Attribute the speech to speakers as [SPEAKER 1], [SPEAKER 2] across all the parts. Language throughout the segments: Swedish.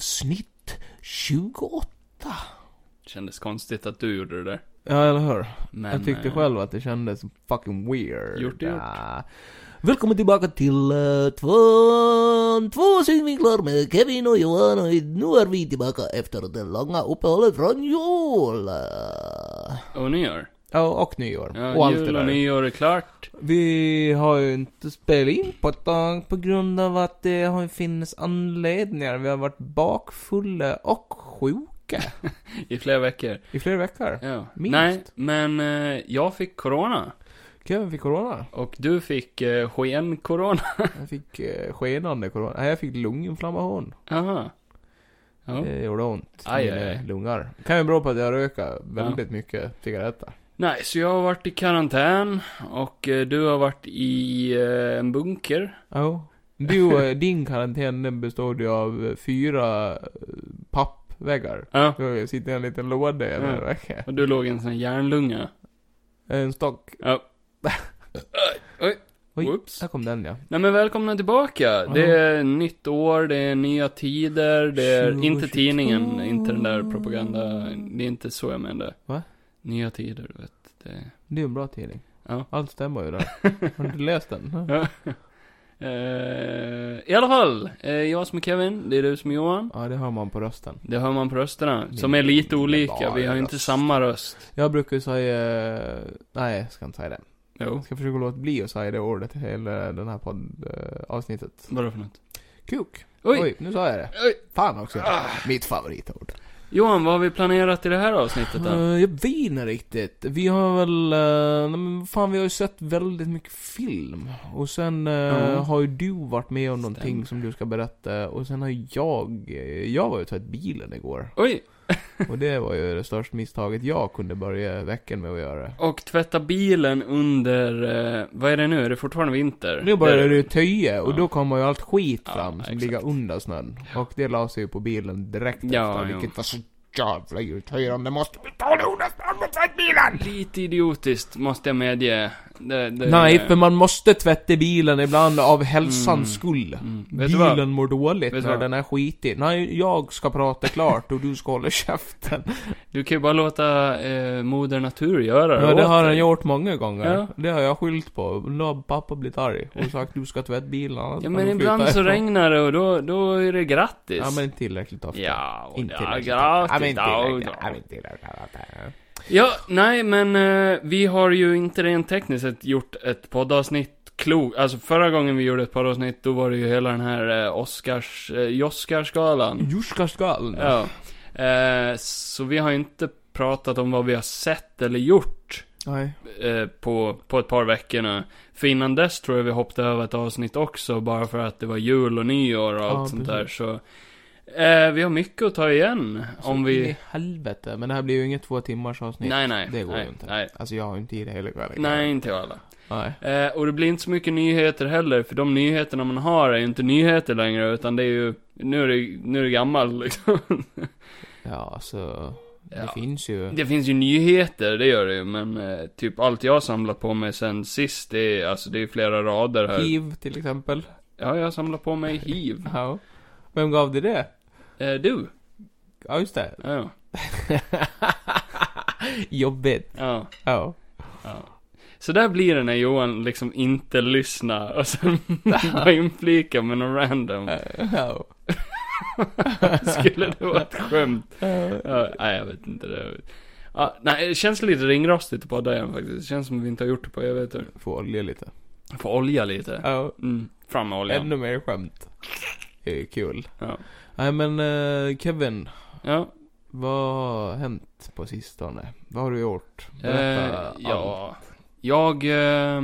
[SPEAKER 1] avsnitt 28.
[SPEAKER 2] Kändes konstigt att du gjorde det där.
[SPEAKER 1] Ja, eller hur?
[SPEAKER 2] Men,
[SPEAKER 1] Jag tyckte
[SPEAKER 2] eh,
[SPEAKER 1] själv att det kändes fucking weird.
[SPEAKER 2] Gjort är gjort.
[SPEAKER 1] Ah. Välkommen tillbaka till eh, två, två synvinklar med Kevin och Johan och nu är vi tillbaka efter det långa uppehållet från jul.
[SPEAKER 2] Och nyår.
[SPEAKER 1] Ja, och nyår.
[SPEAKER 2] Ja,
[SPEAKER 1] och allt det
[SPEAKER 2] jul och
[SPEAKER 1] där.
[SPEAKER 2] nyår är klart.
[SPEAKER 1] Vi har ju inte spelat in på ett tag på grund av att det har ju funnits anledningar. Vi har varit bakfulla och sjuka
[SPEAKER 2] I flera veckor.
[SPEAKER 1] i flera veckor.
[SPEAKER 2] Ja.
[SPEAKER 1] Minst.
[SPEAKER 2] Nej, men eh, jag fick corona.
[SPEAKER 1] Kevin fick corona.
[SPEAKER 2] Och du fick eh, sken-corona.
[SPEAKER 1] Jag fick eh, skenande corona. Nej, jag fick lunginflammation. Eh,
[SPEAKER 2] Aha. Ja.
[SPEAKER 1] Det gjorde ont i
[SPEAKER 2] Aj,
[SPEAKER 1] mina
[SPEAKER 2] aj, aj.
[SPEAKER 1] lungar. Det kan ju bero på att jag röker väldigt mycket cigaretter.
[SPEAKER 2] Nej, så jag har varit i karantän. Och eh, du har varit i eh, en bunker.
[SPEAKER 1] Ja. Du, eh, din karantän den bestod ju av eh, fyra eh, pappväggar.
[SPEAKER 2] Ja.
[SPEAKER 1] Du sitter i en liten låda i en
[SPEAKER 2] Mm.
[SPEAKER 1] vecka.
[SPEAKER 2] Och du låg i en sån här järnlunga.
[SPEAKER 1] En stock.
[SPEAKER 2] Ja. Oj.
[SPEAKER 1] Oj.
[SPEAKER 2] Oops.
[SPEAKER 1] Där kom den ja.
[SPEAKER 2] Nej men välkomna tillbaka. Det är nytt år, det är nya tider, det är
[SPEAKER 1] 2022.
[SPEAKER 2] inte tidningen, inte den där propaganda. Det är inte så jag menar.
[SPEAKER 1] Va?
[SPEAKER 2] Nya tider, du vet. Det...
[SPEAKER 1] Det är en bra tidning.
[SPEAKER 2] Ja.
[SPEAKER 1] Allt stämmer ju där. Har du inte läst den?
[SPEAKER 2] Ja. Eh, I alla fall, eh, jag som är Kevin, det är du som är Johan.
[SPEAKER 1] Ja, det hör man på rösten.
[SPEAKER 2] Det hör man på rösterna,
[SPEAKER 1] Min
[SPEAKER 2] som är lite olika.
[SPEAKER 1] underbara
[SPEAKER 2] Vi har ju inte
[SPEAKER 1] röst.
[SPEAKER 2] samma röst.
[SPEAKER 1] Jag brukar ju säga... Nej, jag ska inte säga det.
[SPEAKER 2] Jo.
[SPEAKER 1] Jag ska försöka låta bli att säga det ordet i hela den här poddavsnittet.
[SPEAKER 2] Vadå för något?
[SPEAKER 1] Kuk.
[SPEAKER 2] Oj!
[SPEAKER 1] nu sa jag det.
[SPEAKER 2] Oj. Ah.
[SPEAKER 1] Fan också. Mitt favoritord.
[SPEAKER 2] Johan, vad har vi planerat i det här avsnittet då?
[SPEAKER 1] Eh, jag vet inte riktigt. Vi har väl... eh, nej, men fan, vi har ju sett väldigt mycket film. Och sen eh,
[SPEAKER 2] Ja.
[SPEAKER 1] har ju du varit med om någonting som
[SPEAKER 2] Stämmer.
[SPEAKER 1] du ska berätta. Och sen har jag... eh, Jag var ju och tagit bilen igår.
[SPEAKER 2] Oj!
[SPEAKER 1] Och det var ju det största misstaget jag kunde börja veckan med att göra.
[SPEAKER 2] Och tvätta bilen under, eh, vad är det nu? Är det fortfarande vinter?
[SPEAKER 1] Nu
[SPEAKER 2] Det-
[SPEAKER 1] började det ju töja och
[SPEAKER 2] Ja.
[SPEAKER 1] då kommer ju allt skit
[SPEAKER 2] Ja,
[SPEAKER 1] fram som
[SPEAKER 2] exakt.
[SPEAKER 1] ligger under snön. Och det la sig ju på bilen direkt
[SPEAKER 2] Ja,
[SPEAKER 1] efter,
[SPEAKER 2] jo.
[SPEAKER 1] vilket var så jävla irriterande. Måste vi ta det under snön och tvätta bilen?
[SPEAKER 2] Lite idiotiskt, måste jag medge. Det, det,
[SPEAKER 1] Nej, för man måste tvätta bilen ibland av hälsans skull.
[SPEAKER 2] Mm. Vet du vad?
[SPEAKER 1] Bilen mår dåligt
[SPEAKER 2] Vet du
[SPEAKER 1] när
[SPEAKER 2] vad?
[SPEAKER 1] den är skitig. Nej, jag ska prata klart och du ska hålla käften.
[SPEAKER 2] Du kan ju bara låta eh, moder natur göra
[SPEAKER 1] Ja,
[SPEAKER 2] det
[SPEAKER 1] det
[SPEAKER 2] åt
[SPEAKER 1] har
[SPEAKER 2] dig.
[SPEAKER 1] han gjort många gånger.
[SPEAKER 2] Ja.
[SPEAKER 1] Det har jag skyllt på. Då har pappa blivit arg och sagt du ska tvätta bilen annars
[SPEAKER 2] Ja,
[SPEAKER 1] kan
[SPEAKER 2] men
[SPEAKER 1] du
[SPEAKER 2] ibland
[SPEAKER 1] flytta
[SPEAKER 2] så
[SPEAKER 1] härifrån."
[SPEAKER 2] regnar det och då, då är det grattis.
[SPEAKER 1] Ja, men inte tillräckligt ofta.
[SPEAKER 2] Ja, och
[SPEAKER 1] inte
[SPEAKER 2] ja,
[SPEAKER 1] tillräckligt
[SPEAKER 2] grattis.
[SPEAKER 1] ofta. Ja, men inte
[SPEAKER 2] Ja,
[SPEAKER 1] tillräckligt.
[SPEAKER 2] ja.
[SPEAKER 1] Ja, men inte tillräckligt ofta.
[SPEAKER 2] Ja, nej, men eh, vi har ju inte rent tekniskt sett gjort ett poddavsnitt klokt. Alltså förra gången vi gjorde ett poddavsnitt, då var det ju hela den här eh, Oscars, eh, Joskarsgalan.
[SPEAKER 1] Jorska skall.
[SPEAKER 2] Ja. Eh, så vi har ju inte pratat om vad vi har sett eller gjort
[SPEAKER 1] Nej.
[SPEAKER 2] eh, på, på ett par veckor nu. För innan dess tror jag vi hoppade över ett avsnitt också, bara för att det var jul och nyår och
[SPEAKER 1] Ja,
[SPEAKER 2] allt sånt där.
[SPEAKER 1] precis.
[SPEAKER 2] Så eh, vi har mycket att ta igen om
[SPEAKER 1] så in Alltså, i
[SPEAKER 2] vi...
[SPEAKER 1] helvete. Men det här blir ju inget två timmars avsnitt.
[SPEAKER 2] Nej, nej.
[SPEAKER 1] Det går
[SPEAKER 2] nej,
[SPEAKER 1] ju inte.
[SPEAKER 2] Nej,
[SPEAKER 1] Alltså jag har ju inte tid hela kvällen.
[SPEAKER 2] nej inte jag alla.
[SPEAKER 1] Nej.
[SPEAKER 2] Eh, och det blir inte så mycket nyheter heller, för de nyheterna man har är ju inte nyheter längre, utan det är ju... Nu är det, nu är det gammal liksom.
[SPEAKER 1] Ja, alltså. Det
[SPEAKER 2] Ja.
[SPEAKER 1] finns ju.
[SPEAKER 2] Det finns ju nyheter, det gör det ju, men eh, typ allt jag har samlat på mig sen sist, det är, alltså det är flera rader här.
[SPEAKER 1] Hiv till exempel.
[SPEAKER 2] Ja, jag har samlat på mig hiv.
[SPEAKER 1] Ja. Vem gav dig det?
[SPEAKER 2] Eh, du?
[SPEAKER 1] Ja, just det.
[SPEAKER 2] Ja, ja.
[SPEAKER 1] Jobbigt.
[SPEAKER 2] ja.
[SPEAKER 1] Ja.
[SPEAKER 2] ja. Så där blir det när Johan liksom inte lyssnar och sen bara inflikar med någon random.
[SPEAKER 1] Ja.
[SPEAKER 2] Skulle det vara ett skämt? Ja, nej, jag vet inte. Det. Ja, nej, det känns lite ringrostigt på podda igen faktiskt. Det känns som att vi inte har gjort det på evigheter.
[SPEAKER 1] Få olja lite.
[SPEAKER 2] Får olja lite.
[SPEAKER 1] Ja.
[SPEAKER 2] Mm, fram med oljan.
[SPEAKER 1] Ännu mer skämt. Det är ju kul.
[SPEAKER 2] Ja.
[SPEAKER 1] Nej men eh, Kevin,
[SPEAKER 2] Ja,
[SPEAKER 1] vad har hänt på sistone? Vad har du gjort?
[SPEAKER 2] eh,
[SPEAKER 1] allt.
[SPEAKER 2] ja. Jag, eh,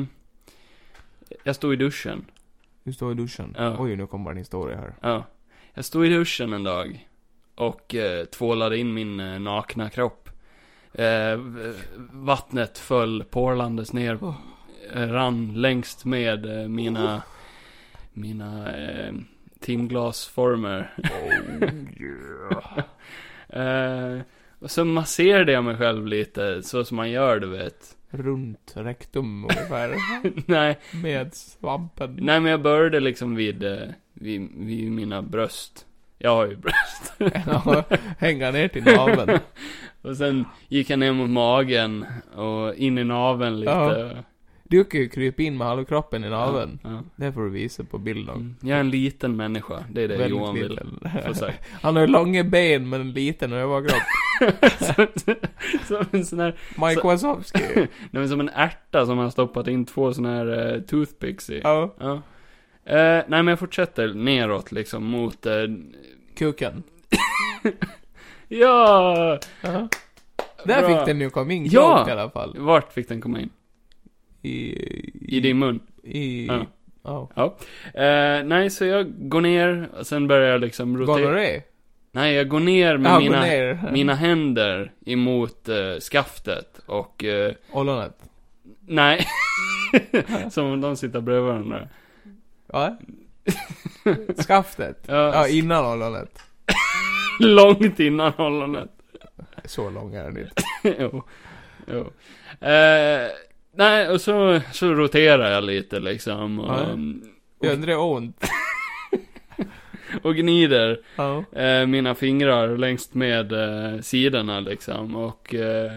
[SPEAKER 2] jag stod i duschen.
[SPEAKER 1] Du står i duschen.
[SPEAKER 2] Ja.
[SPEAKER 1] Oj, nu kommer en historia här.
[SPEAKER 2] Ja. Jag stod i duschen en dag och eh, tvålade in min eh, nakna kropp. Eh, v- vattnet föll porlandes ner,
[SPEAKER 1] Oh.
[SPEAKER 2] eh, rann längst med eh, mina, mina eh, timglasformer.
[SPEAKER 1] Oh,
[SPEAKER 2] eh, och så masserade jag mig själv lite, så som man gör du vet.
[SPEAKER 1] Runt rektum ungefär.
[SPEAKER 2] Nej,
[SPEAKER 1] med svampen.
[SPEAKER 2] Nej men jag började liksom vid, eh, vid, vid mina bröst. jag har ju bröst.
[SPEAKER 1] Ja, hänga ner till naveln.
[SPEAKER 2] Och sen gick han ner mot magen och in i naveln lite.
[SPEAKER 1] Du kan ju krypa in med halva kroppen i naveln.
[SPEAKER 2] Ja.
[SPEAKER 1] Det får du visa på bild av.
[SPEAKER 2] Mm. Jag är en liten människa, det är det
[SPEAKER 1] Väldigt
[SPEAKER 2] Johan vill
[SPEAKER 1] liten.
[SPEAKER 2] få sagt.
[SPEAKER 1] Han har ju långa ben men en liten överkropp.
[SPEAKER 2] Som en sån här,
[SPEAKER 1] Mike Wazowski.
[SPEAKER 2] nej men som en ärta som han stoppat in två såna här eh, toothpicks i.
[SPEAKER 1] Ja,
[SPEAKER 2] Ja. Eh, nej men jag fortsätter neråt liksom mot, eh,
[SPEAKER 1] kuken.
[SPEAKER 2] ja!
[SPEAKER 1] Ja. Där
[SPEAKER 2] Bra.
[SPEAKER 1] fick den ju komma in
[SPEAKER 2] Ja.
[SPEAKER 1] ja. i alla fall.
[SPEAKER 2] Vart fick den komma in?
[SPEAKER 1] I...
[SPEAKER 2] I din mun?
[SPEAKER 1] I...
[SPEAKER 2] Ja.
[SPEAKER 1] Ja.
[SPEAKER 2] Eh, nej, så jag går ner, och sen börjar jag liksom rotera.
[SPEAKER 1] Gonorré?
[SPEAKER 2] Nej, jag går ner med
[SPEAKER 1] Ja,
[SPEAKER 2] mina,
[SPEAKER 1] gå ner.
[SPEAKER 2] mina händer emot eh, skaftet och, eh,
[SPEAKER 1] Ollonet?
[SPEAKER 2] nej. Som om de sitter bredvid varandra.
[SPEAKER 1] Ja? Skaftet?
[SPEAKER 2] Ja,
[SPEAKER 1] Ja, innan ollonet.
[SPEAKER 2] långt innan ollonet.
[SPEAKER 1] Så lång är den inte.
[SPEAKER 2] jo. jo. Eh, nej, och så, så roterar jag lite liksom. Och,
[SPEAKER 1] Ja. Jag undrar det ont.
[SPEAKER 2] och gnider.
[SPEAKER 1] Ja.
[SPEAKER 2] eh, mina fingrar längs med eh, sidorna liksom och eh,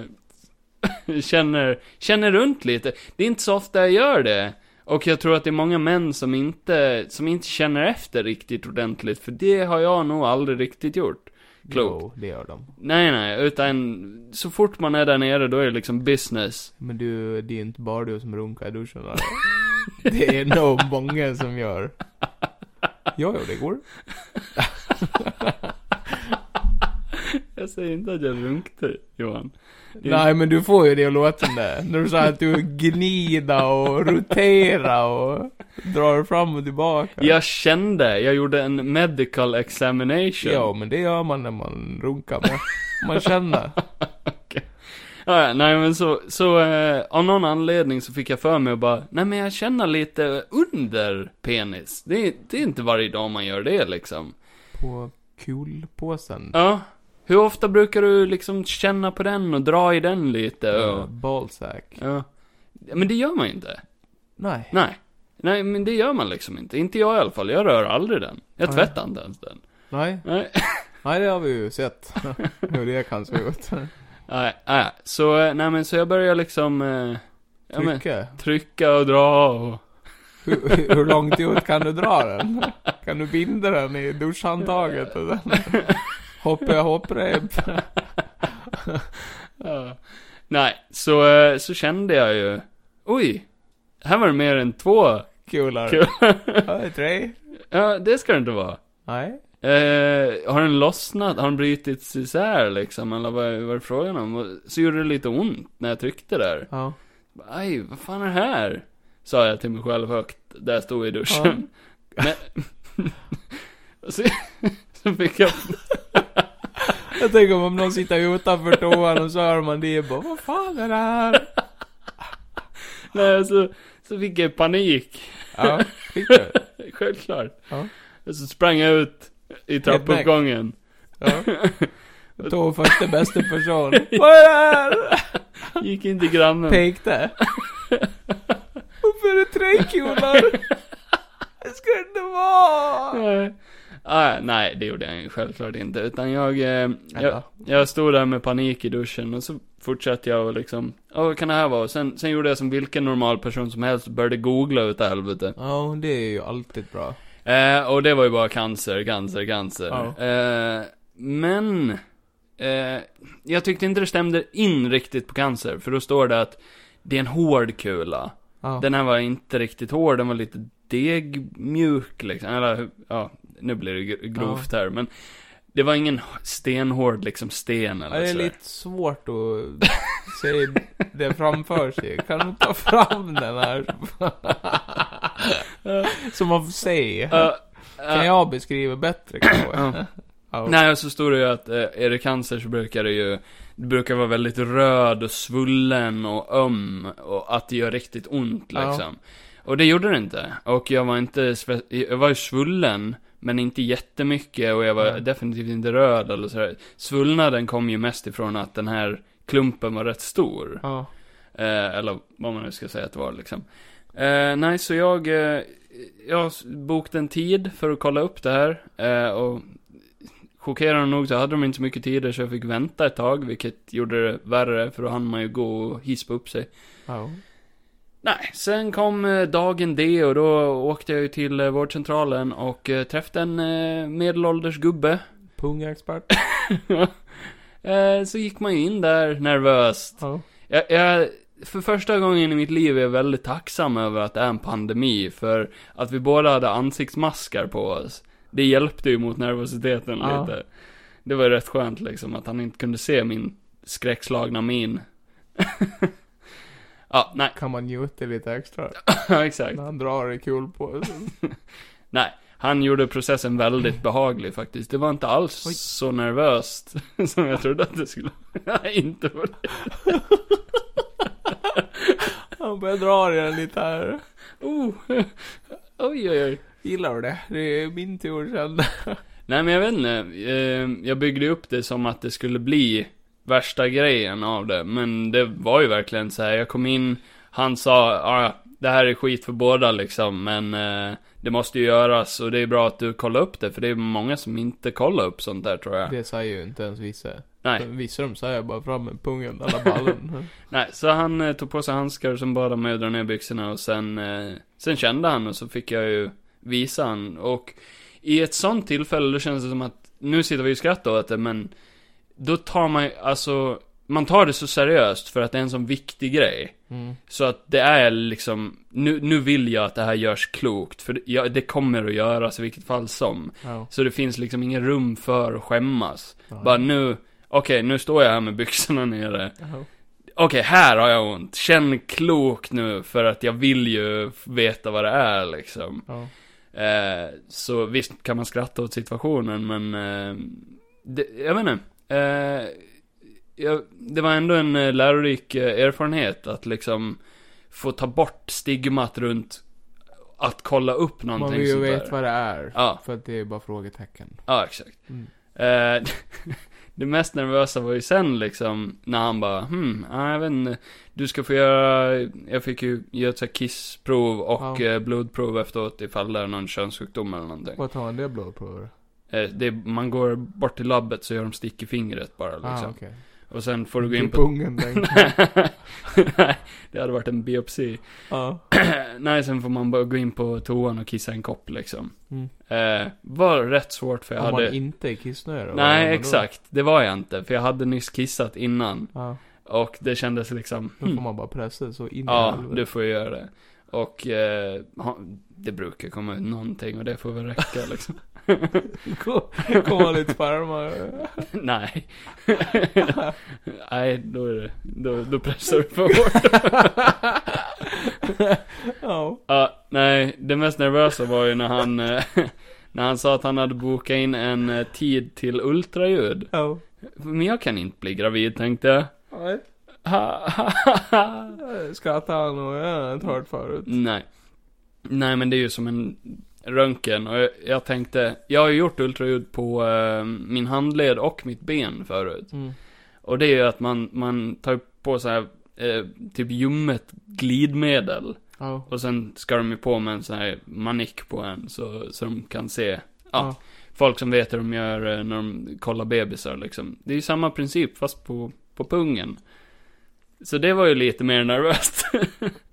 [SPEAKER 2] känner, känner runt lite. Det är inte så ofta jag gör det. Och jag tror att det är många män som inte, som inte känner efter riktigt ordentligt, för det har jag nog aldrig riktigt gjort. Klokt.
[SPEAKER 1] Jo, det gör de.
[SPEAKER 2] Nej, nej, utan så fort man är där nere då är det liksom business.
[SPEAKER 1] Men du, det är inte bara du som runkar i duschen va? Det är nog många som gör. Jag gjorde det igår.
[SPEAKER 2] Jag säger inte att jag runkte, Johan. Det är-
[SPEAKER 1] Nej men du får ju det att låta som det. När du sa att du gnida och rotera och drar fram och tillbaka.
[SPEAKER 2] Jag kände, jag gjorde en medical examination.
[SPEAKER 1] Ja, men det gör man när man runkar med. Man känner.
[SPEAKER 2] Ja, ja, nej men så, så eh, av någon anledning så fick jag för mig att bara, nej men jag känner lite under penis. Det, är- det är inte varje dag man gör det liksom.
[SPEAKER 1] På kulpåsen.
[SPEAKER 2] Ja. Hur ofta brukar du liksom känna på den och dra i den lite?
[SPEAKER 1] Eh,
[SPEAKER 2] Och,
[SPEAKER 1] Ballsack.
[SPEAKER 2] ja. Men det gör man ju inte.
[SPEAKER 1] Nej.
[SPEAKER 2] Nej. Nej, men det gör man liksom inte. Inte jag i alla fall. Jag rör aldrig den. Jag
[SPEAKER 1] Nej.
[SPEAKER 2] tvättar inte ens den.
[SPEAKER 1] Nej.
[SPEAKER 2] Nej.
[SPEAKER 1] Nej, det har vi ju sett. Hur det kan se ut.
[SPEAKER 2] Nej, nej. Så, eh, nej men så jag börjar liksom, eh, ja, men,
[SPEAKER 1] Trycke.
[SPEAKER 2] trycka och dra och...
[SPEAKER 1] Hur, hur långt ut kan du dra den? Kan du binda den i duschhandtaget? och sen Hoppa jag hopprep.
[SPEAKER 2] Ja. Nej, så, eh, så kände jag ju, oj, här var det mer än två.
[SPEAKER 1] Kulare.
[SPEAKER 2] Kul.
[SPEAKER 1] Ja, Tre.
[SPEAKER 2] ja, det ska det inte vara.
[SPEAKER 1] Nej.
[SPEAKER 2] Eh, har den lossnat? Har den brutits isär liksom? Eller vad vad är det frågan om? Och Så gjorde det lite ont när jag tryckte där.
[SPEAKER 1] Ja.
[SPEAKER 2] Aj, vad fan är det här? Sa jag till mig själv högt, där jag stod i duschen. Men, så, så fick jag,
[SPEAKER 1] Jag tänker om någon sitter utanför toan och så hör man det bara Vad fan är det här?
[SPEAKER 2] nej, så, så fick jag panik.
[SPEAKER 1] Ja, fick du?
[SPEAKER 2] Självklart.
[SPEAKER 1] Ja.
[SPEAKER 2] Och så sprang jag ut i trappuppgången.
[SPEAKER 1] Ja. Tog första bästa person. Vad är det här?
[SPEAKER 2] Gick in till grannen.
[SPEAKER 1] Pekte. Varför är det tre kulor? Det ska det inte vara!
[SPEAKER 2] Nej. Ah, nej, det gjorde jag ju självklart inte. Utan jag, eh, jag,
[SPEAKER 1] Eller?
[SPEAKER 2] jag stod där med panik i duschen och så fortsatte jag och liksom, ja vad kan det här vara? Och Sen, sen gjorde jag som vilken normal person som helst och började googla utav helvete.
[SPEAKER 1] Ja, det är ju alltid bra.
[SPEAKER 2] Eh, och det var ju bara cancer, cancer, cancer.
[SPEAKER 1] Ja.
[SPEAKER 2] Eh, men, eh, jag tyckte inte det stämde in riktigt på cancer, för då står det att det är en hård kula.
[SPEAKER 1] Ja.
[SPEAKER 2] Den här var inte riktigt hård, den var lite degmjuk liksom. Eller, ja, nu blir det gr- grovt här, men det var ingen stenhård liksom sten
[SPEAKER 1] Ja,
[SPEAKER 2] eller
[SPEAKER 1] det är
[SPEAKER 2] sådär.
[SPEAKER 1] lite svårt att se det framför sig. Kan du ta fram den här? Så man får se.
[SPEAKER 2] Ja, ja.
[SPEAKER 1] Kan jag beskriva bättre kanske?
[SPEAKER 2] Ja.
[SPEAKER 1] Ja.
[SPEAKER 2] Nej, och så står det ju att eh, är det cancer så brukar det ju, det brukar vara väldigt röd och svullen och öm och att det gör riktigt ont
[SPEAKER 1] Ja.
[SPEAKER 2] liksom. Och det gjorde det inte. Och jag var inte, sve- jag var ju svullen, men inte jättemycket och jag var
[SPEAKER 1] Nej.
[SPEAKER 2] definitivt inte röd eller sådär. Svullnaden kom ju mest ifrån att den här klumpen var rätt stor.
[SPEAKER 1] Ja.
[SPEAKER 2] Eh, eller vad man nu ska säga att det var liksom. Eh, nej, så jag, eh, jag s- bokade en tid för att kolla upp det här. Eh, och chockerande nog så hade de inte så mycket tid så jag fick vänta ett tag, vilket gjorde det värre, för då hann man ju gå och hispa upp sig.
[SPEAKER 1] Ja.
[SPEAKER 2] Nej, sen kom eh, dagen D och då åkte jag ju till eh, vårdcentralen och eh, träffade en eh, medelålders gubbe.
[SPEAKER 1] Pungexpert.
[SPEAKER 2] Eh, Så gick man ju in där nervöst.
[SPEAKER 1] Ja.
[SPEAKER 2] Jag, jag, för första gången i mitt liv är jag väldigt tacksam över att det är en pandemi, för att vi båda hade ansiktsmaskar på oss. Det hjälpte ju mot nervositeten
[SPEAKER 1] Ja.
[SPEAKER 2] lite. Det var ju rätt skönt liksom, att han inte kunde se min skräckslagna min. ja, nej,
[SPEAKER 1] Kan man njuta lite extra
[SPEAKER 2] exakt.
[SPEAKER 1] när han drar i kul på
[SPEAKER 2] Nej, han gjorde processen väldigt behaglig faktiskt. Det var inte alls
[SPEAKER 1] Oj.
[SPEAKER 2] så nervöst som jag trodde att det skulle Nej, inte vara.
[SPEAKER 1] Han börjar dra i den lite här.
[SPEAKER 2] Oh. Oj, oj, oj.
[SPEAKER 1] Gillar du det? Det är min tur sen.
[SPEAKER 2] Nej, men jag vet inte. Eh, Jag byggde upp det som att det skulle bli värsta grejen av det. Men det var ju verkligen så här. jag kom in, han sa, ah, det här är skit för båda liksom, men eh, det måste ju göras och det är bra att du kollar upp det, för det är många som inte kollar upp sånt där tror jag.
[SPEAKER 1] Det säger ju inte ens vissa.
[SPEAKER 2] Nej.
[SPEAKER 1] Vissa de säger bara fram med pungen, alla ballen.
[SPEAKER 2] Nej, så han eh, tog på sig handskar och sen bad han mig att dra ner byxorna och sen, eh, sen kände han och så fick jag ju visa han. Och i ett sånt tillfälle då känns det som att, nu sitter vi ju och skrattar åt det men, då tar man ju, alltså, man tar det så seriöst för att det är en sån viktig grej.
[SPEAKER 1] Mm.
[SPEAKER 2] Så att det är liksom, nu, nu vill jag att det här görs klokt, för det, ja, det kommer att göras i vilket fall som.
[SPEAKER 1] Ja.
[SPEAKER 2] Så det finns liksom ingen rum för att skämmas. Bara nu, okej nu står jag här med byxorna nere.
[SPEAKER 1] Ja.
[SPEAKER 2] Okej, här har jag ont. Känn klok nu, för att jag vill ju f- veta vad det är liksom.
[SPEAKER 1] Ja.
[SPEAKER 2] Eh, så visst kan man skratta åt situationen, men... Eh, det, jag vet inte. Eh, jag, det var ändå en eh, lärorik eh, erfarenhet att liksom få ta bort stigmat runt att kolla upp någonting
[SPEAKER 1] Man vill ju
[SPEAKER 2] sånt där.
[SPEAKER 1] veta vad det är.
[SPEAKER 2] Ja,
[SPEAKER 1] För att det är bara frågetecken.
[SPEAKER 2] ja exakt.
[SPEAKER 1] Mm.
[SPEAKER 2] Eh, det mest nervösa var ju sen liksom, när han bara, hmm, ja, jag vet inte, du ska få göra, jag fick ju göra ett så här kissprov
[SPEAKER 1] Ja.
[SPEAKER 2] och eh, blodprov efteråt ifall det är någon könssjukdom eller någonting.
[SPEAKER 1] Vad tar han det blodprover?
[SPEAKER 2] Eh, det, man går bort till labbet så gör de stick i fingret bara liksom.
[SPEAKER 1] Ah, okej.
[SPEAKER 2] Och sen får du gå
[SPEAKER 1] I
[SPEAKER 2] in på...
[SPEAKER 1] pungen tänker jag.
[SPEAKER 2] Nej, det hade varit en biopsi.
[SPEAKER 1] Ja.
[SPEAKER 2] Nej, sen får man bara gå in på toan och kissa en kopp liksom.
[SPEAKER 1] Mm.
[SPEAKER 2] Eh, var rätt svårt för jag
[SPEAKER 1] Om
[SPEAKER 2] hade...
[SPEAKER 1] man inte är kissnödig då, vad gör man
[SPEAKER 2] Nej,
[SPEAKER 1] då?
[SPEAKER 2] exakt. Det var jag inte, för jag hade nyss kissat innan.
[SPEAKER 1] Ja,
[SPEAKER 2] Och det kändes liksom...
[SPEAKER 1] då får man bara pressa så in i
[SPEAKER 2] Ja,
[SPEAKER 1] helvete.
[SPEAKER 2] du får göra det. Och eh, ha- det brukar komma ut någonting och det får väl räcka liksom.
[SPEAKER 1] Komma lite sperma.
[SPEAKER 2] Nej. Nej, då är det, då, då pressar du för hårt.
[SPEAKER 1] Ja.
[SPEAKER 2] Ja, nej, det mest nervösa var ju när han, eh, när han sa att han hade bokat in en eh, tid till ultraljud.
[SPEAKER 1] Ja.
[SPEAKER 2] Men jag kan inte bli gravid tänkte jag.
[SPEAKER 1] Nej.
[SPEAKER 2] Ha, ha, ha, ha.
[SPEAKER 1] Skrattar han och jag har inte hört förut.
[SPEAKER 2] Nej. Nej, men det är ju som en röntgen. Och jag, jag tänkte, jag har ju gjort ultraljud på eh, min handled och mitt ben förut.
[SPEAKER 1] Mm.
[SPEAKER 2] Och det är ju att man, man tar på så här, eh, typ ljummet glidmedel.
[SPEAKER 1] Ja.
[SPEAKER 2] Och sen ska de ju på med en sån här manick på en så, så de kan se.
[SPEAKER 1] Ja.
[SPEAKER 2] Folk som vet hur de gör eh, när de kollar bebisar liksom. Det är ju samma princip fast på, på pungen. Så det var ju lite mer nervöst.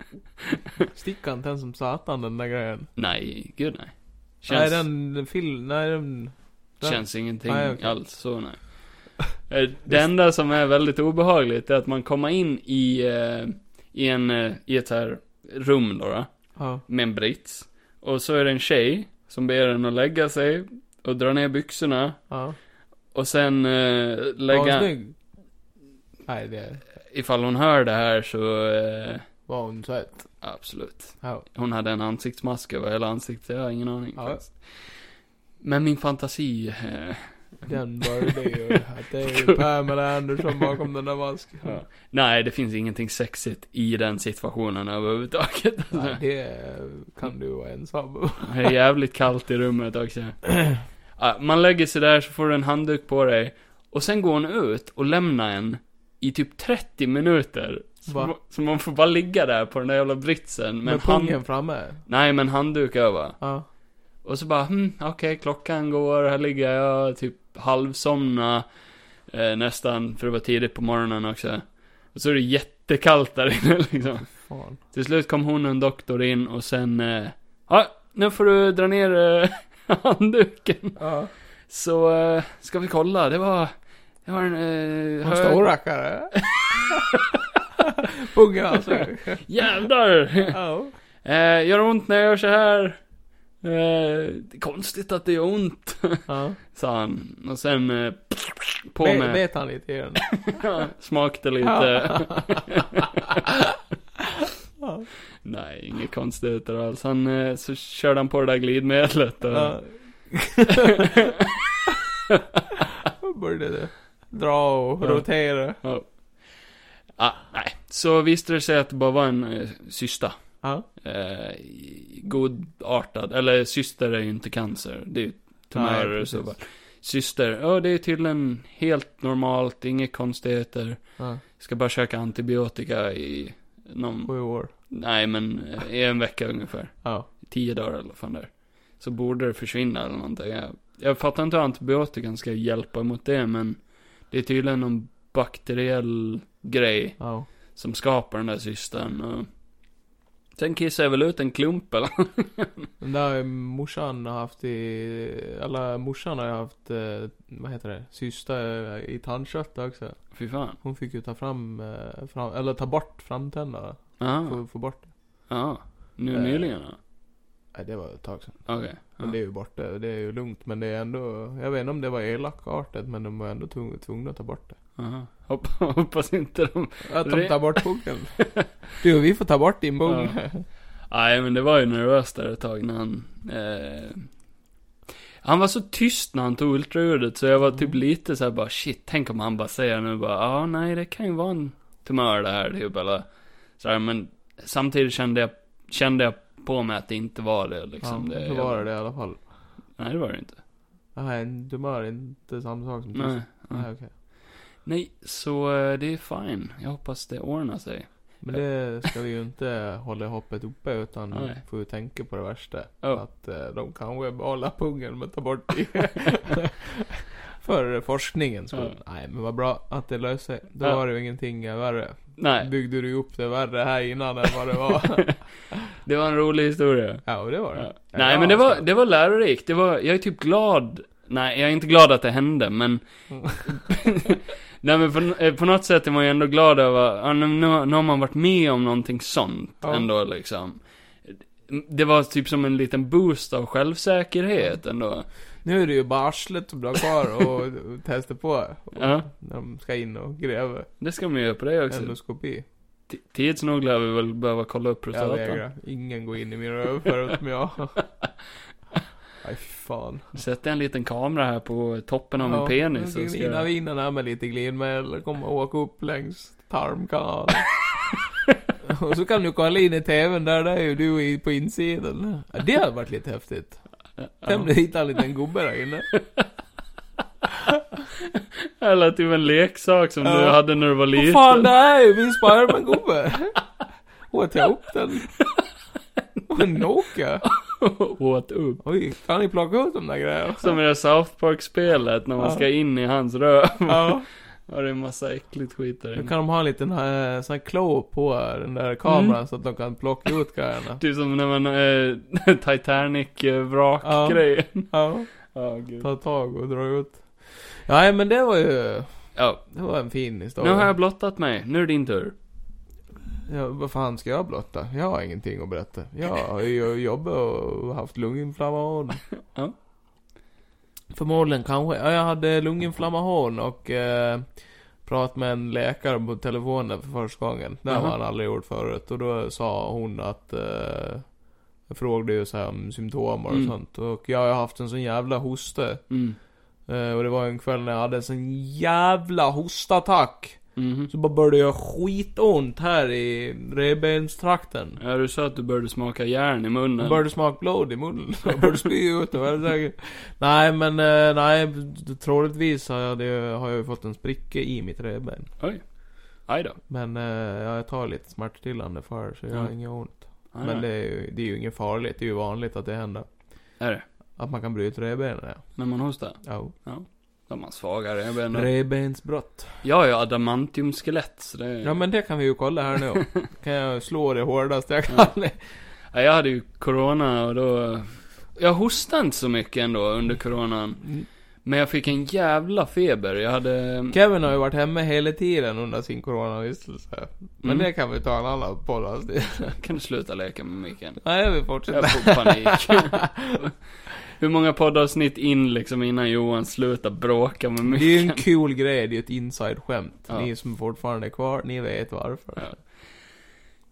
[SPEAKER 1] Stickade inte ens som satan den där grejen?
[SPEAKER 2] nej, gud nej.
[SPEAKER 1] Nej den fil... Nej den... den.
[SPEAKER 2] Känns ingenting
[SPEAKER 1] Nej, okej.
[SPEAKER 2] alls, så nej. Eh, Det enda som är väldigt obehagligt är att man kommer in i, eh, i, en, eh, i ett så här rum då, då,
[SPEAKER 1] Ja.
[SPEAKER 2] med en brits. Och så är det en tjej som ber en att lägga sig och dra ner byxorna.
[SPEAKER 1] Ja.
[SPEAKER 2] Och sen eh,
[SPEAKER 1] Var hon
[SPEAKER 2] lägga...
[SPEAKER 1] snygg? Nej det...
[SPEAKER 2] Ifall hon hör det här så... Eh,
[SPEAKER 1] Var hon söt?
[SPEAKER 2] absolut.
[SPEAKER 1] Ja.
[SPEAKER 2] Hon hade en ansiktsmask över hela ansiktet, jag har ingen aning
[SPEAKER 1] Ja.
[SPEAKER 2] faktiskt. Men min fantasi... Eh,
[SPEAKER 1] Den började ju att det är ju Pamela Anderson bakom den där masken.
[SPEAKER 2] Ja. Nej, det finns ingenting sexigt i den situationen överhuvudtaget.
[SPEAKER 1] Nej, det kan du vara ensam om.
[SPEAKER 2] Det är jävligt kallt i rummet också. Ja, Man lägger sig där så får du en handduk på dig. Och sen går hon ut och lämnar en i typ 30 minuter. Så,
[SPEAKER 1] Va?
[SPEAKER 2] ma- så man får bara ligga där på den där jävla britsen. Med
[SPEAKER 1] Med
[SPEAKER 2] en hand,
[SPEAKER 1] pungen framme.
[SPEAKER 2] nej, men handduk över.
[SPEAKER 1] Ja.
[SPEAKER 2] Och så bara, hmm, okej, klockan går, här ligger jag typ halvsomna eh, nästan, för det var tidigt på morgonen också. Och så är det jättekallt där inne liksom.
[SPEAKER 1] Fan.
[SPEAKER 2] Till slut kom hon och en doktor in och sen, eh, ja, nu får du dra ner eh, handduken.
[SPEAKER 1] Ja.
[SPEAKER 2] Så, eh, ska vi kolla, det var, det var en, eh,
[SPEAKER 1] En
[SPEAKER 2] hög-
[SPEAKER 1] stor rackare. Pungen alltså.
[SPEAKER 2] Jävlar!
[SPEAKER 1] Ja.
[SPEAKER 2] Eh, gör ont när jag gör så här. Eh, det är konstigt att det gör ont,
[SPEAKER 1] Ja.
[SPEAKER 2] sa han. Och sen eh, på
[SPEAKER 1] Be-
[SPEAKER 2] med,
[SPEAKER 1] Bet han lite i den?
[SPEAKER 2] smakade lite. Nej, inget konstigt alls. Han, eh, så körde han på det där glidmedlet. Och,
[SPEAKER 1] Ja. Då Började det dra och
[SPEAKER 2] Ja.
[SPEAKER 1] rotera.
[SPEAKER 2] ja. ah, nej. Så visste det sig att det bara var en eh, syster.
[SPEAKER 1] Ja.
[SPEAKER 2] Eh, godartad, eller syster är ju inte cancer, det är ju tumörer
[SPEAKER 1] Nej,
[SPEAKER 2] och så bara.
[SPEAKER 1] precis.
[SPEAKER 2] Syster, ja det är tydligen helt normalt, inga konstigheter.
[SPEAKER 1] Ja.
[SPEAKER 2] Ska bara käka antibiotika i någon,
[SPEAKER 1] Sju år.
[SPEAKER 2] nej men eh, i en vecka ungefär.
[SPEAKER 1] Ja.
[SPEAKER 2] Tio dagar eller vad fan där. Så borde det försvinna eller någonting. Jag, jag fattar inte hur antibiotikan ska hjälpa mot det men det är tydligen någon bakteriell grej
[SPEAKER 1] Ja.
[SPEAKER 2] som skapar den där systern. Och... Sen kissar jag väl ut en klump eller
[SPEAKER 1] Den där morsan har haft i, alla morsan har ju haft, eh, vad heter det, syster eh, i tandkött också.
[SPEAKER 2] Fy fan.
[SPEAKER 1] Hon fick ju ta fram, eh, fram eller ta bort framtänderna.
[SPEAKER 2] Ja,
[SPEAKER 1] Få, få bort det.
[SPEAKER 2] ja. Nu
[SPEAKER 1] Eh,
[SPEAKER 2] nyligen då?
[SPEAKER 1] Nej det var ett tag sedan.
[SPEAKER 2] Okej.
[SPEAKER 1] Men det är ju borta, det är ju lugnt. Men det är ändå, jag vet inte om det var elakartat men de var ändå tvung, tvungna att ta bort det.
[SPEAKER 2] ja. Aha. Hopp, hoppas inte de...
[SPEAKER 1] Att de
[SPEAKER 2] Re-
[SPEAKER 1] tar bort boken. Du vi får ta bort din bok.
[SPEAKER 2] Nej men det var ju nervöst där ett tag när han... Eh... Han var så tyst när han tog ultraljudet så jag var typ
[SPEAKER 1] Mm.
[SPEAKER 2] lite så här bara shit, tänk om han bara säger nu bara ja ah, nej det kan ju vara en tumör det här typ eller så här, men samtidigt kände jag, kände jag på mig att det inte var det
[SPEAKER 1] Ja,
[SPEAKER 2] liksom.
[SPEAKER 1] så var det det i alla fall.
[SPEAKER 2] Nej det var det inte.
[SPEAKER 1] Nej, en tumör är inte samma sak som
[SPEAKER 2] Nej.
[SPEAKER 1] tyst.
[SPEAKER 2] nej.
[SPEAKER 1] Nej, okej.
[SPEAKER 2] Nej, så eh, det är fine. Jag hoppas det ordnar sig.
[SPEAKER 1] Men det ska vi ju inte hålla hoppet uppe utan
[SPEAKER 2] Nej.
[SPEAKER 1] får ju tänka på det värsta.
[SPEAKER 2] Ja.
[SPEAKER 1] Att eh, de kanske behåller pungen men tar bort det. För forskningen skull. Nej men vad bra att det löser sig. Då
[SPEAKER 2] Ja.
[SPEAKER 1] var det ju ingenting eh, värre.
[SPEAKER 2] Nej,
[SPEAKER 1] Byggde du upp det värre här innan än vad det var.
[SPEAKER 2] det var en rolig historia.
[SPEAKER 1] ja och det var det.
[SPEAKER 2] Ja.
[SPEAKER 1] Ja,
[SPEAKER 2] Nej,
[SPEAKER 1] jag
[SPEAKER 2] men det var,
[SPEAKER 1] älskar
[SPEAKER 2] det var lärorikt. Det var, jag är typ glad. Nej, jag är inte glad att det hände, men...
[SPEAKER 1] Mm.
[SPEAKER 2] Nej, men på, eh, på något sätt är man ju ändå glad över, ja, nu, nu, nu har man varit med om någonting sånt
[SPEAKER 1] Ja.
[SPEAKER 2] ändå liksom. Det var typ som en liten boost av självsäkerhet ändå.
[SPEAKER 1] Nu är det ju bara arslet som blir kvar och, och testar på. Och,
[SPEAKER 2] Ja.
[SPEAKER 1] När de ska in och gräva
[SPEAKER 2] Det ska man ju göra på det också.
[SPEAKER 1] endoskopi.
[SPEAKER 2] T- Tids nog lär vi väl behöva kolla upp
[SPEAKER 1] Jag
[SPEAKER 2] prostatan.
[SPEAKER 1] vägrar. Ingen går in i min röv förutom jag. Aj fan.
[SPEAKER 2] Sätter en liten kamera här på toppen av min
[SPEAKER 1] Ja,
[SPEAKER 2] penis
[SPEAKER 1] nu
[SPEAKER 2] och
[SPEAKER 1] ska
[SPEAKER 2] ska...
[SPEAKER 1] vi Innan vi innan här med lite glidmedel, kommer åka upp längs tarmkanalen. och så kan du kolla in i TVn där, där är ju du i- på insidan. Ja, det hade varit lite häftigt. Tänk om du hittar en liten gubbe där inne.
[SPEAKER 2] Eller typ en leksak som du
[SPEAKER 1] Ja.
[SPEAKER 2] hade när du var
[SPEAKER 1] Vad
[SPEAKER 2] liten.
[SPEAKER 1] fan, det här är ju min Spiderman-gubbe! Åt jag upp den? Och en Nokia?
[SPEAKER 2] Åt upp.
[SPEAKER 1] Oj, kan ni plocka ut de där grejerna?
[SPEAKER 2] Som i det här South Park-spelet när man
[SPEAKER 1] Ja.
[SPEAKER 2] ska in i hans röv.
[SPEAKER 1] Ja,
[SPEAKER 2] Och det är en massa äckligt skit där
[SPEAKER 1] då
[SPEAKER 2] inne.
[SPEAKER 1] kan de ha en liten eh, sån här klo på den där kameran
[SPEAKER 2] Mm.
[SPEAKER 1] så att de kan plocka ut grejerna.
[SPEAKER 2] Typ som när man, eh, Titanic-vrak-grejen.
[SPEAKER 1] Ja.
[SPEAKER 2] Ja, gud.
[SPEAKER 1] ta tag och dra ut. Nej men det var ju,
[SPEAKER 2] Ja,
[SPEAKER 1] det var en fin
[SPEAKER 2] nu
[SPEAKER 1] historia.
[SPEAKER 2] har jag blottat mig. Nu är det din tur.
[SPEAKER 1] ja, vad fan ska jag blotta? Jag har ingenting att berätta. Jag har ju jobbat och haft lunginflammation.
[SPEAKER 2] Ja.
[SPEAKER 1] Förmodligen kanske, ja, jag hade lunginflammation och eh, pratat med en läkare på telefonen för första gången. Det
[SPEAKER 2] Mhm.
[SPEAKER 1] har han aldrig gjort förut. Och då sa hon att eh, jag frågade ju så här om symptom och
[SPEAKER 2] Mm.
[SPEAKER 1] sånt. Och jag har ju haft en sån jävla hosta.
[SPEAKER 2] Mm.
[SPEAKER 1] Eh, Och det var en kväll när jag hade en sån jävla hostattack.
[SPEAKER 2] Mhm.
[SPEAKER 1] Så bara började jag skitont här i revbenstrakten.
[SPEAKER 2] Ja, du sa att du började smaka järn i munnen.
[SPEAKER 1] Började smaka blod i munnen. Jag började spy ut det var jag säker. Nej men eh, nej, troligtvis har jag, det, har jag ju fått en spricka i mitt revben.
[SPEAKER 2] Oj. Aj då.
[SPEAKER 1] Men eh, jag tar lite smärtstillande för så jag har
[SPEAKER 2] Mm.
[SPEAKER 1] inget ont.
[SPEAKER 2] Aj,
[SPEAKER 1] Men
[SPEAKER 2] då.
[SPEAKER 1] det är, ju, det är ju inget farligt, det är ju vanligt att det händer.
[SPEAKER 2] Är det?
[SPEAKER 1] Att man kan bryta revbenen, ja.
[SPEAKER 2] När man hostar.
[SPEAKER 1] Ja.
[SPEAKER 2] Då är man svagare. Jag vet inte.
[SPEAKER 1] Revbensbrott.
[SPEAKER 2] Jag har ju adamantiumskelett, så det...
[SPEAKER 1] Ja men det kan vi ju kolla här nu. kan jag slå det hårdast jag kan.
[SPEAKER 2] Ja, jag hade ju corona och då... Jag hostade inte så mycket ändå under coronan.
[SPEAKER 1] Mm.
[SPEAKER 2] Men jag fick en jävla feber. Jag hade...
[SPEAKER 1] Kevin har ju varit hemma hela tiden under sin coronavistelse. Men
[SPEAKER 2] Mm.
[SPEAKER 1] det kan vi ta en annan podd alltså.
[SPEAKER 2] Kan du sluta leka med micken?
[SPEAKER 1] Nej, jag vill
[SPEAKER 2] Jag
[SPEAKER 1] fortsätta.
[SPEAKER 2] får panik. Hur många poddavsnitt in liksom innan Johan slutar bråka med
[SPEAKER 1] Det är ju en
[SPEAKER 2] micken?
[SPEAKER 1] cool grej, det är ju ett inside-skämt.
[SPEAKER 2] Ja.
[SPEAKER 1] Ni som fortfarande är kvar, ni vet varför.
[SPEAKER 2] Ja.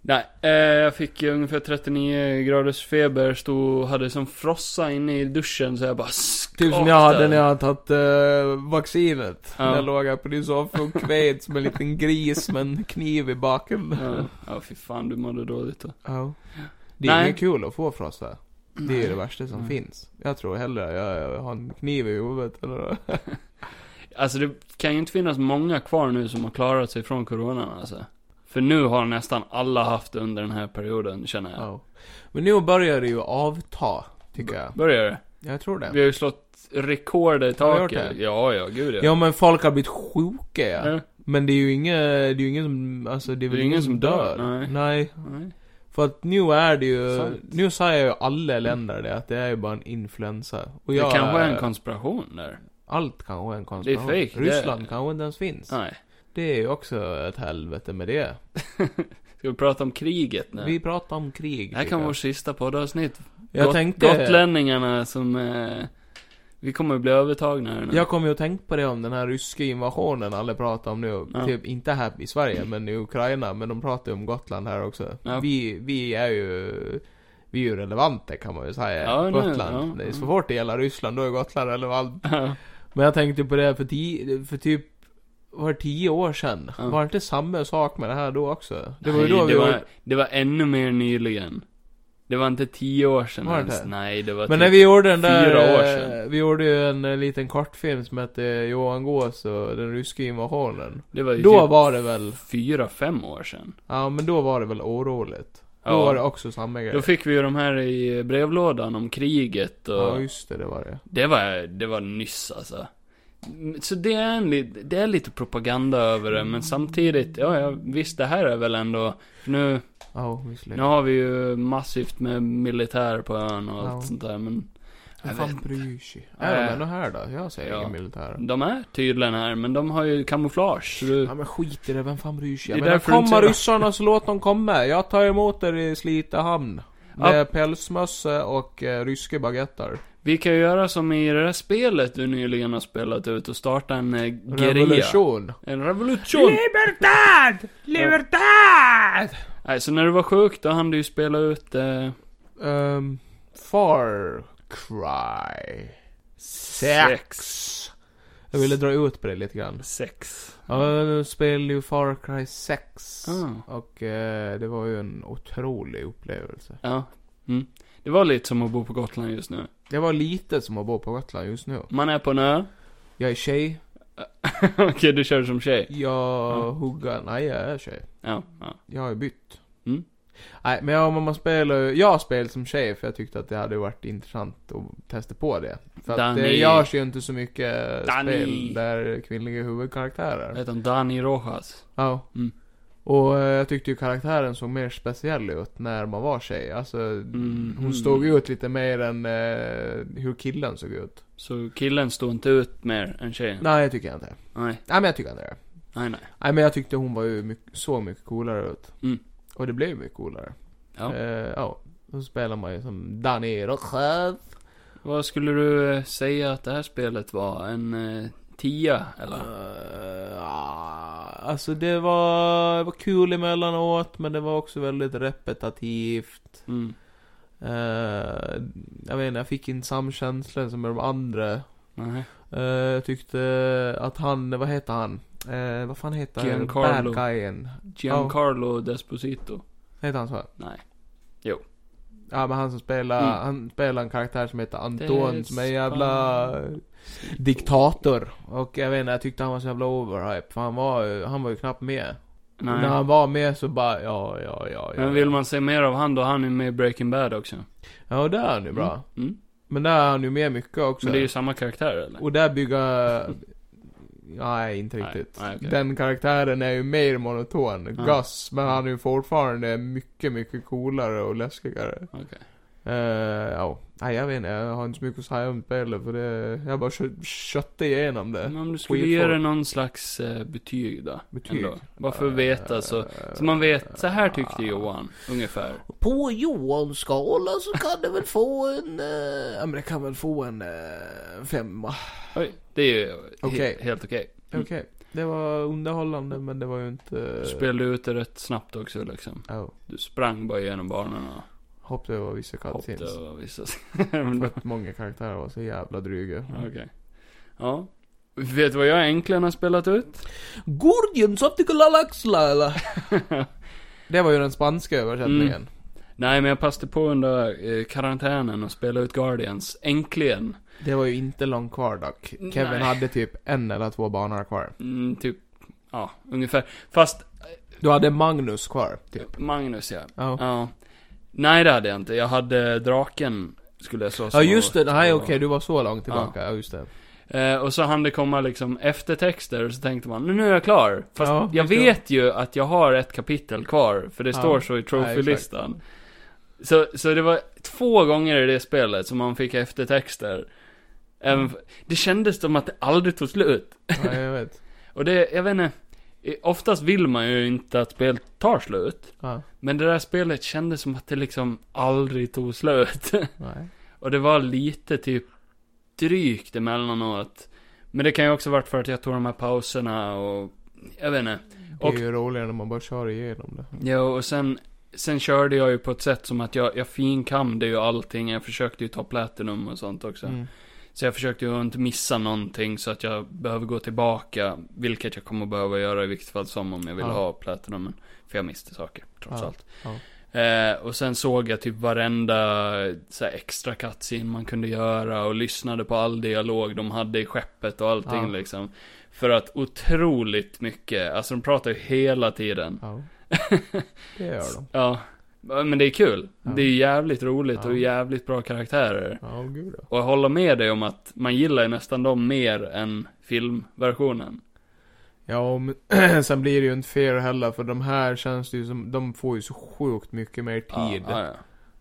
[SPEAKER 2] Nej, eh, jag fick ju ungefär 39 graders feber, stod och hade som frossa inne i duschen så jag bara skakade.
[SPEAKER 1] Typ som jag hade när jag hade tagit eh, vaccinet.
[SPEAKER 2] Ja.
[SPEAKER 1] Där låg jag på din soffa och kved som en liten gris med en kniv i baken.
[SPEAKER 2] Ja, ja fy fan du mådde dåligt då.
[SPEAKER 1] Ja. Det
[SPEAKER 2] Nej.
[SPEAKER 1] är ju kul att få frossa. Det är ju det värsta som
[SPEAKER 2] Mm.
[SPEAKER 1] finns. Jag tror hellre jag, jag har en kniv i huvudet eller
[SPEAKER 2] Alltså det kan ju inte finnas många kvar nu som har klarat sig från coronan alltså. För nu har nästan alla haft det under den här perioden känner jag.
[SPEAKER 1] ja. Men nu börjar det ju avta, tycker jag.
[SPEAKER 2] Börjar det?
[SPEAKER 1] Jag tror det.
[SPEAKER 2] Vi har ju slått rekord i
[SPEAKER 1] Har vi gjort
[SPEAKER 2] taket.
[SPEAKER 1] det?
[SPEAKER 2] Ja, ja, gud ja.
[SPEAKER 1] Ja men folk har blivit sjuka ja.
[SPEAKER 2] Ja.
[SPEAKER 1] Men det är ju inget, det är ju ingen som, alltså det är väl ingen som dör.
[SPEAKER 2] nej.
[SPEAKER 1] Nej.
[SPEAKER 2] Nej.
[SPEAKER 1] För att nu är det ju,
[SPEAKER 2] Sant.
[SPEAKER 1] nu säger ju alla länder det att det är ju bara en influensa. Och
[SPEAKER 2] Det
[SPEAKER 1] jag,
[SPEAKER 2] kanske är en konspiration där.
[SPEAKER 1] Allt kanske är en konspiration.
[SPEAKER 2] Det är fake, det-
[SPEAKER 1] Ryssland kanske inte ens finns.
[SPEAKER 2] Nej.
[SPEAKER 1] Det är ju också ett helvete med det.
[SPEAKER 2] Ska vi prata om kriget nu?
[SPEAKER 1] Vi pratar om krig.
[SPEAKER 2] Det här
[SPEAKER 1] tycker
[SPEAKER 2] kan
[SPEAKER 1] jag.
[SPEAKER 2] vara vårt sista poddavsnitt.
[SPEAKER 1] jag
[SPEAKER 2] Got-
[SPEAKER 1] tänkte,
[SPEAKER 2] Gotlänningarna som... Eh, vi kommer bli övertagna här nu.
[SPEAKER 1] Jag kommer ju att tänka på det om den här ryska invasionen alla pratar om nu.
[SPEAKER 2] Ja.
[SPEAKER 1] Typ, inte här i Sverige, men i Ukraina. Men de pratar ju om Gotland här också.
[SPEAKER 2] Ja.
[SPEAKER 1] Vi, vi är ju... Vi är ju relevanta kan man ju säga.
[SPEAKER 2] Ja, nu,
[SPEAKER 1] Gotland.
[SPEAKER 2] ja, Mm.
[SPEAKER 1] det är så
[SPEAKER 2] ja.
[SPEAKER 1] fort det gäller Ryssland, då är Gotland relevant.
[SPEAKER 2] Ja.
[SPEAKER 1] Men jag tänkte på det för, ti, för typ... Var det tio år sedan?
[SPEAKER 2] Ja.
[SPEAKER 1] Var det inte samma sak med det här då också? Det var
[SPEAKER 2] Nej,
[SPEAKER 1] ju då vi
[SPEAKER 2] det,
[SPEAKER 1] gjorde-
[SPEAKER 2] var, det var ännu mer nyligen. Det var inte tio år sedan
[SPEAKER 1] Var det
[SPEAKER 2] ens.
[SPEAKER 1] det?
[SPEAKER 2] Nej, det var
[SPEAKER 1] Men
[SPEAKER 2] typ-
[SPEAKER 1] när vi gjorde den där...
[SPEAKER 2] fyra år
[SPEAKER 1] eh,
[SPEAKER 2] sedan.
[SPEAKER 1] Vi gjorde ju en eh, liten kortfilm som hette Johan Gås och den ryska invasionen.
[SPEAKER 2] det var ju
[SPEAKER 1] Då
[SPEAKER 2] typ
[SPEAKER 1] var det väl...
[SPEAKER 2] fyra, fem år sedan.
[SPEAKER 1] Ja, men då var det väl oroligt. Då
[SPEAKER 2] Ja.
[SPEAKER 1] var det också samma grej.
[SPEAKER 2] Då fick vi ju de här i brevlådan om kriget och...
[SPEAKER 1] Ja, just det, det var det.
[SPEAKER 2] Det var, det var nyss alltså. Mm, Så det är, en, li- det är lite propaganda över det, men samtidigt, ja, ja visst det här är väl ändå, nu,
[SPEAKER 1] Ja,
[SPEAKER 2] nu
[SPEAKER 1] visserligen.
[SPEAKER 2] har vi ju massivt med militär på ön och allt
[SPEAKER 1] Ja.
[SPEAKER 2] sånt där, men
[SPEAKER 1] Vem
[SPEAKER 2] jag
[SPEAKER 1] fan
[SPEAKER 2] vet.
[SPEAKER 1] bryr sig?
[SPEAKER 2] Nej.
[SPEAKER 1] Är de ändå här då? Jag säger
[SPEAKER 2] Ja. Mm.
[SPEAKER 1] ingen militär.
[SPEAKER 2] de är tydligen här, men de har ju kamouflage, så du,
[SPEAKER 1] Ja men skit i det, vem fan bryr sig?
[SPEAKER 2] Det är
[SPEAKER 1] Jag menar,
[SPEAKER 2] därför du
[SPEAKER 1] kommer
[SPEAKER 2] inte-
[SPEAKER 1] ryssarna så låt dem komma. Jag tar emot er i Slite hamn. Med pälsmössa och eh, ryska baguetter.
[SPEAKER 2] vi kan ju göra som i det där spelet du nyligen har spelat ut och starta en eh, gerilla.
[SPEAKER 1] Revolution.
[SPEAKER 2] En revolution!
[SPEAKER 1] Libertad! Libertad!
[SPEAKER 2] Nej, så när du var sjuk, då hann du ju spela ut eh,
[SPEAKER 1] Um, far Cry
[SPEAKER 2] Sex.
[SPEAKER 1] 6. Jag ville dra ut på det lite grann.
[SPEAKER 2] sex.
[SPEAKER 1] Ja, nu spelade ju Far Cry 6.
[SPEAKER 2] Ah.
[SPEAKER 1] Och eh, det var ju en otrolig upplevelse.
[SPEAKER 2] Ja. Mm. Det var lite som att bo på Gotland just nu.
[SPEAKER 1] Det var lite som att bo på Gotland just nu.
[SPEAKER 2] Man är på en ö.
[SPEAKER 1] Jag är tjej,
[SPEAKER 2] Okej, du kör som tjej.
[SPEAKER 1] jag
[SPEAKER 2] Mm.
[SPEAKER 1] huggar, nej jag är tjej.
[SPEAKER 2] Ja, ja.
[SPEAKER 1] Jag har ju bytt.
[SPEAKER 2] Mm.
[SPEAKER 1] Nej men ja, men man spelar ju, jag spelade som tjej för jag tyckte att det hade varit intressant att testa på det. För att eh, det
[SPEAKER 2] Danny.
[SPEAKER 1] görs ju inte så mycket
[SPEAKER 2] Danny.
[SPEAKER 1] spel där kvinnliga huvudkaraktärer.
[SPEAKER 2] Vad heter han? Dani Rojas.
[SPEAKER 1] Ja.
[SPEAKER 2] Mm.
[SPEAKER 1] Och eh, jag tyckte ju karaktären såg mer speciell ut när man var tjej. Alltså,
[SPEAKER 2] Mm, mm.
[SPEAKER 1] hon stod ut lite mer än eh, hur killen såg ut.
[SPEAKER 2] Så killen står inte ut mer än tjejen?
[SPEAKER 1] Nej, jag tycker inte.
[SPEAKER 2] Nej,
[SPEAKER 1] Nej, men jag tycker inte det.
[SPEAKER 2] nej, nej.
[SPEAKER 1] Nej, men jag tyckte hon var ju mycket, såg mycket coolare ut.
[SPEAKER 2] Mm.
[SPEAKER 1] Och det blev ju mycket coolare.
[SPEAKER 2] Ja.
[SPEAKER 1] Eh, ja. Då spelar man ju som Danny Rochev.
[SPEAKER 2] Vad skulle du eh, säga att det här spelet var? En eh, tia, eller?
[SPEAKER 1] Eh, ah, alltså det var, det var kul emellanåt, men det var också väldigt repetitivt.
[SPEAKER 2] Mm.
[SPEAKER 1] Eh, jag vet inte, jag fick inte samkänslan som med de andra.
[SPEAKER 2] Nej.
[SPEAKER 1] Eh, jag tyckte att han, vad heter han? Eh, vad fan heter han? Bad
[SPEAKER 2] Giancarlo.
[SPEAKER 1] guyen.
[SPEAKER 2] Giancarlo Desposito?
[SPEAKER 1] Heter han så?
[SPEAKER 2] Nej.
[SPEAKER 1] Ja men han som spelar,
[SPEAKER 2] Mm.
[SPEAKER 1] han spelar en karaktär som heter Anton som är en jävla
[SPEAKER 2] Despa-
[SPEAKER 1] diktator. Och jag vet inte, jag tyckte han var så jävla overhype. För han var, ju- han var ju knappt med.
[SPEAKER 2] Nej.
[SPEAKER 1] När han var med så bara, ja, ja, ja, ja.
[SPEAKER 2] Men vill man se mer av han då? Han är med i Breaking Bad också.
[SPEAKER 1] Ja, och där är han ju bra.
[SPEAKER 2] Mm. Mm.
[SPEAKER 1] Men där är han ju med mycket också.
[SPEAKER 2] Men det är ju samma karaktär eller?
[SPEAKER 1] Och där bygger... Nej, inte riktigt.
[SPEAKER 2] Nej, nej, okej.
[SPEAKER 1] Den karaktären är ju mer monoton.
[SPEAKER 2] Ja. Mm.
[SPEAKER 1] Gus, men han är ju fortfarande mycket, mycket coolare och läskigare.
[SPEAKER 2] Okej.
[SPEAKER 1] Eh, ja, nej jag vet inte. Jag har inte så mycket att säga om spelet för det... Jag bara kö- köttade igenom det.
[SPEAKER 2] Men om du skulle
[SPEAKER 1] Skitfolk.
[SPEAKER 2] ge det någon slags eh, betyg då?
[SPEAKER 1] Betyg?
[SPEAKER 2] Ändå. Bara för att veta så,
[SPEAKER 1] Eh,
[SPEAKER 2] så man vet, så här
[SPEAKER 1] ah.
[SPEAKER 2] tyckte Johan, ungefär.
[SPEAKER 3] På Johan-skala så kan det väl få en... eh, ja, men det kan väl få en eh, femma.
[SPEAKER 2] Oj, det är ju he-
[SPEAKER 1] Okej.
[SPEAKER 2] helt okej.
[SPEAKER 1] Okej. Det var underhållande men det var ju inte...
[SPEAKER 2] Du spelade ut det rätt snabbt också liksom.
[SPEAKER 1] Ja.
[SPEAKER 2] Du sprang bara igenom banorna och
[SPEAKER 1] Hoppas det var vissa cutscenes.
[SPEAKER 2] hoppade och vissa... Men
[SPEAKER 1] För
[SPEAKER 2] då-
[SPEAKER 1] att många karaktärer var så jävla dryga.
[SPEAKER 2] Okej. Ja. Vet du vad jag äntligen har spelat ut?
[SPEAKER 3] Guardians of the Galaxy Laila.
[SPEAKER 1] Det var ju den spanska översättningen.
[SPEAKER 2] Mm. Nej, men jag passade på under eh, karantänen och spelade ut Guardians. Äntligen.
[SPEAKER 1] Det var ju inte långt kvar dock. Kevin
[SPEAKER 2] Nej.
[SPEAKER 1] hade typ en eller två banor kvar.
[SPEAKER 2] Mm, typ, ja, ungefär. Fast,
[SPEAKER 1] Du hade Magnus kvar, typ.
[SPEAKER 2] Magnus ja.
[SPEAKER 1] Ja.
[SPEAKER 2] Ja. Nej, det hade jag inte. Jag hade draken, skulle jag slåss
[SPEAKER 1] Ja
[SPEAKER 2] mot.
[SPEAKER 1] just det, nej
[SPEAKER 2] Och-
[SPEAKER 1] okej du var så långt tillbaka, ja just det.
[SPEAKER 2] Eh, och så hann det komma liksom eftertexter, och så tänkte man, nu, nu är jag klar. Fast
[SPEAKER 1] Ja,
[SPEAKER 2] jag
[SPEAKER 1] förstår.
[SPEAKER 2] vet ju att jag har ett kapitel kvar, för det
[SPEAKER 1] Ja.
[SPEAKER 2] står så i trophy-listan. Så, så det var två gånger i det spelet som man fick eftertexter.
[SPEAKER 1] Mm.
[SPEAKER 2] Även, f- det kändes som att det aldrig tog slut.
[SPEAKER 1] Ja, jag vet.
[SPEAKER 2] Och det, jag vet inte, eh, oftast vill man ju inte att spelet tar slut.
[SPEAKER 1] Ja,
[SPEAKER 2] Men det där spelet kändes som att det liksom aldrig tog slut.
[SPEAKER 1] nej.
[SPEAKER 2] Och det var lite typ drygt emellanåt. Men det kan ju också varit för att jag tog de här pauserna och, jag vet inte.
[SPEAKER 1] Det är
[SPEAKER 2] Och-
[SPEAKER 1] ju roligare när man bara kör igenom det.
[SPEAKER 2] Ja, och sen, sen körde jag ju på ett sätt som att jag, jag finkamde ju allting. Jag försökte ju ta platinum och sånt också.
[SPEAKER 1] Mm.
[SPEAKER 2] Så jag försökte ju inte missa någonting så att jag behöver gå tillbaka. Vilket jag kommer behöva göra i vilket fall som om jag vill
[SPEAKER 1] Ja.
[SPEAKER 2] ha platinumen. För jag missade saker, trots
[SPEAKER 1] Ja,
[SPEAKER 2] allt. Eh, och sen såg jag typ varenda eh, så här, extra cutscene man kunde göra och lyssnade på all dialog de hade i skeppet och allting
[SPEAKER 1] Ja.
[SPEAKER 2] liksom. För att otroligt mycket, alltså de pratar ju hela tiden.
[SPEAKER 1] Ja. Det gör de.
[SPEAKER 2] Ja, men det är kul.
[SPEAKER 1] Ja.
[SPEAKER 2] Det är ju jävligt roligt och
[SPEAKER 1] Ja.
[SPEAKER 2] jävligt bra karaktärer.
[SPEAKER 1] Ja, gud ja.
[SPEAKER 2] Och jag håller med dig om att man gillar ju nästan dem mer än filmversionen.
[SPEAKER 1] Ja, men sen blir det ju inte fair heller för de här känns det ju som, de får ju så sjukt mycket mer tid.
[SPEAKER 2] Ja, ja, ja.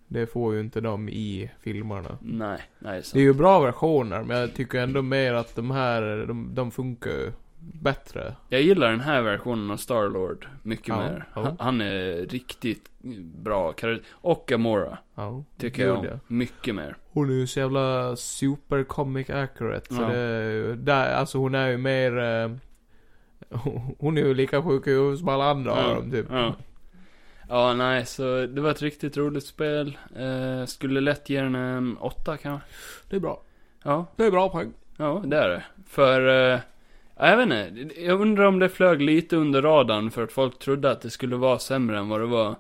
[SPEAKER 1] Det får ju inte de i filmerna.
[SPEAKER 2] Nej, nej.
[SPEAKER 1] Det är
[SPEAKER 2] Så.
[SPEAKER 1] ju bra versioner, men jag tycker ändå mer att de här, de, de funkar ju bättre.
[SPEAKER 2] Jag gillar den här versionen av Starlord mycket
[SPEAKER 1] Ja,
[SPEAKER 2] mer.
[SPEAKER 1] ja.
[SPEAKER 2] Han, han är riktigt bra karaktär. Och Gamora.
[SPEAKER 1] Ja,
[SPEAKER 2] Tycker
[SPEAKER 1] gud,
[SPEAKER 2] jag
[SPEAKER 1] ja.
[SPEAKER 2] om. Mycket mer.
[SPEAKER 1] Hon är ju så jävla super comic accurate. Så
[SPEAKER 2] Ja.
[SPEAKER 1] det, är ju- där, alltså hon är ju mer... Eh, hon är ju lika sjuk i huvudet som alla andra av dem typ.
[SPEAKER 2] Ja. ja, nej, så det var ett riktigt roligt spel. Eh, skulle lätt ge den en åtta kanske.
[SPEAKER 1] Det är bra.
[SPEAKER 2] Ja,
[SPEAKER 1] Det är bra poäng.
[SPEAKER 2] ja, det är det. För, eh, jag vet inte. Jag undrar om det flög lite under radarn för att folk trodde att det skulle vara sämre än vad det var.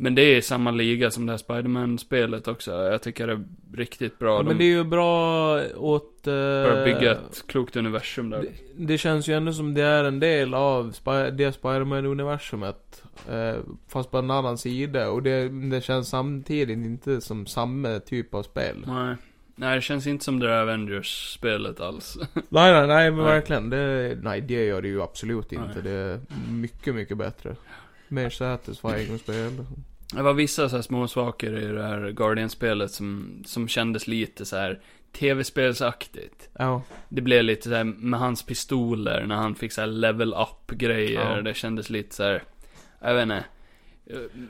[SPEAKER 2] Men det är i samma liga som det här Spiderman-spelet också. Jag tycker det är riktigt bra.
[SPEAKER 1] men det är ju bra åt... Eh,
[SPEAKER 2] börjar bygga ett klokt universum där.
[SPEAKER 1] Det, det känns ju ändå som det är en del av Spi- det Spiderman-universumet. Eh, fast på en annan sida. Och det, det känns samtidigt inte som samma typ av spel.
[SPEAKER 2] Nej. Nej, det känns inte som det där Avengers-spelet alls.
[SPEAKER 1] Nej, nej, nej men
[SPEAKER 2] Nej.
[SPEAKER 1] verkligen. Det, nej, det gör det ju absolut inte.
[SPEAKER 2] Nej.
[SPEAKER 1] Det är mycket, mycket bättre. Mer satisfying att spela.
[SPEAKER 2] Det var vissa så här små saker i det här Guardian-spelet som, som kändes lite så här tv-spelsaktigt.
[SPEAKER 1] Ja,
[SPEAKER 2] Det blev lite så här med hans pistoler när han fick så här level up-grejer.
[SPEAKER 1] Ja.
[SPEAKER 2] Det kändes lite så här, jag vet inte.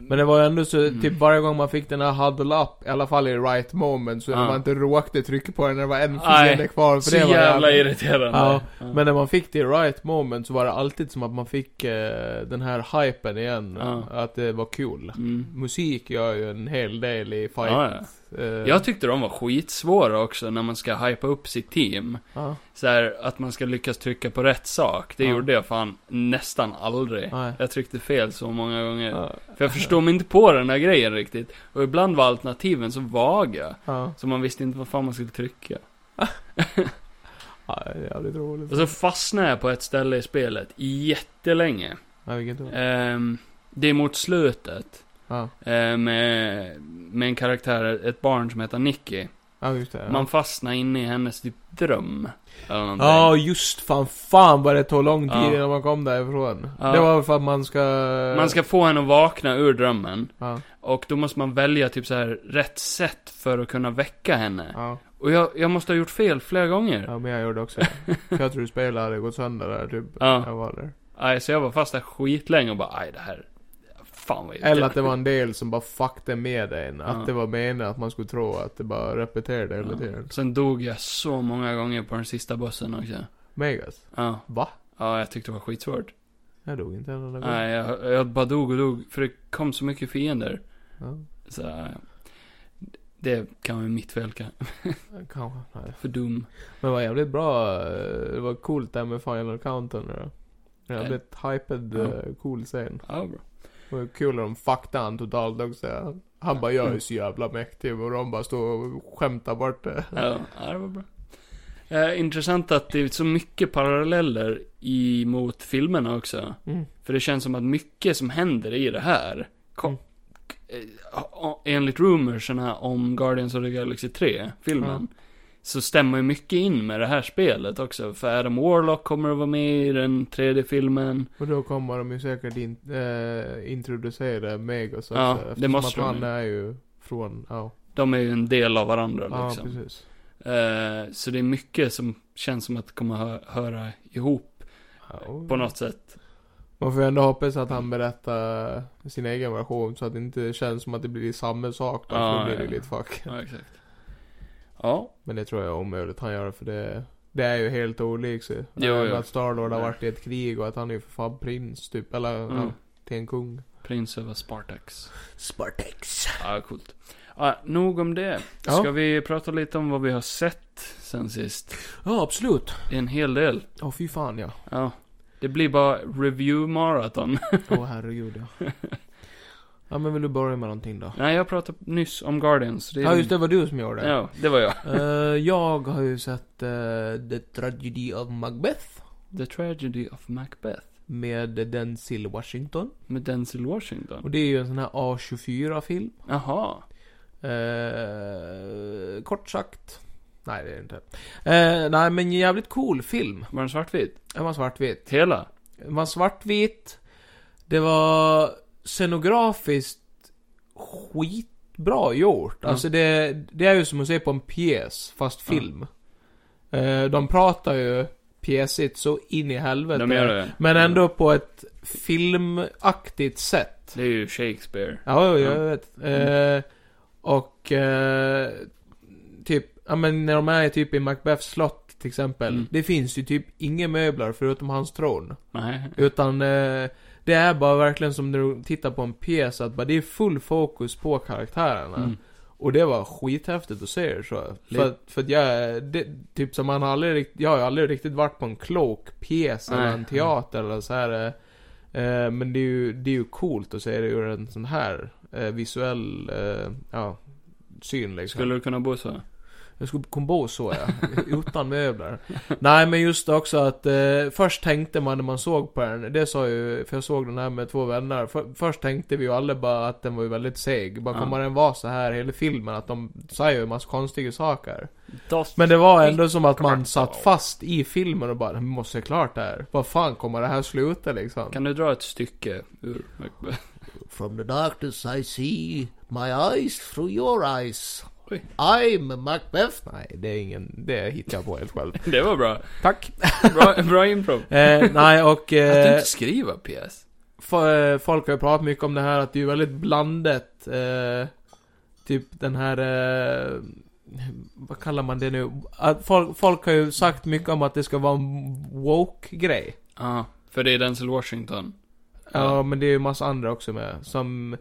[SPEAKER 1] men det var ju ändå så,
[SPEAKER 2] Mm.
[SPEAKER 1] typ varje gång man fick den här huddle up, i alla fall i right moment, så
[SPEAKER 2] Ja.
[SPEAKER 1] när man inte råkade trycka på den när det var en
[SPEAKER 2] Nej,
[SPEAKER 1] fiende kvar. För
[SPEAKER 2] Så
[SPEAKER 1] det var
[SPEAKER 2] jävla irriterande.
[SPEAKER 1] Ja, Men när man fick det i right moment så var det alltid som att man fick eh, den här hypen igen.
[SPEAKER 2] Ja.
[SPEAKER 1] Att det var kul.
[SPEAKER 2] Mm.
[SPEAKER 1] Musik gör ju en hel del i fight.
[SPEAKER 2] Ja, ja.
[SPEAKER 1] eh,
[SPEAKER 2] Jag tyckte de var skitsvåra också när man ska hypa upp sitt team.
[SPEAKER 1] ja,
[SPEAKER 2] Så här, att man ska lyckas trycka på rätt sak. Det
[SPEAKER 1] Ja.
[SPEAKER 2] gjorde jag fan nästan aldrig.
[SPEAKER 1] nej.
[SPEAKER 2] Jag tryckte fel så många gånger.
[SPEAKER 1] Ja,
[SPEAKER 2] För jag förstod mig inte på den här grejen riktigt. Och ibland var alternativen så vaga.
[SPEAKER 1] ja.
[SPEAKER 2] Så man visste inte vad fan man skulle trycka.
[SPEAKER 1] Ja, det är jävligt roligt.
[SPEAKER 2] Och så fastnade jag på ett ställe i spelet jättelänge.
[SPEAKER 1] Ja, vilket då?
[SPEAKER 2] Ehm, det är mot slutet.
[SPEAKER 1] Ja.
[SPEAKER 2] eh, med, med en karaktär, ett barn som heter Nicky.
[SPEAKER 1] Ja, just det.
[SPEAKER 2] Man fastnar inne i hennes typ dröm. Eller någonting.
[SPEAKER 1] Ja, just fan. Fan vad det tog lång tid
[SPEAKER 2] Ja.
[SPEAKER 1] innan man kom därifrån.
[SPEAKER 2] Ja.
[SPEAKER 1] Det var för att man ska...
[SPEAKER 2] Man ska få henne att vakna ur drömmen.
[SPEAKER 1] Ja,
[SPEAKER 2] Och då måste man välja typ så här rätt sätt för att kunna väcka henne.
[SPEAKER 1] ja,
[SPEAKER 2] Och jag, jag måste ha gjort fel flera gånger.
[SPEAKER 1] ja, men jag gjorde också det. För Jag tror spelet hade gått sönder där typ.
[SPEAKER 2] Ja.
[SPEAKER 1] Jag var där.
[SPEAKER 2] Nej, så jag var fast där skitlänge och bara, aj det här. Fan vad
[SPEAKER 1] Eller att det var en del som bara fuckade med en. Att
[SPEAKER 2] Ja.
[SPEAKER 1] det var meningen att man skulle tro att det bara repeterade hela
[SPEAKER 2] ja.
[SPEAKER 1] tiden.
[SPEAKER 2] Sen dog jag så många gånger på den sista bussen också.
[SPEAKER 1] Megas.
[SPEAKER 2] Ja.
[SPEAKER 1] Va?
[SPEAKER 2] Ja, jag tyckte det var skitsvårt.
[SPEAKER 1] Jag dog inte en enda gång.
[SPEAKER 2] Nej, jag, jag bara dog och dog. För det kom så mycket fiender.
[SPEAKER 1] Ja.
[SPEAKER 2] Så, ja. det kan vara mitt fel kanske.
[SPEAKER 1] Kanske. Nej.
[SPEAKER 2] För dum.
[SPEAKER 1] Men det var jävligt bra, eh, det var coolt där med Final Countdown nu då. Jävligt hypad,
[SPEAKER 2] Ja.
[SPEAKER 1] eh, cool scen.
[SPEAKER 2] Ja, bra.
[SPEAKER 1] Det var kul när de fuckade han totalt också. Han bara, jag är så jävla mäktig och de bara står och skämtar bort det.
[SPEAKER 2] Ja, ja, det var bra. Eh, intressant att det är så mycket paralleller i, mot filmerna också.
[SPEAKER 1] Mm.
[SPEAKER 2] För det känns som att mycket som händer i det här, kom,
[SPEAKER 1] Mm.
[SPEAKER 2] eh, o- enligt rumorsarna om Guardians of the Galaxy 3, filmen,
[SPEAKER 1] Ja.
[SPEAKER 2] så stämmer ju mycket in med det här spelet också. För Adam Warlock kommer att vara med i den tredje filmen.
[SPEAKER 1] Och då kommer de ju säkert in, eh, introducera Megas också.
[SPEAKER 2] Ja, det
[SPEAKER 1] eftersom
[SPEAKER 2] måste
[SPEAKER 1] att
[SPEAKER 2] de
[SPEAKER 1] han
[SPEAKER 2] ju.
[SPEAKER 1] är ju från, ja.
[SPEAKER 2] De är ju en del av varandra
[SPEAKER 1] Ja,
[SPEAKER 2] liksom.
[SPEAKER 1] precis.
[SPEAKER 2] Eh, så det är mycket som känns som att kommer hö- höra ihop
[SPEAKER 1] Ja.
[SPEAKER 2] på något sätt.
[SPEAKER 1] Man får ju ändå hoppas att han berättar sin egen version så att det inte känns som att det blir samma sak. Då,
[SPEAKER 2] Ja,
[SPEAKER 1] för då blir det
[SPEAKER 2] ja.
[SPEAKER 1] lite fuck.
[SPEAKER 2] Ja, exakt. Ja,
[SPEAKER 1] Men det tror jag är omöjligt han gör för det, det är ju helt olikt sig.
[SPEAKER 2] Jo,
[SPEAKER 1] Även
[SPEAKER 2] jo.
[SPEAKER 1] Att Starlord har
[SPEAKER 2] Nej.
[SPEAKER 1] varit i ett krig och att han är ju för fan prins typ, eller
[SPEAKER 2] Mm.
[SPEAKER 1] ja, till en kung.
[SPEAKER 2] prins över Spartax.
[SPEAKER 3] Spartax.
[SPEAKER 2] Ja, coolt. Ja, nog om det.
[SPEAKER 1] Ja.
[SPEAKER 2] Ska vi prata lite om vad vi har sett sen sist?
[SPEAKER 1] Ja, absolut.
[SPEAKER 2] Det är en hel del.
[SPEAKER 1] Ja, fy fan ja.
[SPEAKER 2] Ja. Det blir bara review-maraton.
[SPEAKER 1] Åh herregud ja. Ja men vill du börja med någonting då?
[SPEAKER 2] Nej, jag pratade nyss om Guardians. Det är-
[SPEAKER 1] Ja just det, var du som gjorde det.
[SPEAKER 2] Ja, det var jag.
[SPEAKER 1] Eh, jag har ju sett eh, The Tragedy of Macbeth.
[SPEAKER 2] The Tragedy of Macbeth.
[SPEAKER 1] Med Denzil Washington.
[SPEAKER 2] Med Denzel Washington.
[SPEAKER 1] Och det är ju en sån här A24-film.
[SPEAKER 2] Jaha.
[SPEAKER 1] Eh, kort sagt. Nej, det är det inte. Eh, nej, men jävligt cool film.
[SPEAKER 2] Var den svartvit?
[SPEAKER 1] Den var svartvit.
[SPEAKER 2] Hela?
[SPEAKER 1] Den var svartvit. Det var scenografiskt skitbra gjort.
[SPEAKER 2] Mm.
[SPEAKER 1] Alltså det, det är ju som att se på en pjäs, fast film. Eh, de pratar ju pjäsigt så in i helvete.
[SPEAKER 2] De gör det. Mm.
[SPEAKER 1] Men ändå på ett filmaktigt sätt.
[SPEAKER 2] Det är ju Shakespeare.
[SPEAKER 1] Ja, jo, jag
[SPEAKER 2] Ja.
[SPEAKER 1] vet. Eh, och eh, typ, ja men när de är typ i Macbeths slott till exempel.
[SPEAKER 2] Mm.
[SPEAKER 1] Det finns ju typ inga möbler förutom hans tron.
[SPEAKER 2] Nej.
[SPEAKER 1] Utan eh, det är bara verkligen som när du tittar på en pjäs att bara, det är full fokus på karaktärerna.
[SPEAKER 2] Mm.
[SPEAKER 1] Och det var skithäftigt att se det så.
[SPEAKER 2] Lite-
[SPEAKER 1] För, att- för att jag, det, typ som man har aldrig riktigt, jag har ju aldrig riktigt varit på en klok pjäs eller
[SPEAKER 2] Nej.
[SPEAKER 1] en teater eller så här. eh, Eh, men det är, ju, det är ju coolt att se det ur en sån här eh, visuell, eh, ja, syn liksom.
[SPEAKER 2] Skulle du kunna bo så?
[SPEAKER 1] Jag skulle komma på så ja, utan möbler. Nej men just också att eh, först tänkte man när man såg på den, det sa ju, för jag såg den här med två vänner. För, först tänkte vi ju alla bara att den var ju väldigt seg. Bara
[SPEAKER 2] Ja.
[SPEAKER 1] kommer den vara så här hela filmen? Att de säger ju en massa konstiga saker.
[SPEAKER 2] Dost.
[SPEAKER 1] Men det var ändå som att man satt fast i filmen och bara, vi måste se klart det här. Vad fan kommer det här sluta liksom?
[SPEAKER 2] Kan du dra ett stycke ur Macbeth?
[SPEAKER 3] From the darkness I see my eyes through your eyes.
[SPEAKER 2] Oj.
[SPEAKER 3] I'm Macbeth.
[SPEAKER 1] Nej, det är ingen, det hittar jag på helt själv.
[SPEAKER 2] Det var bra.
[SPEAKER 1] Tack.
[SPEAKER 2] Bra, bra improv.
[SPEAKER 1] Eh, nej och...
[SPEAKER 2] Att du
[SPEAKER 1] Eh,
[SPEAKER 2] inte skriva pjäs.
[SPEAKER 1] F- eh, Folk har ju pratat mycket om det här att det är ju väldigt blandat. Eh, typ den här... Eh, vad kallar man det nu? Att folk, folk har ju sagt mycket om att det ska vara en woke-grej.
[SPEAKER 2] Ja, för det är Denzel Washington.
[SPEAKER 1] Ja,
[SPEAKER 2] Ja.
[SPEAKER 1] men det är ju massa andra också med. Som...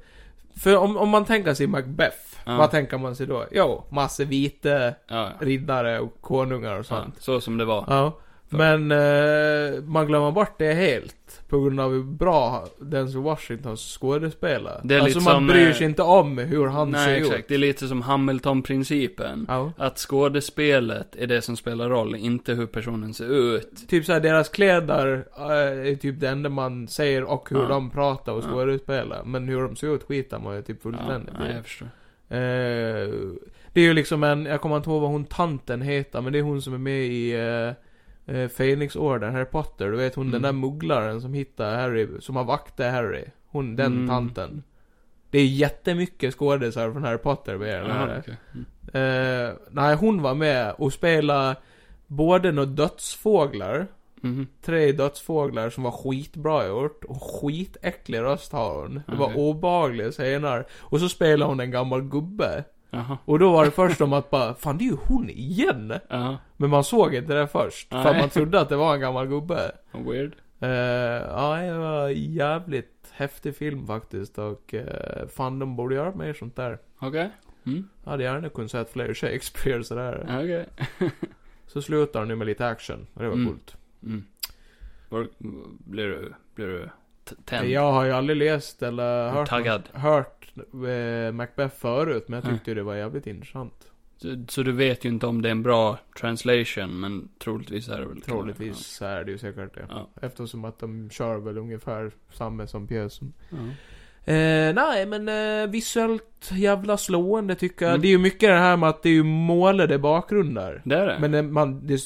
[SPEAKER 1] För om, om man tänker sig Macbeth,
[SPEAKER 2] Ja.
[SPEAKER 1] vad tänker man sig då? Jo, massa vita
[SPEAKER 2] Ja, ja.
[SPEAKER 1] riddare och konungar och sånt.
[SPEAKER 2] Ja, så som det var.
[SPEAKER 1] Ja. Men eh, man glömmer bort det helt på grund av hur bra Denzel Washingtons skådespelare.
[SPEAKER 2] Det är
[SPEAKER 1] alltså
[SPEAKER 2] lite
[SPEAKER 1] man
[SPEAKER 2] som,
[SPEAKER 1] bryr
[SPEAKER 2] eh,
[SPEAKER 1] sig inte om hur han ser
[SPEAKER 2] Nej,
[SPEAKER 1] ut.
[SPEAKER 2] exakt. Det är lite som Hamilton-principen.
[SPEAKER 1] Ja.
[SPEAKER 2] Att skådespelet är det som spelar roll, inte hur personen ser ut.
[SPEAKER 1] Typ såhär, deras kläder eh, är typ det enda man säger och hur
[SPEAKER 2] Ja.
[SPEAKER 1] de pratar och
[SPEAKER 2] Ja.
[SPEAKER 1] skådespelar. Men hur de ser ut skitar man ju typ
[SPEAKER 2] Ja,
[SPEAKER 1] fullständigt i.
[SPEAKER 2] nej, jag förstår.
[SPEAKER 1] Eh, Det är ju liksom en, jag kommer inte ihåg vad hon tanten heter, men det är hon som är med i eh, eh, Fenixorden, Harry Potter. Du vet hon
[SPEAKER 2] Mm.
[SPEAKER 1] den där mugglaren som hittar Harry, som har vaktat Harry. Hon, den
[SPEAKER 2] Mm.
[SPEAKER 1] tanten. Det är jättemycket skådisar från Harry Potter med i den här.
[SPEAKER 2] Jaha, okej. Mm.
[SPEAKER 1] Eh, nej, hon var med och spelade både några dödsfåglar,
[SPEAKER 2] Mhm.
[SPEAKER 1] tre dödsfåglar som var skitbra gjort, och skitäcklig röst har hon. Det var
[SPEAKER 2] Okej.
[SPEAKER 1] obehagliga scener. Och så spelade hon en gammal gubbe.
[SPEAKER 2] Jaha.
[SPEAKER 1] Och då var det först om att bara, fan det är ju hon igen!
[SPEAKER 2] Ja.
[SPEAKER 1] Men man såg inte det först, för
[SPEAKER 2] Nej.
[SPEAKER 1] man trodde att det var en gammal gubbe.
[SPEAKER 2] Weird.
[SPEAKER 1] Eh, ja, det var en jävligt häftig film faktiskt och eh, fan de borde göra mer sånt där.
[SPEAKER 2] Okej. Mm.
[SPEAKER 1] Jag hade gärna kunnat sett fler Shakespeare sådär.
[SPEAKER 2] Okej.
[SPEAKER 1] Så slutar den ju med lite action, och det var
[SPEAKER 2] Mm.
[SPEAKER 1] coolt.
[SPEAKER 2] Mm. Var, blir du, blir du t- tänd?
[SPEAKER 1] Jag har ju aldrig läst eller hört,
[SPEAKER 2] Taggad? Mm.
[SPEAKER 1] hört eh, Macbeth förut, men jag tyckte ju det var jävligt intressant.
[SPEAKER 2] Så, så du vet ju inte om det är en bra translation, men troligtvis är det väl
[SPEAKER 1] Troligtvis så är det ju säkert det.
[SPEAKER 2] Ja.
[SPEAKER 1] Eftersom att de kör väl ungefär samma som pjäsen.
[SPEAKER 2] Ja.
[SPEAKER 1] Eh, nej, men eh, visuellt jävla slående tycker jag.
[SPEAKER 2] Mm.
[SPEAKER 1] Det är ju mycket det här med att det är ju målade bakgrunder.
[SPEAKER 2] Det är det?
[SPEAKER 1] Men det, man, det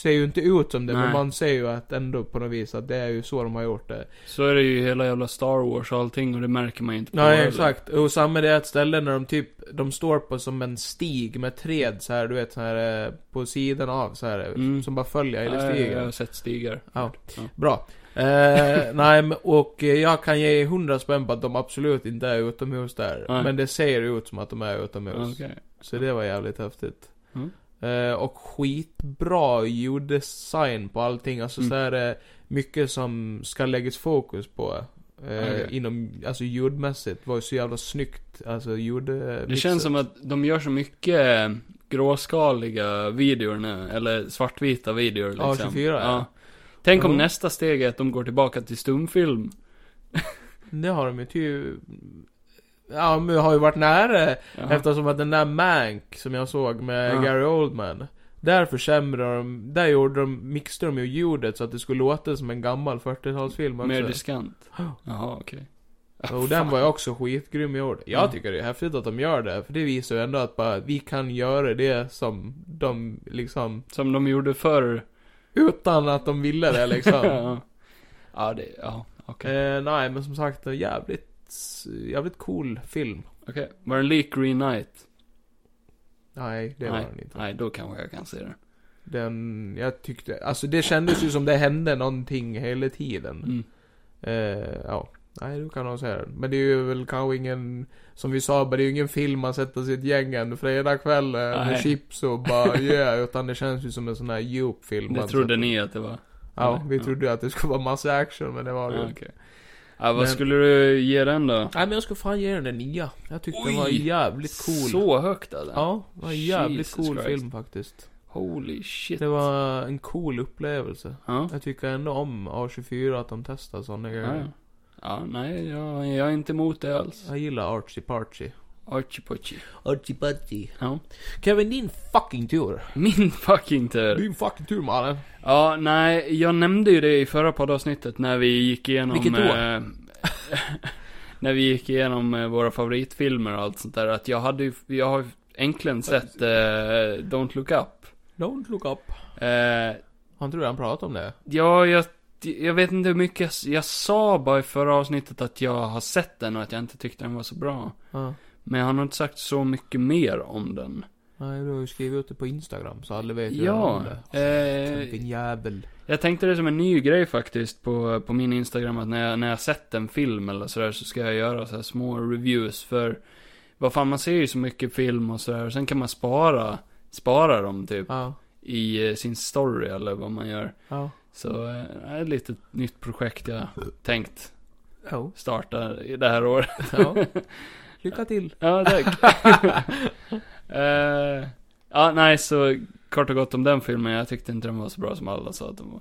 [SPEAKER 1] ser ju inte ut som det, men
[SPEAKER 2] Nej.
[SPEAKER 1] man ser ju att ändå på något vis att det är ju så de har gjort det.
[SPEAKER 2] Så är det ju hela jävla Star Wars och allting och det märker man ju inte på.
[SPEAKER 1] Nej,
[SPEAKER 2] heller.
[SPEAKER 1] exakt. Och samma det är ett ställe när de typ, de står på som en stig med träd så här, du vet så här eh, på sidan av så här,
[SPEAKER 2] Mm.
[SPEAKER 1] som bara följer hela
[SPEAKER 2] Ja,
[SPEAKER 1] stigen.
[SPEAKER 2] Jag har sett stigar.
[SPEAKER 1] Ja.
[SPEAKER 2] Ja.
[SPEAKER 1] Bra. Eh, nej, men- och eh, jag kan ge 100 spänn på att de absolut inte är utomhus där.
[SPEAKER 2] Nej.
[SPEAKER 1] Men det ser ut som att de är utomhus.
[SPEAKER 2] Okej.
[SPEAKER 1] Så det var jävligt häftigt.
[SPEAKER 2] Mm.
[SPEAKER 1] Eh, och skitbra ljuddesign på allting. Alltså
[SPEAKER 2] Mm.
[SPEAKER 1] så här eh, mycket som ska läggas fokus på. Eh,
[SPEAKER 2] Okej.
[SPEAKER 1] Inom, alltså ljudmässigt var ju så jävla snyggt. Alltså ljud...
[SPEAKER 2] Det känns som att de gör så mycket eh, gråskaliga videor nu, eller svartvita videor liksom.
[SPEAKER 1] Ja, 24, ja.
[SPEAKER 2] Tänk om
[SPEAKER 1] Ja.
[SPEAKER 2] nästa steg är att de går tillbaka till stumfilm.
[SPEAKER 1] Det har de ju typ... Ja, men det har ju varit nära.
[SPEAKER 2] Ja.
[SPEAKER 1] Eftersom att den där Mank som jag såg med
[SPEAKER 2] Ja.
[SPEAKER 1] Gary Oldman. Där försämrade de, där gjorde de, mixade de ju ljudet så att det skulle låta som en gammal 40-talsfilm
[SPEAKER 2] Mer
[SPEAKER 1] också.
[SPEAKER 2] diskant. Jaha, okej.
[SPEAKER 1] Och den var ju också skitgrym gjord. Jag
[SPEAKER 2] Ja.
[SPEAKER 1] tycker det är häftigt att de gör det, för det visar ju ändå att bara, vi kan göra det som de liksom,
[SPEAKER 2] Som de gjorde förr.
[SPEAKER 1] utan att de ville det liksom.
[SPEAKER 2] ja. ja, det, ja, okej.
[SPEAKER 1] eh, nej, men som sagt, en jävligt, jävligt cool film.
[SPEAKER 2] Okej, var den lik Green Knight?
[SPEAKER 1] Nej, det var den inte.
[SPEAKER 2] Nej, då kanske jag kan se den.
[SPEAKER 1] Mm. Den, jag tyckte, alltså det kändes ju som det hände någonting hela tiden.
[SPEAKER 2] Mm.
[SPEAKER 1] Eh, ja. Nej, du kan nog säga det. Men det är ju väl kanske ingen, som vi sa, men det är ju ingen film man sätter sitt gäng en fredagkväll eh, med
[SPEAKER 2] Nej.
[SPEAKER 1] chips och bara yeah, utan det känns ju som en sån här djup-film.
[SPEAKER 2] Det
[SPEAKER 1] man
[SPEAKER 2] trodde
[SPEAKER 1] sätter.
[SPEAKER 2] ni att det var?
[SPEAKER 1] Ja, vi
[SPEAKER 2] Ja.
[SPEAKER 1] trodde ju att det skulle vara massa action, men det var det ju
[SPEAKER 2] Ja,
[SPEAKER 1] inte.
[SPEAKER 2] okej. Ja, vad
[SPEAKER 1] Men-
[SPEAKER 2] skulle du ge den då?
[SPEAKER 1] Nej, men jag skulle fan ge den en nia. Jag tyckte den var
[SPEAKER 2] Oj!
[SPEAKER 1] jävligt cool.
[SPEAKER 2] Så högt alltså?
[SPEAKER 1] Ja, det var en jävligt
[SPEAKER 2] Jesus
[SPEAKER 1] cool
[SPEAKER 2] Christ.
[SPEAKER 1] film faktiskt.
[SPEAKER 2] Holy shit.
[SPEAKER 1] Det var en cool upplevelse.
[SPEAKER 2] Ja.
[SPEAKER 1] Jag tycker ändå om A24, att de testar sådana
[SPEAKER 2] Ja,
[SPEAKER 1] grejer.
[SPEAKER 2] ja. ja nej, jag, jag är inte emot det alls.
[SPEAKER 1] Jag gillar Archie Parchie.
[SPEAKER 2] Archie Pochi.
[SPEAKER 3] Archie Patchie.
[SPEAKER 2] Ja.
[SPEAKER 1] Kevin, din fucking tur.
[SPEAKER 2] Min fucking tur.
[SPEAKER 1] Din fucking tur, mannen.
[SPEAKER 2] Ja, nej, jag nämnde ju det i förra poddavsnittet när vi gick igenom...
[SPEAKER 1] Vilket då?
[SPEAKER 2] Eh, när vi gick igenom eh, våra favoritfilmer och allt sånt där, att jag hade ju, jag har ju äntligen sett eh, Don't Look Up.
[SPEAKER 1] Don't look up.
[SPEAKER 2] Eh,
[SPEAKER 1] Han tror han pratar om det.
[SPEAKER 2] Ja, jag, jag vet inte hur mycket jag, s- jag sa bara i förra avsnittet att jag har sett den och att jag inte tyckte den var så bra.
[SPEAKER 1] Ja.
[SPEAKER 2] Men han har inte sagt så mycket mer om den.
[SPEAKER 1] Nej, du har ju skrivit ut det på Instagram så alla vet ju redan
[SPEAKER 2] Ja,
[SPEAKER 1] om det.
[SPEAKER 2] eh,
[SPEAKER 1] Vilken jävel.
[SPEAKER 2] jag tänkte det som en ny grej faktiskt på, på min Instagram att när jag, när jag sett en film eller sådär så ska jag göra så här små reviews för vad fan man ser ju så mycket film och sådär och sen kan man spara, spara dem typ
[SPEAKER 1] Ja.
[SPEAKER 2] i eh, sin story eller vad man gör.
[SPEAKER 1] Ja.
[SPEAKER 2] Så eh, det är ett litet nytt projekt jag tänkt
[SPEAKER 1] Ja.
[SPEAKER 2] starta i det här året.
[SPEAKER 1] ja. Lycka till.
[SPEAKER 2] Ja, tack. Eh, ja, nej, så kort och gott om den filmen. Jag tyckte inte den var så bra som alla sa att den var.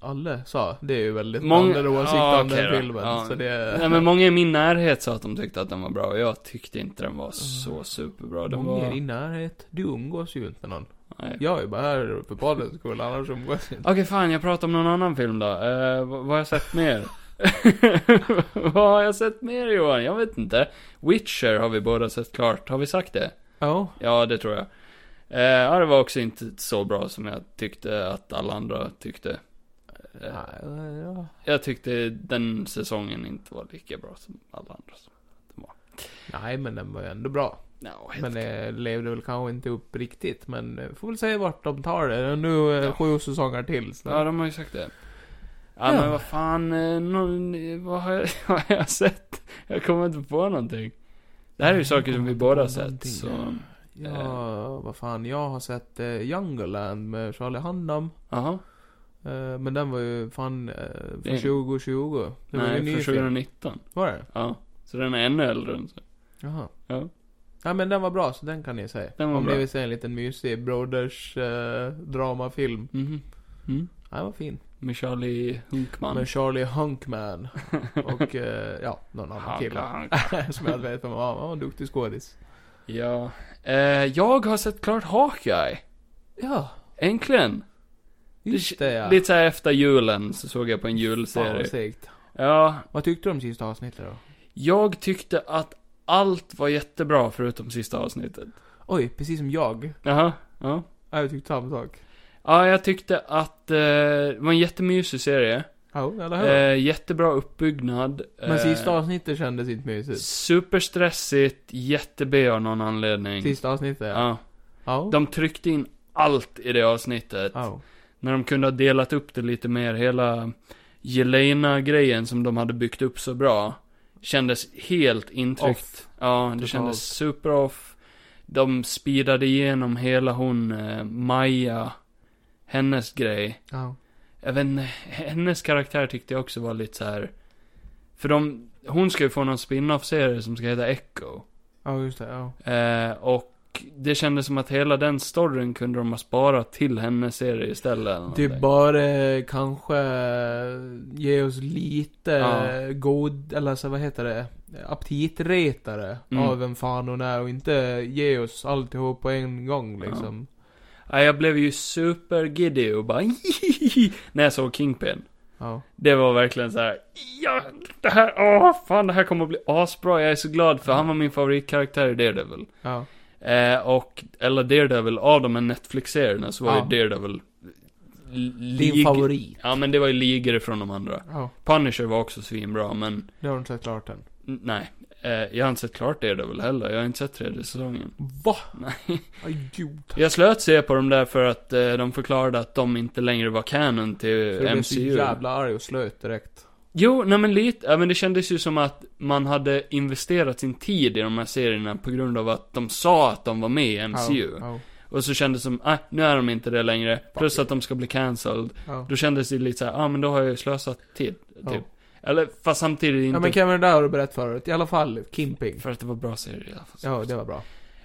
[SPEAKER 1] Alla sa, det är ju väldigt
[SPEAKER 2] Många-
[SPEAKER 1] blandade åsikter
[SPEAKER 2] Ja,
[SPEAKER 1] om
[SPEAKER 2] okej
[SPEAKER 1] den
[SPEAKER 2] då.
[SPEAKER 1] filmen.
[SPEAKER 2] Ja.
[SPEAKER 1] Så det...
[SPEAKER 2] Nej, men många i min närhet sa att de tyckte att den var bra. Och jag tyckte inte den var så superbra. Den
[SPEAKER 1] Ah. Många i
[SPEAKER 2] var...
[SPEAKER 1] din närhet. Du umgås ju inte med någon.
[SPEAKER 2] Nej.
[SPEAKER 1] Jag är ju bara här för poddens skull, annars umgås jag inte.
[SPEAKER 2] Okej, fan, jag pratar om någon annan film då. Eh, vad, vad har jag sett mer? vad har jag sett mer Johan? Jag vet inte. Witcher har vi båda sett klart. Har vi sagt det?
[SPEAKER 1] Ja.
[SPEAKER 2] Ja, det tror jag. Eh, ja, det var också inte så bra som jag tyckte att alla andra tyckte. Eh,
[SPEAKER 1] Ah. Nej, ja.
[SPEAKER 2] jag tyckte den säsongen inte var lika bra som alla andra.
[SPEAKER 1] Nej, men den var ju ändå bra.
[SPEAKER 2] No,
[SPEAKER 1] Men eh, levde väl kanske inte upp riktigt. Men eh, får väl se vart de tar det. Det är nu eh,
[SPEAKER 2] Ja.
[SPEAKER 1] sju säsonger till. Så.
[SPEAKER 2] Ja, de har ju sagt det. Ja,
[SPEAKER 1] Typ. Ja.
[SPEAKER 2] men vad fan, eh, nå- vad, har jag, vad har jag sett? Jag kommer inte på någonting. Det här är ju
[SPEAKER 1] Nej,
[SPEAKER 2] saker
[SPEAKER 1] jag
[SPEAKER 2] som
[SPEAKER 1] kommer
[SPEAKER 2] vi
[SPEAKER 1] inte
[SPEAKER 2] båda
[SPEAKER 1] på
[SPEAKER 2] har sett,
[SPEAKER 1] någonting.
[SPEAKER 2] så...
[SPEAKER 1] Ja, vad fan. Jag har sett eh, Jungle Land med Charlie Hunnam.
[SPEAKER 2] Jaha.
[SPEAKER 1] Eh, men den var ju fan eh,
[SPEAKER 2] Det är-
[SPEAKER 1] från 2020. Det var ju en
[SPEAKER 2] Mm. Nej,
[SPEAKER 1] ny
[SPEAKER 2] från
[SPEAKER 1] film.
[SPEAKER 2] 2019.
[SPEAKER 1] Var det?
[SPEAKER 2] Ja. Så den är ännu äldre än så.
[SPEAKER 1] Jaha.
[SPEAKER 2] Ja.
[SPEAKER 1] Ja men den var bra, så den kan ni se.
[SPEAKER 2] Den var
[SPEAKER 1] Om
[SPEAKER 2] bra.
[SPEAKER 1] ni vill se en liten mysig Broders eh, dramafilm.
[SPEAKER 2] Mhm. Mm.
[SPEAKER 1] Ja, den var fin.
[SPEAKER 2] Med Charlie Hunkman.
[SPEAKER 1] Med Charlie Hunkman. Och eh, ja, någon annan
[SPEAKER 2] Hanka,
[SPEAKER 1] kille.
[SPEAKER 2] Hanka.
[SPEAKER 1] Som jag inte vet vem han var. Han var en duktig skådis.
[SPEAKER 2] Ja. Eh, jag har sett klart Hawkeye.
[SPEAKER 1] Ja,
[SPEAKER 2] Äntligen.
[SPEAKER 1] just det ja.
[SPEAKER 2] Lite såhär efter julen så såg jag på en
[SPEAKER 1] Fan vad
[SPEAKER 2] julserie.
[SPEAKER 1] segt.
[SPEAKER 2] Ja,
[SPEAKER 1] Vad tyckte du om sista avsnittet då?
[SPEAKER 2] Jag tyckte att allt var jättebra förutom sista avsnittet.
[SPEAKER 1] Oj, precis som jag.
[SPEAKER 2] Jaha, ja.
[SPEAKER 1] Ja, jag tyckte samma sak.
[SPEAKER 2] Ja, jag tyckte att eh, det var en jättemysig serie.
[SPEAKER 1] Ja, eller hur?
[SPEAKER 2] Eh, jättebra uppbyggnad. Eh,
[SPEAKER 1] men sista avsnittet kändes inte mysigt.
[SPEAKER 2] Superstressigt, jätte-B av någon anledning.
[SPEAKER 1] Sista avsnittet ja.
[SPEAKER 2] Ja.
[SPEAKER 1] Ja.
[SPEAKER 2] De tryckte in allt i det avsnittet.
[SPEAKER 1] Ja.
[SPEAKER 2] När de kunde ha delat upp det lite mer, hela Jelena-grejen som de hade byggt upp så bra. Kändes helt intryckt. Ja, det
[SPEAKER 1] Totalt.
[SPEAKER 2] kändes super off. De speedade igenom hela hon, eh, Maja, hennes grej.
[SPEAKER 1] Ja.
[SPEAKER 2] Även hennes karaktär tyckte jag också var lite så här. För de, hon ska ju få någon spin-off-serie som ska heta Echo.
[SPEAKER 1] ja, just det. Ja.
[SPEAKER 2] Eh, och det kändes som att hela den storyn kunde de ha sparat till hennes serie istället. eller
[SPEAKER 1] Det
[SPEAKER 2] någonting.
[SPEAKER 1] är bara eh, kanske eh, ge oss lite
[SPEAKER 2] Ja.
[SPEAKER 1] god, eller så vad heter det, aptitretare
[SPEAKER 2] Mm.
[SPEAKER 1] av vem fan hon är och inte ge oss alltihop på en gång liksom.
[SPEAKER 2] Ja, jag blev ju supergiddy och bara när jag såg Kingpin.
[SPEAKER 1] Ja.
[SPEAKER 2] Det var verkligen så här. Ja, det här, åh fan det här kommer att bli asbra. Jag är så glad för han var min favoritkaraktär i Daredevil.
[SPEAKER 1] Ja.
[SPEAKER 2] Eh, och, eller Daredevil, av de här Netflix-serierna så var
[SPEAKER 1] Ja.
[SPEAKER 2] ju Daredevil
[SPEAKER 1] Din
[SPEAKER 2] lig-
[SPEAKER 1] favorit.
[SPEAKER 2] Ja men det var ju ligor från de andra.
[SPEAKER 1] Ja,
[SPEAKER 2] Punisher var också svinbra men, n-
[SPEAKER 1] det har du inte sett klart än.
[SPEAKER 2] nej. Eh, jag har inte sett klart Daredevil heller. Jag har inte sett tredje säsongen.
[SPEAKER 1] Va?
[SPEAKER 2] Nej.
[SPEAKER 1] Aj, gud.
[SPEAKER 2] Jag slöt se på dem där för att eh, de förklarade att de inte längre var canon till
[SPEAKER 1] Så du blev så
[SPEAKER 2] MCU.
[SPEAKER 1] jävla arg och slöt direkt.
[SPEAKER 2] Jo, nej men lite, ja, men det kändes ju som att man hade investerat sin tid i de här serierna på grund av att de sa att de var med i MCU.
[SPEAKER 1] Ja,
[SPEAKER 2] Och så kändes det som, ah, nu är de inte det längre. Plus att de ska bli cancelled.
[SPEAKER 1] ja, ja.
[SPEAKER 2] Då kändes det lite såhär, ah men då har jag ju slösat tid, typ.
[SPEAKER 1] Ja.
[SPEAKER 2] Eller, fast samtidigt inte.
[SPEAKER 1] ja men Kevin, det där har du berättat förut. I alla fall, Kimping.
[SPEAKER 2] För att det var bra serier i alla fall.
[SPEAKER 1] Ja, det var bra.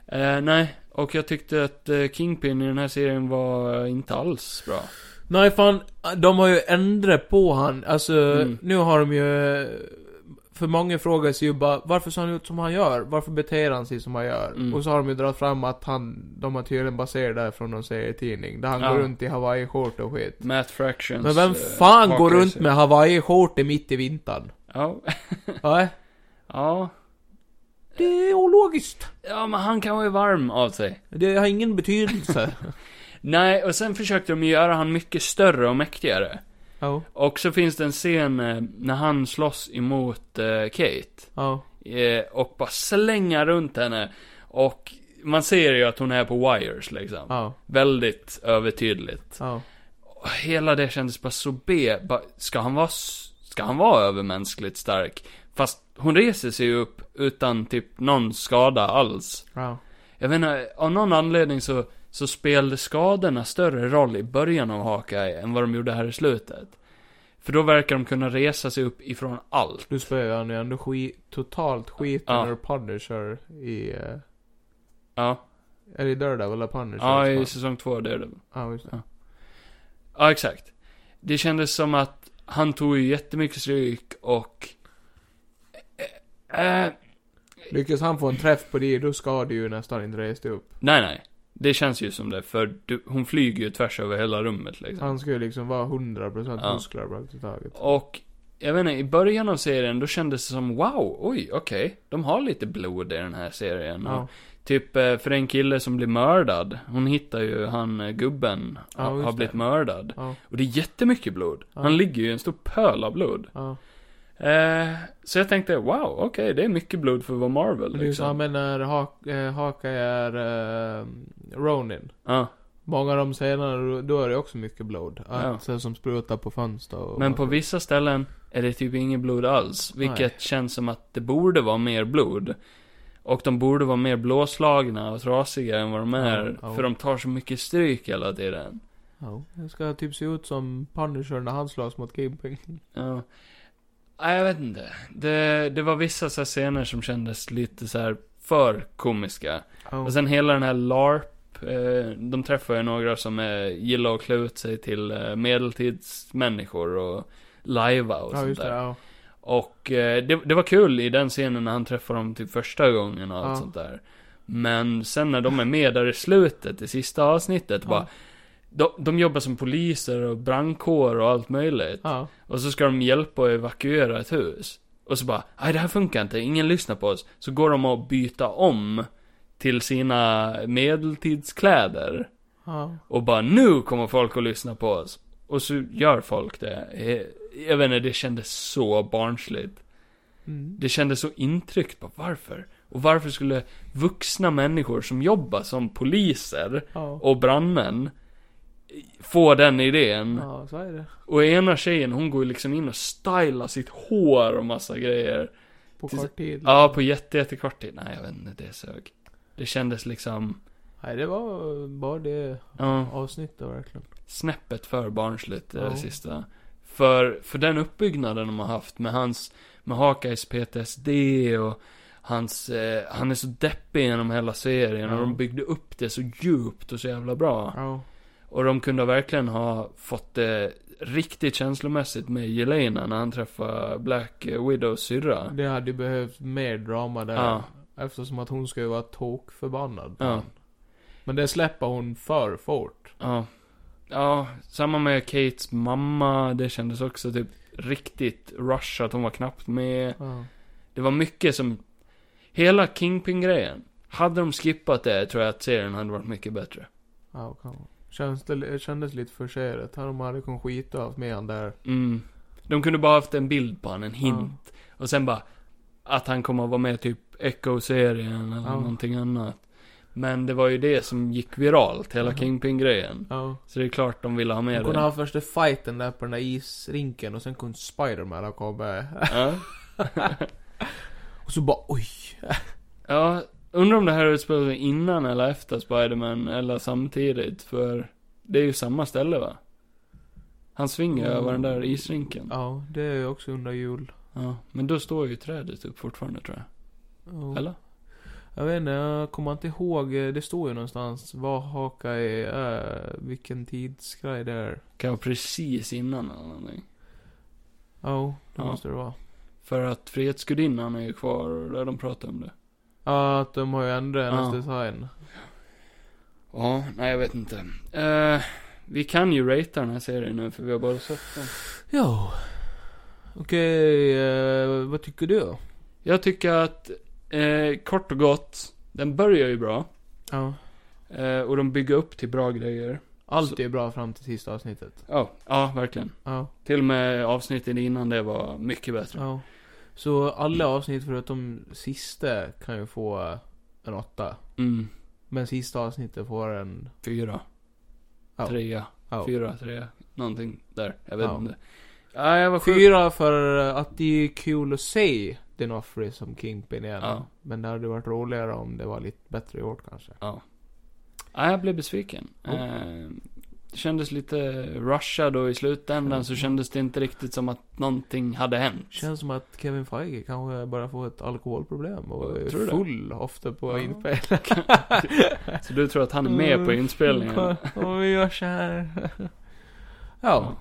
[SPEAKER 2] Eh, nej, och jag tyckte att eh, Kingpin i den här serien var eh, inte alls bra.
[SPEAKER 1] Nej fan, de har ju ändrat på han. Alltså,
[SPEAKER 2] Mm.
[SPEAKER 1] nu har de ju... För många frågar sig ju bara, varför ser han ut som han gör? Varför beter han sig som han gör?
[SPEAKER 2] Mm.
[SPEAKER 1] Och så har de ju dragit fram att han, de har tydligen baserat det här från någon serietidning. Där han
[SPEAKER 2] Ja.
[SPEAKER 1] går runt i hawaii-skjorta och skit.
[SPEAKER 2] Matt Fractions...
[SPEAKER 1] Men vem
[SPEAKER 2] eh,
[SPEAKER 1] fan går
[SPEAKER 2] hakar i
[SPEAKER 1] runt
[SPEAKER 2] sig.
[SPEAKER 1] med hawaii-skjorta mitt i vintern?
[SPEAKER 2] Ja,
[SPEAKER 1] Nej,
[SPEAKER 2] ja.
[SPEAKER 1] det är ologiskt.
[SPEAKER 2] Ja, men han kan vara varm av sig.
[SPEAKER 1] Det har ingen betydelse.
[SPEAKER 2] Nej, och sen försökte de ju göra han mycket större och mäktigare.
[SPEAKER 1] Ja,
[SPEAKER 2] Och så finns det en scen eh, när han slåss emot eh, Kate.
[SPEAKER 1] ja,
[SPEAKER 2] Eh, och bara slänga runt henne. Och man ser ju att hon är på wires liksom.
[SPEAKER 1] ja,
[SPEAKER 2] Väldigt övertydligt.
[SPEAKER 1] ja.
[SPEAKER 2] Och hela det kändes bara så B. Bara, ska han vara, s- ska han vara övermänskligt stark? Fast hon reser sig upp utan typ någon skada alls.
[SPEAKER 1] ja.
[SPEAKER 2] Jag vet inte, av någon anledning så, så spelade skadorna större roll i början av Hawkeye än vad de gjorde här i slutet. För då verkar de kunna resa sig upp ifrån allt.
[SPEAKER 1] Du spöar han ju ändå skit, totalt skiten
[SPEAKER 2] Ja.
[SPEAKER 1] ur Punisher i... eh,
[SPEAKER 2] Ja,
[SPEAKER 1] Är det Daredevil eller Punisher?
[SPEAKER 2] ja i
[SPEAKER 1] som-
[SPEAKER 2] säsong två, det är det.
[SPEAKER 1] ja, just det.
[SPEAKER 2] Ja, exakt. Det kändes som att han tog ju jättemycket stryk och... Eh, eh,
[SPEAKER 1] Lyckas han få en träff på dig, då ska du ju nästan inte resa dig upp.
[SPEAKER 2] nej, nej. Det känns ju som det, för du, hon flyger ju tvärs över hela rummet liksom.
[SPEAKER 1] Han ska ju liksom vara 100%
[SPEAKER 2] Ja.
[SPEAKER 1] muskler praktiskt taget.
[SPEAKER 2] Och jag vet inte, i början av serien då kändes det som wow, oj, okej. De har lite blod i den här serien.
[SPEAKER 1] Ja.
[SPEAKER 2] Och typ eh, för en kille som blir mördad, hon hittar ju han eh, gubben,
[SPEAKER 1] Ja,
[SPEAKER 2] ha-
[SPEAKER 1] just
[SPEAKER 2] har
[SPEAKER 1] det.
[SPEAKER 2] blivit mördad.
[SPEAKER 1] Ja.
[SPEAKER 2] Och det är jättemycket blod.
[SPEAKER 1] Ja.
[SPEAKER 2] Han ligger ju i en stor pöl av blod.
[SPEAKER 1] Ja.
[SPEAKER 2] Eh, så jag tänkte, wow, okej, det är mycket blod för att vara Marvel
[SPEAKER 1] Men det är ju
[SPEAKER 2] liksom.
[SPEAKER 1] samma när Hak- eh, Haka är eh, Ronin.
[SPEAKER 2] Ja,
[SPEAKER 1] Många av de scenerna, då är det också mycket blod.
[SPEAKER 2] Ja.
[SPEAKER 1] Ja. Så som sprutar på fönster och...
[SPEAKER 2] men på vissa ställen är det typ inget blod alls. Vilket
[SPEAKER 1] Nej.
[SPEAKER 2] känns som att det borde vara mer blod. Och de borde vara mer blåslagna och trasiga än vad de är.
[SPEAKER 1] Ja, ja.
[SPEAKER 2] För de tar så mycket stryk hela tiden.
[SPEAKER 1] Ja. Det ska typ se ut som Punisher när han slåss mot Kingpin.
[SPEAKER 2] Ja. Nej, jag vet inte. Det, det var vissa så här scener som kändes lite så här för komiska.
[SPEAKER 1] Ja.
[SPEAKER 2] Och sen hela den här LARP, eh, de träffar ju några som eh, gillar att klä ut sig till eh, medeltidsmänniskor och lajva och
[SPEAKER 1] Ja,
[SPEAKER 2] sånt
[SPEAKER 1] just det.
[SPEAKER 2] där.
[SPEAKER 1] Ja.
[SPEAKER 2] Och eh, det, det var kul i den scenen när han träffar dem typ första gången och allt
[SPEAKER 1] Ja.
[SPEAKER 2] sånt där. Men sen när de är med där i slutet, i sista avsnittet,
[SPEAKER 1] Ja.
[SPEAKER 2] bara de, de jobbar som poliser och brandkår och allt möjligt.
[SPEAKER 1] Ja.
[SPEAKER 2] Och så ska de hjälpa att evakuera ett hus. Och så bara, nej det här funkar inte, ingen lyssnar på oss. Så går de och byta om till sina medeltidskläder.
[SPEAKER 1] Ja.
[SPEAKER 2] Och bara, nu kommer folk att lyssna på oss. Och så gör folk det. Eh, Jag vet inte, det kändes så barnsligt.
[SPEAKER 1] Mm.
[SPEAKER 2] Det kändes så intryckt, bara varför? Och varför skulle vuxna människor som jobbar som poliser
[SPEAKER 1] Ja.
[SPEAKER 2] och brandmän eh, få den idén?
[SPEAKER 1] ja, så är det.
[SPEAKER 2] Och ena tjejen, hon går ju liksom in och stylar sitt hår och massa grejer.
[SPEAKER 1] På
[SPEAKER 2] Tills-
[SPEAKER 1] kort tid.
[SPEAKER 2] Ja, på jätte, jättekort tid. Nej, jag vet inte, det sög. Det kändes liksom,
[SPEAKER 1] Nej, det var bara det
[SPEAKER 2] ja,
[SPEAKER 1] avsnittet verkligen.
[SPEAKER 2] snäppet för barnsligt det
[SPEAKER 1] Ja.
[SPEAKER 2] sista. För, för den uppbyggnaden de har haft med hans, med Hakais PTSD och hans, eh, han är så deppig genom hela serien och
[SPEAKER 1] Ja.
[SPEAKER 2] de byggde upp det så djupt och så jävla bra.
[SPEAKER 1] Ja.
[SPEAKER 2] Och de kunde verkligen ha fått det riktigt känslomässigt med Jelena när han träffar Black Widows syrra.
[SPEAKER 1] Det hade ju behövt mer drama där.
[SPEAKER 2] Ja.
[SPEAKER 1] Eftersom att hon ska ju vara tokförbannad. på
[SPEAKER 2] Ja.
[SPEAKER 1] honom. Men det släpper hon för fort.
[SPEAKER 2] Ja. Ja, samma med Kates mamma. Det kändes också typ riktigt rush att hon var knappt med.
[SPEAKER 1] Ja.
[SPEAKER 2] Det var mycket som... Hela Kingpin-grejen. Hade de skippat det tror jag att serien hade varit mycket bättre.
[SPEAKER 1] Ja, kan Känns det, det kändes lite förserat. Hade de hade kunnat skita haft med han där.
[SPEAKER 2] Mm. De kunde bara haft en bild på honom, en hint.
[SPEAKER 1] Ja.
[SPEAKER 2] Och sen bara att han kommer att vara med i typ Echo-serien eller
[SPEAKER 1] Ja.
[SPEAKER 2] någonting annat. Men det var ju det som gick viralt, hela
[SPEAKER 1] Ja.
[SPEAKER 2] Kingpin-grejen.
[SPEAKER 1] Ja.
[SPEAKER 2] Så det är klart de ville ha
[SPEAKER 1] Hon
[SPEAKER 2] med
[SPEAKER 1] kunde
[SPEAKER 2] det.
[SPEAKER 1] ha första fighten där på den där isrinken och sen kunde Spiderman ha kommit med.
[SPEAKER 2] Ja.
[SPEAKER 1] Och så bara oj.
[SPEAKER 2] ja, undrar om det här utspelar sig innan eller efter Spiderman eller samtidigt. För det är ju samma ställe va? Han svingar
[SPEAKER 1] Mm.
[SPEAKER 2] över den där isrinken. Ja.
[SPEAKER 1] Ja, det är ju också under jul.
[SPEAKER 2] Men då står ju trädet upp fortfarande tror jag.
[SPEAKER 1] Ja.
[SPEAKER 2] Eller?
[SPEAKER 1] Jag vet inte, jag kommer inte ihåg. eh, Det står ju någonstans vad haka är, vilken tidsgrej det är.
[SPEAKER 2] Kan vara precis innan eller någonting.
[SPEAKER 1] Ja, det
[SPEAKER 2] Ja.
[SPEAKER 1] måste det vara.
[SPEAKER 2] För att Frihetsgudinnan är ju kvar och där de pratar om det.
[SPEAKER 1] Ja, att de har ju ändrat hennes
[SPEAKER 2] Ja.
[SPEAKER 1] design.
[SPEAKER 2] Ja, nej jag vet inte. Eh, vi kan ju ratea den här serien nu för vi har bara sett den.
[SPEAKER 1] Ja. Okej, eh, vad tycker du?
[SPEAKER 2] Jag tycker att, eh, kort och gott, den börjar ju bra.
[SPEAKER 1] Ja.
[SPEAKER 2] Eh, och de bygger upp till bra grejer.
[SPEAKER 1] Allt
[SPEAKER 2] Så-
[SPEAKER 1] är ju bra fram till sista avsnittet.
[SPEAKER 2] Ja, ja verkligen.
[SPEAKER 1] Ja,
[SPEAKER 2] Till och med avsnitten innan det var mycket bättre.
[SPEAKER 1] ja. Så alla avsnitt förutom sista kan ju få eh, en åtta.
[SPEAKER 2] Mm,
[SPEAKER 1] Men sista avsnittet får en...
[SPEAKER 2] fyra.
[SPEAKER 1] Ja.
[SPEAKER 2] Trea.
[SPEAKER 1] Ja.
[SPEAKER 2] Fyra, trea. Någonting där. Jag vet
[SPEAKER 1] Ja.
[SPEAKER 2] inte. Ja, jag var sjuk.
[SPEAKER 1] Fyra för att det är kul att se Dinofrey som Kingpin igen.
[SPEAKER 2] Ja.
[SPEAKER 1] Men det hade varit roligare om det var lite bättre gjort kanske.
[SPEAKER 2] Ja, jag blev besviken.
[SPEAKER 1] Ja.
[SPEAKER 2] Eh, det kändes lite rushad och i slutändan så kändes det inte riktigt som att någonting hade hänt.
[SPEAKER 1] Känns som att Kevin Feige kanske börjar få ett alkoholproblem och
[SPEAKER 2] Tror du
[SPEAKER 1] är
[SPEAKER 2] det?
[SPEAKER 1] full ofta på
[SPEAKER 2] Ja.
[SPEAKER 1] inspelningar.
[SPEAKER 2] Så du tror att han är med på
[SPEAKER 1] Mm.
[SPEAKER 2] inspelningen?
[SPEAKER 1] Om vi gör så här. Ja.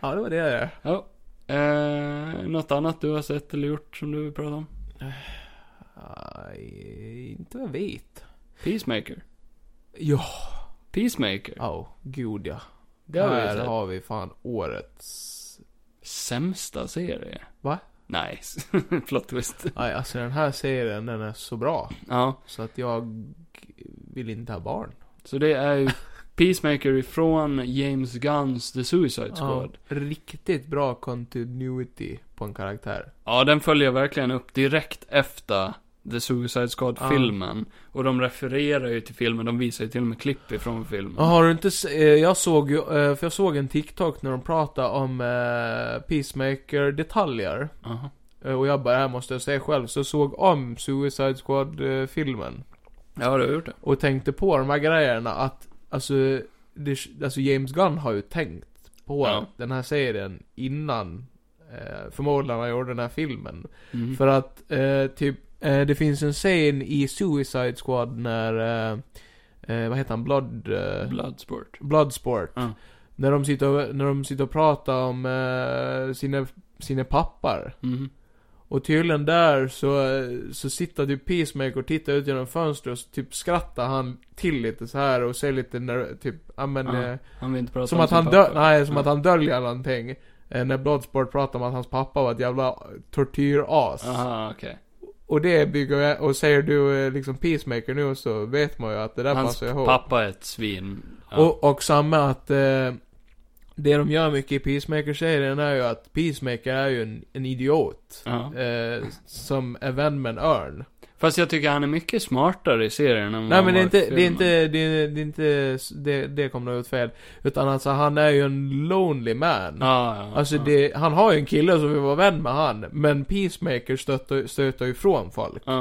[SPEAKER 1] Ja, det var det det.
[SPEAKER 2] Ja. Eh, något annat du har sett eller gjort som du vill prata om?
[SPEAKER 1] Aj, inte vad jag vet.
[SPEAKER 2] Peacemaker.
[SPEAKER 1] Ja.
[SPEAKER 2] Peacemaker.
[SPEAKER 1] Ja, gud ja.
[SPEAKER 2] det har vi ju
[SPEAKER 1] Här
[SPEAKER 2] sett.
[SPEAKER 1] har vi fan årets
[SPEAKER 2] sämsta serie.
[SPEAKER 1] Va?
[SPEAKER 2] Nej, plot twist.
[SPEAKER 1] Nej, alltså den här serien, den är så bra.
[SPEAKER 2] Ja,
[SPEAKER 1] Så att jag vill inte ha barn.
[SPEAKER 2] så det är ju Peacemaker ifrån James Gunns The Suicide Squad.
[SPEAKER 1] Ja, riktigt bra continuity på en karaktär.
[SPEAKER 2] Ja, den följer verkligen upp direkt efter The Suicide
[SPEAKER 1] Ja.
[SPEAKER 2] Squad-filmen. Och de refererar ju till filmen, de visar ju till och med klipp ifrån filmen.
[SPEAKER 1] Ja, Har du inte se- eh, Jag såg ju, eh, för jag såg en TikTok när de pratade om eh, Peacemaker-detaljer.
[SPEAKER 2] Aha.
[SPEAKER 1] Eh, Och jag bara, det här måste jag säga själv. Så jag såg om Suicide eh, Squad-filmen.
[SPEAKER 2] Ja, du har gjort det.
[SPEAKER 1] Och tänkte på de här grejerna att, alltså, det, alltså James Gunn har ju tänkt på
[SPEAKER 2] Ja.
[SPEAKER 1] den här serien innan eh, förmodligen han gjorde den här filmen.
[SPEAKER 2] Mm.
[SPEAKER 1] För att, eh, typ, eh, det finns en scen i Suicide Squad när, eh, eh, vad heter han, Blood... Eh,
[SPEAKER 2] Bloodsport.
[SPEAKER 1] Bloodsport.
[SPEAKER 2] Ja.
[SPEAKER 1] När, de sitter och, när de sitter och pratar om eh, sina, sina pappar.
[SPEAKER 2] Mm.
[SPEAKER 1] Och tydligen där så, eh, så sitter typ Peacemaker och tittar ut genom fönstret och så typ skrattar han till lite så här och säger lite när, typ, ja men,
[SPEAKER 2] Ja,
[SPEAKER 1] eh,
[SPEAKER 2] Han vill inte prata
[SPEAKER 1] som
[SPEAKER 2] om
[SPEAKER 1] att
[SPEAKER 2] sin
[SPEAKER 1] han,
[SPEAKER 2] pappa.
[SPEAKER 1] dö- nej, som
[SPEAKER 2] Ja.
[SPEAKER 1] att han döljer någonting. Eh, när Bloodsport pratar om att hans pappa var ett jävla tortyras.
[SPEAKER 2] Aha, okej.
[SPEAKER 1] Och det bygger jag, och säger du eh, liksom Peacemaker nu så vet man ju att det där
[SPEAKER 2] Hans
[SPEAKER 1] passar ihop.
[SPEAKER 2] pappa är ett svin. Ja.
[SPEAKER 1] Och, och samma att eh, det de gör mycket i Peacemaker-serien är ju att Peacemaker är ju en, en idiot.
[SPEAKER 2] ja.
[SPEAKER 1] Eh, som är vän med en örn.
[SPEAKER 2] Fast jag tycker han är mycket smartare i serien än vad
[SPEAKER 1] Nej
[SPEAKER 2] han
[SPEAKER 1] men det är
[SPEAKER 2] var i
[SPEAKER 1] inte, det är
[SPEAKER 2] filmen.
[SPEAKER 1] inte, det är, det är inte, det, det kom nog ut fel. Utan alltså han är ju en lonely man.
[SPEAKER 2] Ja, ja,
[SPEAKER 1] Alltså
[SPEAKER 2] ja.
[SPEAKER 1] det, han har ju en kille som vill vara vän med han. Men Peacemaker stöter, stöter ju ifrån folk.
[SPEAKER 2] Ja.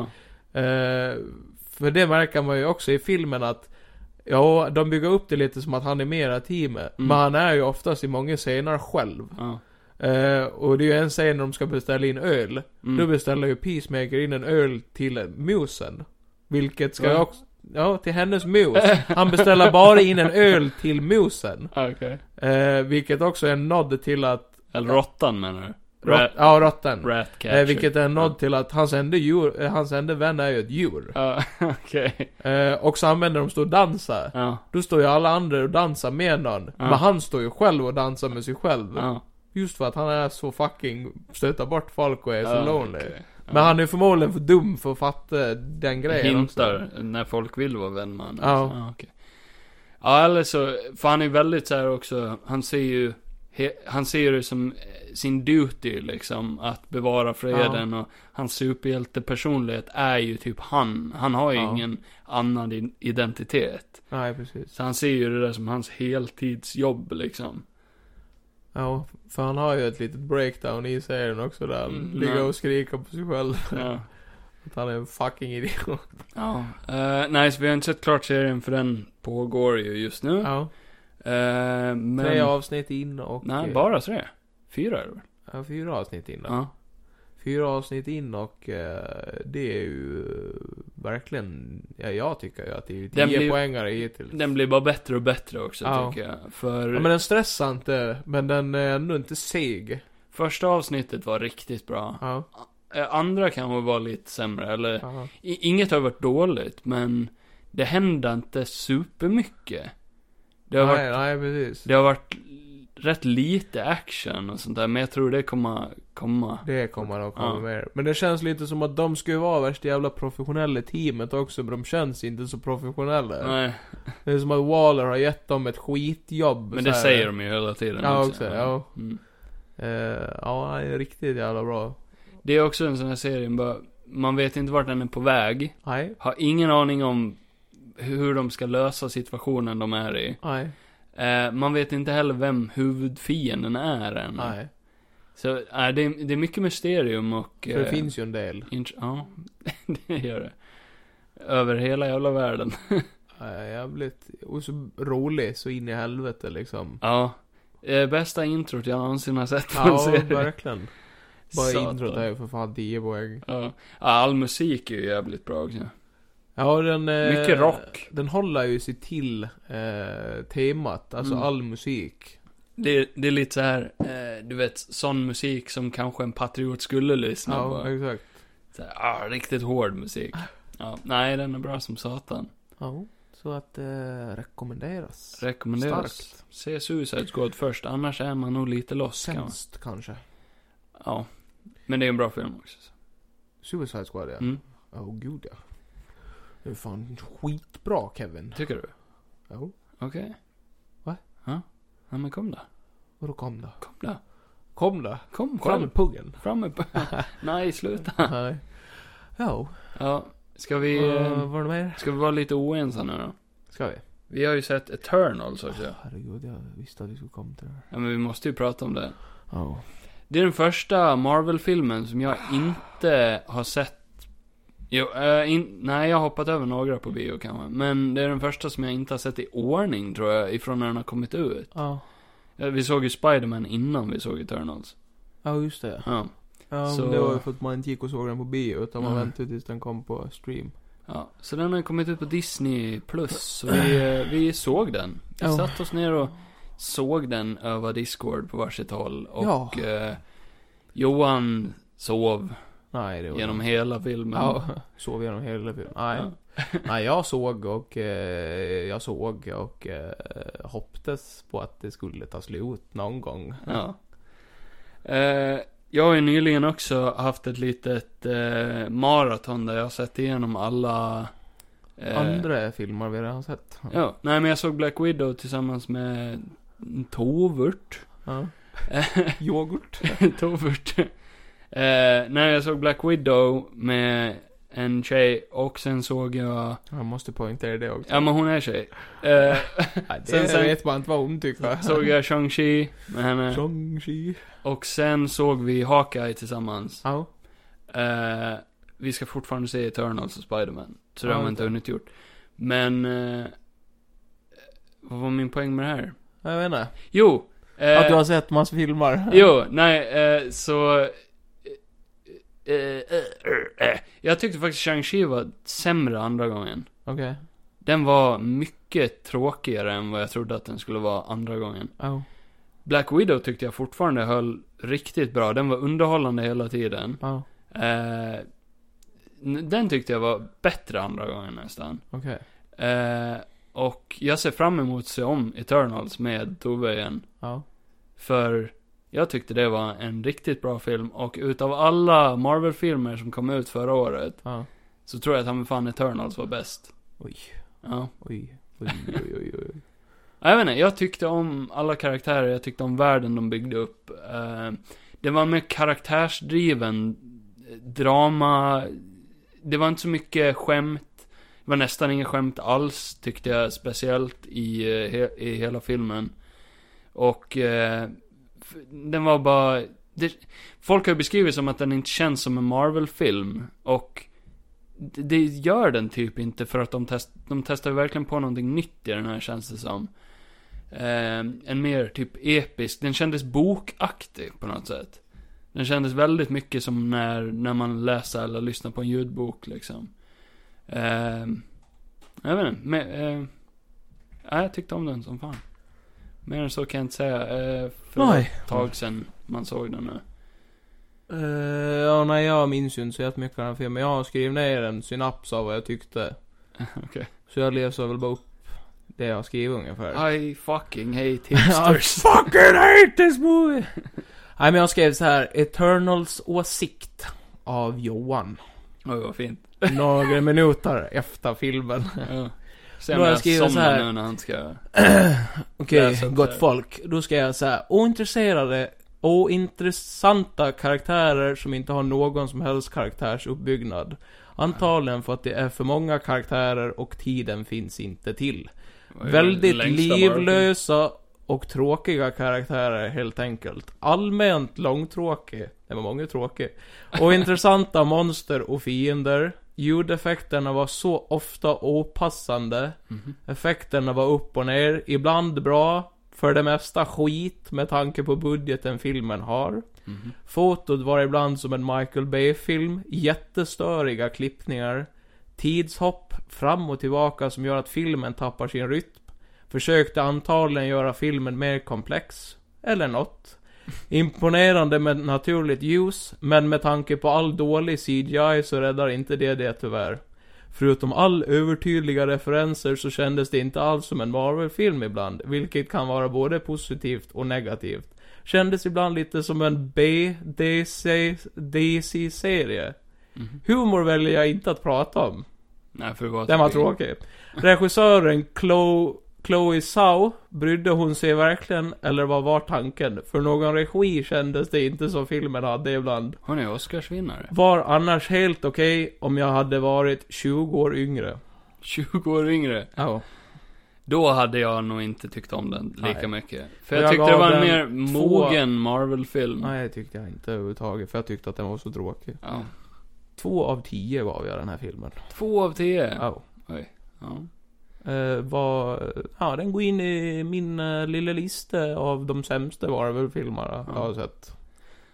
[SPEAKER 1] Eh, för det märker man ju också i filmen att Ja, de bygger upp det lite som att han är mera teamet.
[SPEAKER 2] Mm.
[SPEAKER 1] Men han är ju oftast i många scener själv.
[SPEAKER 2] ja.
[SPEAKER 1] Eh, och det är ju en scen när de ska beställa in öl.
[SPEAKER 2] Mm.
[SPEAKER 1] Då beställer ju Peacemaker in en öl till musen. Vilket ska
[SPEAKER 2] Va?
[SPEAKER 1] jag också... Ja, till hennes mus. Han beställer bara in en öl till musen.
[SPEAKER 2] Okej.
[SPEAKER 1] Eh, vilket också är en nod till att...
[SPEAKER 2] Eller råttan menar du?
[SPEAKER 1] Rott, ja, råttan.
[SPEAKER 2] Ratcatcher.
[SPEAKER 1] Eh, vilket är en nod till att hans enda djur, eh, hans enda vän är ju ett djur.
[SPEAKER 2] Ja, okej.
[SPEAKER 1] Eh, och så använder de står och dansar.
[SPEAKER 2] Ja,
[SPEAKER 1] Då står ju alla andra och dansar med någon. Men han står ju själv och dansar med sig själv.
[SPEAKER 2] ja.
[SPEAKER 1] Just för att han är så fucking, stöter bort folk och är så
[SPEAKER 2] Ja,
[SPEAKER 1] lonely.
[SPEAKER 2] okej. Ja.
[SPEAKER 1] Men han är förmodligen för dum för att fatta den grejen också.
[SPEAKER 2] Hintar när folk vill vara vän med honom.
[SPEAKER 1] Ja.
[SPEAKER 2] också. Ja, okej. ja, eller så, för han är väldigt så här också, han ser ju, he, han ser det som eh, sin duty liksom, att bevara freden och hans superhjältepersonlighet är ju typ han. Han har ju
[SPEAKER 1] Ja.
[SPEAKER 2] ingen annan i- identitet.
[SPEAKER 1] Nej, precis.
[SPEAKER 2] Så han ser ju det där som hans heltidsjobb liksom.
[SPEAKER 1] Ja, för han har ju ett litet breakdown i serien också där. Han
[SPEAKER 2] Mm,
[SPEAKER 1] ligger
[SPEAKER 2] ja.
[SPEAKER 1] och skriker på sig själv.
[SPEAKER 2] Ja.
[SPEAKER 1] Att han är en fucking idiot.
[SPEAKER 2] Ja, eh, nej så vi har inte sett klart serien för den pågår ju just nu.
[SPEAKER 1] Ja.
[SPEAKER 2] Eh, men...
[SPEAKER 1] Tre avsnitt in och...
[SPEAKER 2] Nej,
[SPEAKER 1] eh,
[SPEAKER 2] bara tre. Fyra är det väl?
[SPEAKER 1] Ja, fyra avsnitt in då.
[SPEAKER 2] Ja.
[SPEAKER 1] Fyra avsnitt in och eh, det är ju eh, verkligen, ja jag tycker ju att det är ju tio
[SPEAKER 2] Den blir-
[SPEAKER 1] poängare hittills.
[SPEAKER 2] Den blir bara bättre och bättre också
[SPEAKER 1] Ja.
[SPEAKER 2] tycker jag. För
[SPEAKER 1] Ja, men den stressar inte, men den är ändå inte seg.
[SPEAKER 2] första avsnittet var riktigt bra.
[SPEAKER 1] Ja.
[SPEAKER 2] Eh, Andra kanske var lite sämre, eller
[SPEAKER 1] ja.
[SPEAKER 2] i- inget har varit dåligt, men det hände inte supermycket. Det har,
[SPEAKER 1] Nej,
[SPEAKER 2] varit,
[SPEAKER 1] nej precis.
[SPEAKER 2] det har varit rätt lite action och sånt där, men jag tror det kommer komma.
[SPEAKER 1] Det kommer nog komma
[SPEAKER 2] Ja.
[SPEAKER 1] mer. Men det känns lite som att de ska ju vara värsta jävla professionella i teamet också, men de känns inte så professionella.
[SPEAKER 2] Nej,
[SPEAKER 1] Det är som att Waller har gett dem ett skitjobb.
[SPEAKER 2] men det
[SPEAKER 1] så här.
[SPEAKER 2] säger de ju hela tiden
[SPEAKER 1] Ja, också, ja.
[SPEAKER 2] Mm.
[SPEAKER 1] Eh, ja, det är riktigt jävla bra.
[SPEAKER 2] Det är också en sån här serie, bara, man vet inte vart den är på väg.
[SPEAKER 1] Nej,
[SPEAKER 2] Har ingen aning om hur de ska lösa situationen de är i.
[SPEAKER 1] nej,
[SPEAKER 2] Eh, man vet inte heller vem huvudfienden är än.
[SPEAKER 1] nej.
[SPEAKER 2] Så eh, det, är, det är mycket mysterium och... eh,
[SPEAKER 1] För det finns ju en del.
[SPEAKER 2] int- ja, det gör det. Över hela jävla världen.
[SPEAKER 1] Eh, jävligt, och så rolig så in i helvete liksom.
[SPEAKER 2] Ja. Eh, bästa introt jag någonsin har sett på en
[SPEAKER 1] Ja,
[SPEAKER 2] serie.
[SPEAKER 1] verkligen. Bara
[SPEAKER 2] Satan.
[SPEAKER 1] introt är ju för fan 10 poäng.
[SPEAKER 2] Ja. Ja, all musik är ju jävligt bra också.
[SPEAKER 1] Ja, den... eh,
[SPEAKER 2] Mycket rock.
[SPEAKER 1] Den håller ju sig till eh, temat, alltså
[SPEAKER 2] Mm.
[SPEAKER 1] all musik.
[SPEAKER 2] Det, det är lite så här, eh, du vet, sån musik som kanske en patriot skulle lyssna
[SPEAKER 1] Ja,
[SPEAKER 2] på.
[SPEAKER 1] exakt.
[SPEAKER 2] Så här, ah, riktigt hård musik. Ja, nej, den är bra som satan.
[SPEAKER 1] Ja. Så att eh, rekommenderas.
[SPEAKER 2] Rekommenderas.
[SPEAKER 1] Starkt.
[SPEAKER 2] Se Suicide Squad först, annars är man nog lite loss kan man.
[SPEAKER 1] Sämst kanske.
[SPEAKER 2] Ja. Men det är en bra film också. så.
[SPEAKER 1] Suicide Squad ja.
[SPEAKER 2] Mm.
[SPEAKER 1] Åh gud ja. Det är fan skitbra Kevin.
[SPEAKER 2] Tycker du?
[SPEAKER 1] Jo.
[SPEAKER 2] Okej.
[SPEAKER 1] Va?
[SPEAKER 2] Ja. ja, men kom då.
[SPEAKER 1] Och då kom då.
[SPEAKER 2] Kom då.
[SPEAKER 1] Kom då.
[SPEAKER 2] Kom
[SPEAKER 1] Fram
[SPEAKER 2] själv.
[SPEAKER 1] med puggen.
[SPEAKER 2] Fram med... Nej, sluta.
[SPEAKER 1] Nej. Ja.
[SPEAKER 2] Ja, ska vi...
[SPEAKER 1] Vad
[SPEAKER 2] eh,
[SPEAKER 1] var det mer?
[SPEAKER 2] Ska vi vara lite oense nu då?
[SPEAKER 1] Ska vi?
[SPEAKER 2] Vi har ju sett Eternals också.
[SPEAKER 1] Ah, herregud, jag visste att vi skulle komma till det här.
[SPEAKER 2] Ja, men vi måste ju prata om det.
[SPEAKER 1] Ja.
[SPEAKER 2] Det är den första Marvel-filmen som jag inte har sett. Jo, eh, in, nej, jag har hoppat över några på bio kanske. Men det är den första som jag inte har sett i ordning, tror jag, ifrån när den har kommit ut.
[SPEAKER 1] Ja.
[SPEAKER 2] Eh, Vi såg ju Spider-Man innan vi såg Eternals.
[SPEAKER 1] Ja, just det.
[SPEAKER 2] Ja.
[SPEAKER 1] Ja,
[SPEAKER 2] Så-
[SPEAKER 1] men det var ju för att man inte gick och såg den på bio, utan man
[SPEAKER 2] Mm.
[SPEAKER 1] väntade tills den kom på stream.
[SPEAKER 2] ja. Så den har kommit ut på Disney+. Plus, så vi, eh, vi såg den. Vi
[SPEAKER 1] Ja.
[SPEAKER 2] satt oss ner och såg den över Discord på varsitt håll. Och
[SPEAKER 1] Ja.
[SPEAKER 2] eh, Johan sov
[SPEAKER 1] Nej, det var
[SPEAKER 2] genom hela filmen.
[SPEAKER 1] Ja, sov genom hela filmen. Nej.
[SPEAKER 2] Ja.
[SPEAKER 1] Nej, jag såg och eh, jag såg och eh, hoppades på att det skulle ta slut någon gång.
[SPEAKER 2] Ja. Eh, jag har ju nyligen också haft ett litet eh, maraton där jag har sett igenom alla... eh,
[SPEAKER 1] Andra filmer vi redan sett.
[SPEAKER 2] Ja, nej men jag såg Black Widow tillsammans med Tovert.
[SPEAKER 1] Ja. Yoghurt.
[SPEAKER 2] Tovert. Eh, nej, jag såg Black Widow med en tjej och sen såg jag...
[SPEAKER 1] Jag måste poängtera det också.
[SPEAKER 2] Ja men hon är tjej. Eh,
[SPEAKER 1] Nej, det
[SPEAKER 2] sen- sen-
[SPEAKER 1] vet man inte vad hon tycker.
[SPEAKER 2] såg jag Shang-Chi med henne.
[SPEAKER 1] Shang-Chi.
[SPEAKER 2] Och sen såg vi Hawkeye tillsammans.
[SPEAKER 1] Ja.
[SPEAKER 2] Eh, vi ska fortfarande se Eternals och Spider-Man. Så det
[SPEAKER 1] Ja,
[SPEAKER 2] har
[SPEAKER 1] just
[SPEAKER 2] man inte
[SPEAKER 1] det.
[SPEAKER 2] hunnit gjort. Men... eh, vad var min poäng med det här?
[SPEAKER 1] Jag vet inte.
[SPEAKER 2] Jo! eh,
[SPEAKER 1] Att du har sett massa filmer.
[SPEAKER 2] Jo, nej, eh, så... eh, eh, eh, eh. Jag tyckte faktiskt Shang-Chi var sämre andra gången.
[SPEAKER 1] Okej.
[SPEAKER 2] Den var mycket tråkigare än vad jag trodde att den skulle vara andra gången.
[SPEAKER 1] Ja.
[SPEAKER 2] Black Widow tyckte jag fortfarande höll riktigt bra. Den var underhållande hela tiden.
[SPEAKER 1] Ja.
[SPEAKER 2] Eh, n- den tyckte jag var bättre andra gången nästan.
[SPEAKER 1] Okej.
[SPEAKER 2] Eh, och jag ser fram emot att se om Eternals med Tove igen.
[SPEAKER 1] Ja.
[SPEAKER 2] För jag tyckte det var en riktigt bra film. Och utav alla Marvel-filmer som kom ut förra året
[SPEAKER 1] Ja.
[SPEAKER 2] så tror jag att han fan Eternals var bäst.
[SPEAKER 1] Oj.
[SPEAKER 2] Ja.
[SPEAKER 1] Oj. Oj, oj, oj, oj.
[SPEAKER 2] Jag vet inte, jag tyckte om alla karaktärer, jag tyckte om världen de byggde upp. Eh, det var mer karaktärsdriven eh, drama. Det var inte så mycket skämt. Det var nästan inga skämt alls, tyckte jag, speciellt i, eh, he- i hela filmen. Och eh, f- den var bara... Det, folk har ju beskrivit som att den inte känns som en Marvel-film. Och det, det gör den typ inte för att de, test, de testar ju verkligen på någonting nytt i den här känns det som. Eh, en mer typ episk, den kändes bokaktig på något sätt. Den kändes väldigt mycket som när, när man läser eller lyssnar på en ljudbok liksom. Eh, jag vet inte, men, eh, ja, jag tyckte om den som fan. Mer än så kan jag inte säga. Eh, för
[SPEAKER 1] Nej.
[SPEAKER 2] ett tag sedan man såg den nu.
[SPEAKER 1] Eh, ja, nej, jag minns ju inte så jättemycket av den filmen. Jag har skrivit ner en synaps av vad jag tyckte.
[SPEAKER 2] Okej.
[SPEAKER 1] Så jag läser väl bara upp det jag skrev ungefär.
[SPEAKER 2] I fucking hate
[SPEAKER 1] I
[SPEAKER 2] hipsters.
[SPEAKER 1] fucking hate this movie! nej, men jag skrev så här. Eternals åsikt av Johan.
[SPEAKER 2] Oj, vad fint.
[SPEAKER 1] Några minuter efter filmen.
[SPEAKER 2] Ja. Se
[SPEAKER 1] Då
[SPEAKER 2] om
[SPEAKER 1] har jag
[SPEAKER 2] jag
[SPEAKER 1] skrivit så
[SPEAKER 2] somnar
[SPEAKER 1] här.
[SPEAKER 2] nu när han ska...
[SPEAKER 1] Okej,
[SPEAKER 2] Läs upp det
[SPEAKER 1] gott
[SPEAKER 2] här.
[SPEAKER 1] folk. Då ska jag säga ointresserade, ointressanta karaktärer som inte har någon som helst karaktärsuppbyggnad. Antagligen för att det är för många karaktärer och tiden finns inte till.
[SPEAKER 2] Oj,
[SPEAKER 1] Väldigt
[SPEAKER 2] längsta
[SPEAKER 1] livlösa och tråkiga karaktärer helt enkelt. Allmänt långtråkig. Det var många tråkiga. Och intressanta monster och fiender. Ljudeffekterna var så ofta opassande.
[SPEAKER 2] Mhm.
[SPEAKER 1] Effekterna var upp och ner, ibland bra, för det mesta skit med tanke på budgeten filmen har.
[SPEAKER 2] Mhm.
[SPEAKER 1] Fotot var ibland som en Michael Bay-film, jättestöriga klippningar, tidshopp fram och tillbaka som gör att filmen tappar sin rytm. Försökte antagligen göra filmen mer komplex, eller något. Imponerande med naturligt ljus, men med tanke på all dålig CGI så räddar inte det det tyvärr. Förutom all övertydliga referenser så kändes det inte alls som en Marvel-film ibland, vilket kan vara både positivt och negativt. Kändes ibland lite som en B-DC-serie. Humor väljer jag inte att prata om.
[SPEAKER 2] Nej, för det var
[SPEAKER 1] Den var tråkig. Regissören Chloe, Chloe Zhao, brydde hon sig verkligen eller vad var tanken? För någon regi kändes det inte som filmen hade ibland.
[SPEAKER 2] Hon är Oscarsvinnare.
[SPEAKER 1] Var annars helt okej om jag hade varit 20 år yngre.
[SPEAKER 2] 20 år yngre.
[SPEAKER 1] Ja.
[SPEAKER 2] Då hade jag nog inte tyckt om den lika
[SPEAKER 1] Nej.
[SPEAKER 2] mycket. För
[SPEAKER 1] Och
[SPEAKER 2] jag,
[SPEAKER 1] jag
[SPEAKER 2] tyckte det
[SPEAKER 1] gav
[SPEAKER 2] var en mer
[SPEAKER 1] den två-
[SPEAKER 2] mogen Marvel-film.
[SPEAKER 1] Nej, det tyckte jag inte överhuvudtaget. För jag tyckte att den var så tråkig.
[SPEAKER 2] Ja.
[SPEAKER 1] Två av tio gav jag den här filmen.
[SPEAKER 2] Två av tio.
[SPEAKER 1] Ja.
[SPEAKER 2] Oj. Ja.
[SPEAKER 1] Eh, var, ja, den går in i min eh, lilla lista av de sämsta Marvel-filmerna jag har sett.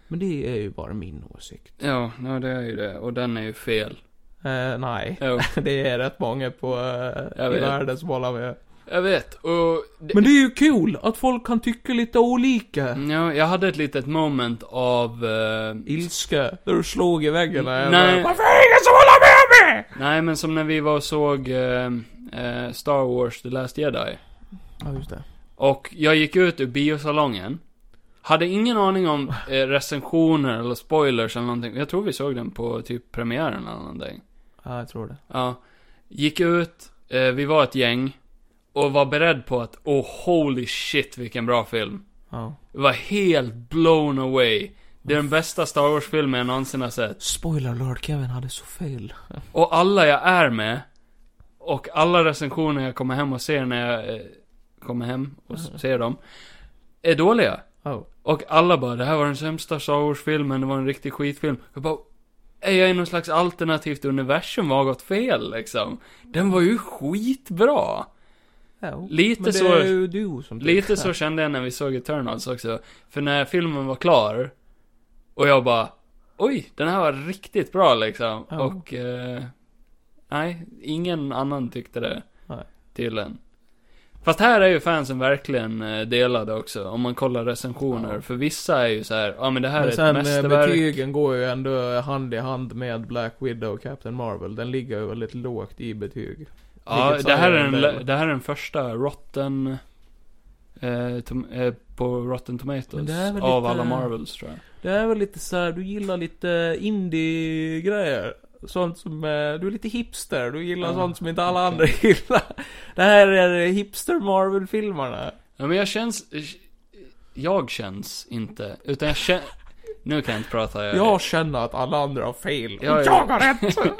[SPEAKER 1] Men det är ju bara min åsikt.
[SPEAKER 2] Ja, nej, det är ju det. Och den är ju fel.
[SPEAKER 1] Eh, nej.
[SPEAKER 2] Jo,
[SPEAKER 1] Det är rätt många på eh,
[SPEAKER 2] Jag
[SPEAKER 1] i
[SPEAKER 2] vet.
[SPEAKER 1] världen som håller med.
[SPEAKER 2] jag vet. Och... Det... Mm.
[SPEAKER 1] Men det är ju kul att folk kan tycka lite olika.
[SPEAKER 2] Ja, jag hade ett litet moment av... eh,
[SPEAKER 1] Ilska. När du slog i väggen. där.
[SPEAKER 2] Mm, Nej.
[SPEAKER 1] Varför är det ingen som håller med mig?
[SPEAKER 2] Nej, men som när vi var och såg eh, eh, Star Wars The Last Jedi.
[SPEAKER 1] Ja, just det.
[SPEAKER 2] Och jag gick ut ur biosalongen. Hade ingen aning om eh, recensioner eller spoilers eller någonting. Jag tror vi såg den på typ premiären eller någonting.
[SPEAKER 1] Ja, jag tror det.
[SPEAKER 2] Ja. Gick ut, eh, vi var ett gäng. Och var beredd på att, oh holy shit vilken bra film.
[SPEAKER 1] Ja.
[SPEAKER 2] Jag var helt blown away. Det är den bästa Star Wars-filmen jag någonsin har sett.
[SPEAKER 1] Spoiler alert, Kevin hade så fel.
[SPEAKER 2] Och alla jag är med, och alla recensioner jag kommer hem och ser när jag eh, kommer hem och s- ser dem, är dåliga.
[SPEAKER 1] Oh.
[SPEAKER 2] Och alla bara, det här var den sämsta Star Wars-filmen, det var en riktig skitfilm. Jag bara, är jag i någon slags alternativt universum vad har gått fel liksom? Den var ju skitbra!
[SPEAKER 1] Ja.
[SPEAKER 2] Lite
[SPEAKER 1] Men det
[SPEAKER 2] så-
[SPEAKER 1] är ju du som tycker
[SPEAKER 2] Lite
[SPEAKER 1] det.
[SPEAKER 2] så kände jag när vi såg Eternals också. För när filmen var klar, och jag bara, oj, den här var riktigt bra liksom.
[SPEAKER 1] Ja.
[SPEAKER 2] Och, eh, nej, ingen annan tyckte det.
[SPEAKER 1] Nej.
[SPEAKER 2] Tydligen. Fast här är ju fansen verkligen eh, delade också, om man kollar recensioner.
[SPEAKER 1] Ja.
[SPEAKER 2] För vissa är ju så här, ja men det här
[SPEAKER 1] Men
[SPEAKER 2] är
[SPEAKER 1] sen
[SPEAKER 2] ett
[SPEAKER 1] eh,
[SPEAKER 2] mästerverk.
[SPEAKER 1] betygen går ju ändå hand i hand med Black Widow och Captain Marvel. Den ligger ju väldigt lågt i betyg.
[SPEAKER 2] ja,
[SPEAKER 1] vilket
[SPEAKER 2] det här,
[SPEAKER 1] sa
[SPEAKER 2] är
[SPEAKER 1] jag
[SPEAKER 2] den,
[SPEAKER 1] en
[SPEAKER 2] lä-
[SPEAKER 1] del.
[SPEAKER 2] det här är den första Rotten... Eh, tom, eh, på Rotten
[SPEAKER 1] Men
[SPEAKER 2] Tomatoes.
[SPEAKER 1] det är väl
[SPEAKER 2] Av
[SPEAKER 1] lite-
[SPEAKER 2] alla Marvels tror jag.
[SPEAKER 1] Det är väl lite så här, du gillar lite indie-grejer. Sånt som, eh, du är lite hipster, du gillar
[SPEAKER 2] Ja,
[SPEAKER 1] sånt som inte alla
[SPEAKER 2] okej.
[SPEAKER 1] andra gillar. Det här är hipster Marvel-filmerna.
[SPEAKER 2] Ja, men jag känns... Jag känns inte, utan jag känner... Nu kan jag inte prata. Jag,
[SPEAKER 1] Jag känner att alla andra har fel. och
[SPEAKER 2] Ja, ja.
[SPEAKER 1] jag har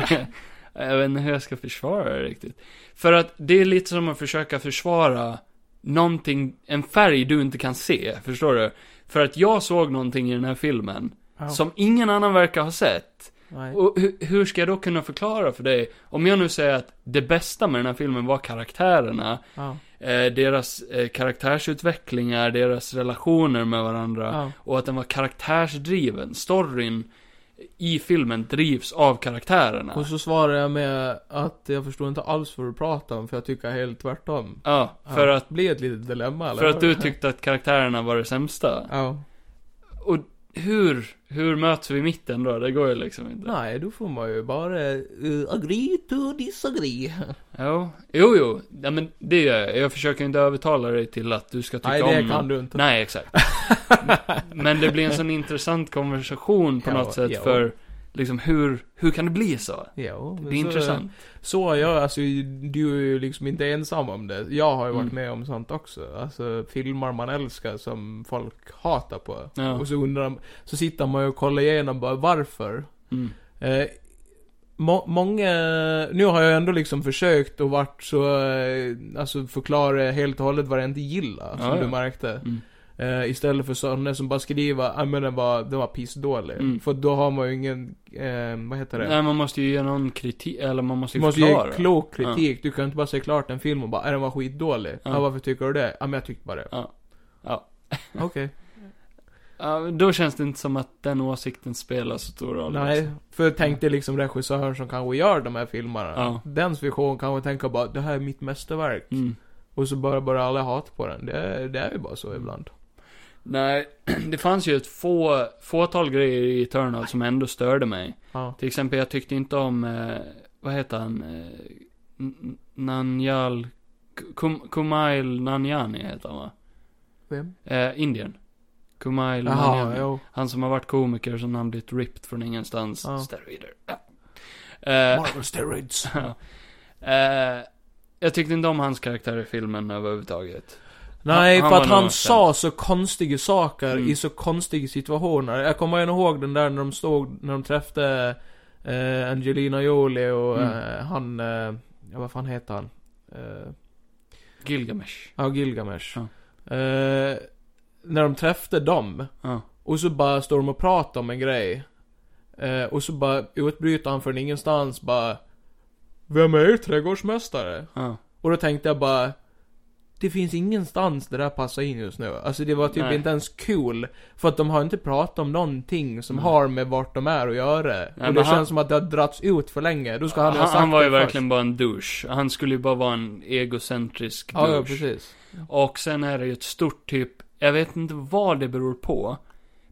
[SPEAKER 1] rätt!
[SPEAKER 2] jag vet inte hur jag ska försvara det riktigt. För att det är lite som att försöka försvara någonting, en färg du inte kan se, förstår du? För att jag såg någonting i den här filmen
[SPEAKER 1] Ja,
[SPEAKER 2] som ingen annan verkar ha sett.
[SPEAKER 1] nej.
[SPEAKER 2] Och hur, hur ska jag då kunna förklara för dig, om jag nu säger att det bästa med den här filmen var karaktärerna,
[SPEAKER 1] Ja,
[SPEAKER 2] eh, deras eh, karaktärsutvecklingar, deras relationer med varandra.
[SPEAKER 1] ja.
[SPEAKER 2] Och att den var karaktärsdriven. Storyn i filmen drivs av karaktärerna.
[SPEAKER 1] Och så svarar jag med att jag förstår inte alls vad du pratar om, för jag tycker helt tvärtom.
[SPEAKER 2] Ja, för
[SPEAKER 1] Ja.
[SPEAKER 2] att,
[SPEAKER 1] Det blir ett litet dilemma, eller
[SPEAKER 2] för att
[SPEAKER 1] hur?
[SPEAKER 2] du tyckte att karaktärerna var det sämsta.
[SPEAKER 1] Ja.
[SPEAKER 2] Och hur, hur möts vi i mitten då? Det går ju liksom inte.
[SPEAKER 1] Nej, då får man ju bara uh, agree to disagree.
[SPEAKER 2] Jo, jo, jo. Ja, men det gör jag. Jag försöker inte övertala dig till att du ska tycka
[SPEAKER 1] Nej,
[SPEAKER 2] om...
[SPEAKER 1] det kan du inte.
[SPEAKER 2] Nej, exakt. men det blir en sån intressant konversation på
[SPEAKER 1] Ja,
[SPEAKER 2] något sätt
[SPEAKER 1] ja.
[SPEAKER 2] för, liksom hur, hur kan det bli så?
[SPEAKER 1] Jo,
[SPEAKER 2] Det
[SPEAKER 1] men
[SPEAKER 2] är intressant.
[SPEAKER 1] Så jag, alltså du är ju liksom inte ensam om det. Jag har ju varit
[SPEAKER 2] Mm.
[SPEAKER 1] med om sånt också. Alltså filmer man älskar som folk hatar på.
[SPEAKER 2] Ja.
[SPEAKER 1] Och så undrar så sitter man ju och kollar igenom bara varför.
[SPEAKER 2] Mm.
[SPEAKER 1] Eh, må, många, nu har jag ändå liksom försökt och varit så, eh, alltså förklara helt och hållet vad jag inte gillar.
[SPEAKER 2] Ja,
[SPEAKER 1] som
[SPEAKER 2] ja.
[SPEAKER 1] du märkte.
[SPEAKER 2] Mm.
[SPEAKER 1] Eh, istället för sådana som bara skriver, ja men den var, den var pissdålig.
[SPEAKER 2] Mm.
[SPEAKER 1] För då har man ju ingen, eh, vad heter det?
[SPEAKER 2] Nej, man måste ju ge någon kritik, eller man måste
[SPEAKER 1] Du
[SPEAKER 2] ju
[SPEAKER 1] måste
[SPEAKER 2] förklara.
[SPEAKER 1] ge klok kritik. Du kan inte bara säga klart en film och bara, är den var skitdålig.
[SPEAKER 2] Ja.
[SPEAKER 1] Ja. varför tycker du det? Ja, men jag tyckte bara det.
[SPEAKER 2] Ja. Ja.
[SPEAKER 1] Okej.
[SPEAKER 2] Ja, då känns det inte som att den åsikten spelar så stor roll.
[SPEAKER 1] Nej.
[SPEAKER 2] liksom.
[SPEAKER 1] För tänk dig liksom regissören som kanske gör de här filmerna.
[SPEAKER 2] Ja.
[SPEAKER 1] Dens vision kanske tänker bara, det här är mitt mästerverk.
[SPEAKER 2] Mm.
[SPEAKER 1] Och så börjar bara alla hata på den. Det, är- det är ju bara så ibland.
[SPEAKER 2] Nej, det fanns ju ett få, fåtal grejer i Eternal som ändå störde mig.
[SPEAKER 1] Ja.
[SPEAKER 2] Till exempel, jag tyckte inte om eh, vad heter han? Eh, N- N- Nanyal, Kum, Kumail Nanyani heter han va?
[SPEAKER 1] Vem?
[SPEAKER 2] Eh, Indien. Kumail
[SPEAKER 1] Jaha,
[SPEAKER 2] Nanyani.
[SPEAKER 1] jo.
[SPEAKER 2] Han som har varit komiker som han blivit ripped från ingenstans.
[SPEAKER 1] Ja.
[SPEAKER 2] Steroider. Ja. Eh,
[SPEAKER 1] Marvel steroids.
[SPEAKER 2] ja. eh, jag tyckte inte om hans karaktär i filmen överhuvudtaget.
[SPEAKER 1] Nej,
[SPEAKER 2] Han-
[SPEAKER 1] för
[SPEAKER 2] han
[SPEAKER 1] att
[SPEAKER 2] var
[SPEAKER 1] han
[SPEAKER 2] nog
[SPEAKER 1] sa så konstiga saker
[SPEAKER 2] Mm.
[SPEAKER 1] i så konstiga situationer. Jag kommer ändå ihåg den där när de stod, när de träffade eh, Angelina Jolie och eh, han, eh, ja vad fan heter han? Eh,
[SPEAKER 2] Gilgamesh.
[SPEAKER 1] ja, Gilgamesh.
[SPEAKER 2] Ja.
[SPEAKER 1] Eh, när de träffade dem,
[SPEAKER 2] Ja.
[SPEAKER 1] och så bara står de och pratar om en grej. Eh, och så bara utbryter han från ingenstans bara Vem är er trädgårdsmästare?
[SPEAKER 2] Ja.
[SPEAKER 1] Och då tänkte jag bara Det finns ingenstans det där passar in just nu. Alltså det var typ
[SPEAKER 2] Nej.
[SPEAKER 1] inte ens kul. För att de har inte pratat om någonting som
[SPEAKER 2] Nej.
[SPEAKER 1] har med vart de är att göra. och
[SPEAKER 2] Mm. men
[SPEAKER 1] det
[SPEAKER 2] han-
[SPEAKER 1] känns som att det har dragits ut för länge. Då ska han,
[SPEAKER 2] Han,
[SPEAKER 1] ha
[SPEAKER 2] han,
[SPEAKER 1] sagt
[SPEAKER 2] var ju
[SPEAKER 1] det först.
[SPEAKER 2] verkligen bara en douche. Han skulle ju bara vara en egocentrisk
[SPEAKER 1] Ja, ja,
[SPEAKER 2] douche.
[SPEAKER 1] precis.
[SPEAKER 2] Och sen är det ju ett stort typ, jag vet inte vad det beror på,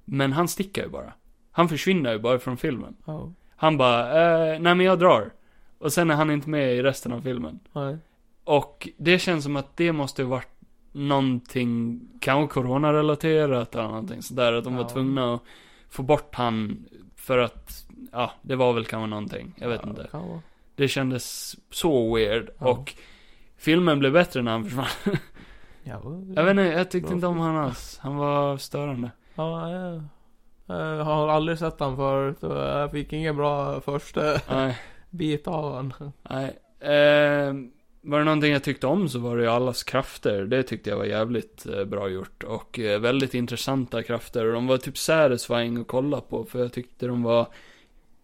[SPEAKER 2] men han sticker ju bara. Han försvinner ju bara från filmen.
[SPEAKER 1] Ja,
[SPEAKER 2] Han bara, eh, nej men jag drar. Och sen är han inte med i resten av filmen.
[SPEAKER 1] nej.
[SPEAKER 2] Och det känns som att det måste ha varit någonting, kanske coronarelaterat eller någonting sådär, att de var
[SPEAKER 1] Ja.
[SPEAKER 2] tvungna att få bort han för att, ja, det var väl kanske någonting, jag vet
[SPEAKER 1] Ja,
[SPEAKER 2] inte.
[SPEAKER 1] kan vara.
[SPEAKER 2] Det kändes så weird
[SPEAKER 1] Ja.
[SPEAKER 2] och filmen blev bättre när han försvann.
[SPEAKER 1] Ja,
[SPEAKER 2] Jag vet inte, jag tyckte
[SPEAKER 1] Bra
[SPEAKER 2] inte om han alls. Han var störande.
[SPEAKER 1] Ja, ja. Jag har aldrig sett han förut och jag fick ingen bra första
[SPEAKER 2] Nej,
[SPEAKER 1] bit av han.
[SPEAKER 2] nej. Eh, var det någonting jag tyckte om så var det ju allas krafter. Det tyckte jag var jävligt eh, bra gjort. Och eh, väldigt intressanta krafter. Och de var typ satisfying att kolla på. För jag tyckte de var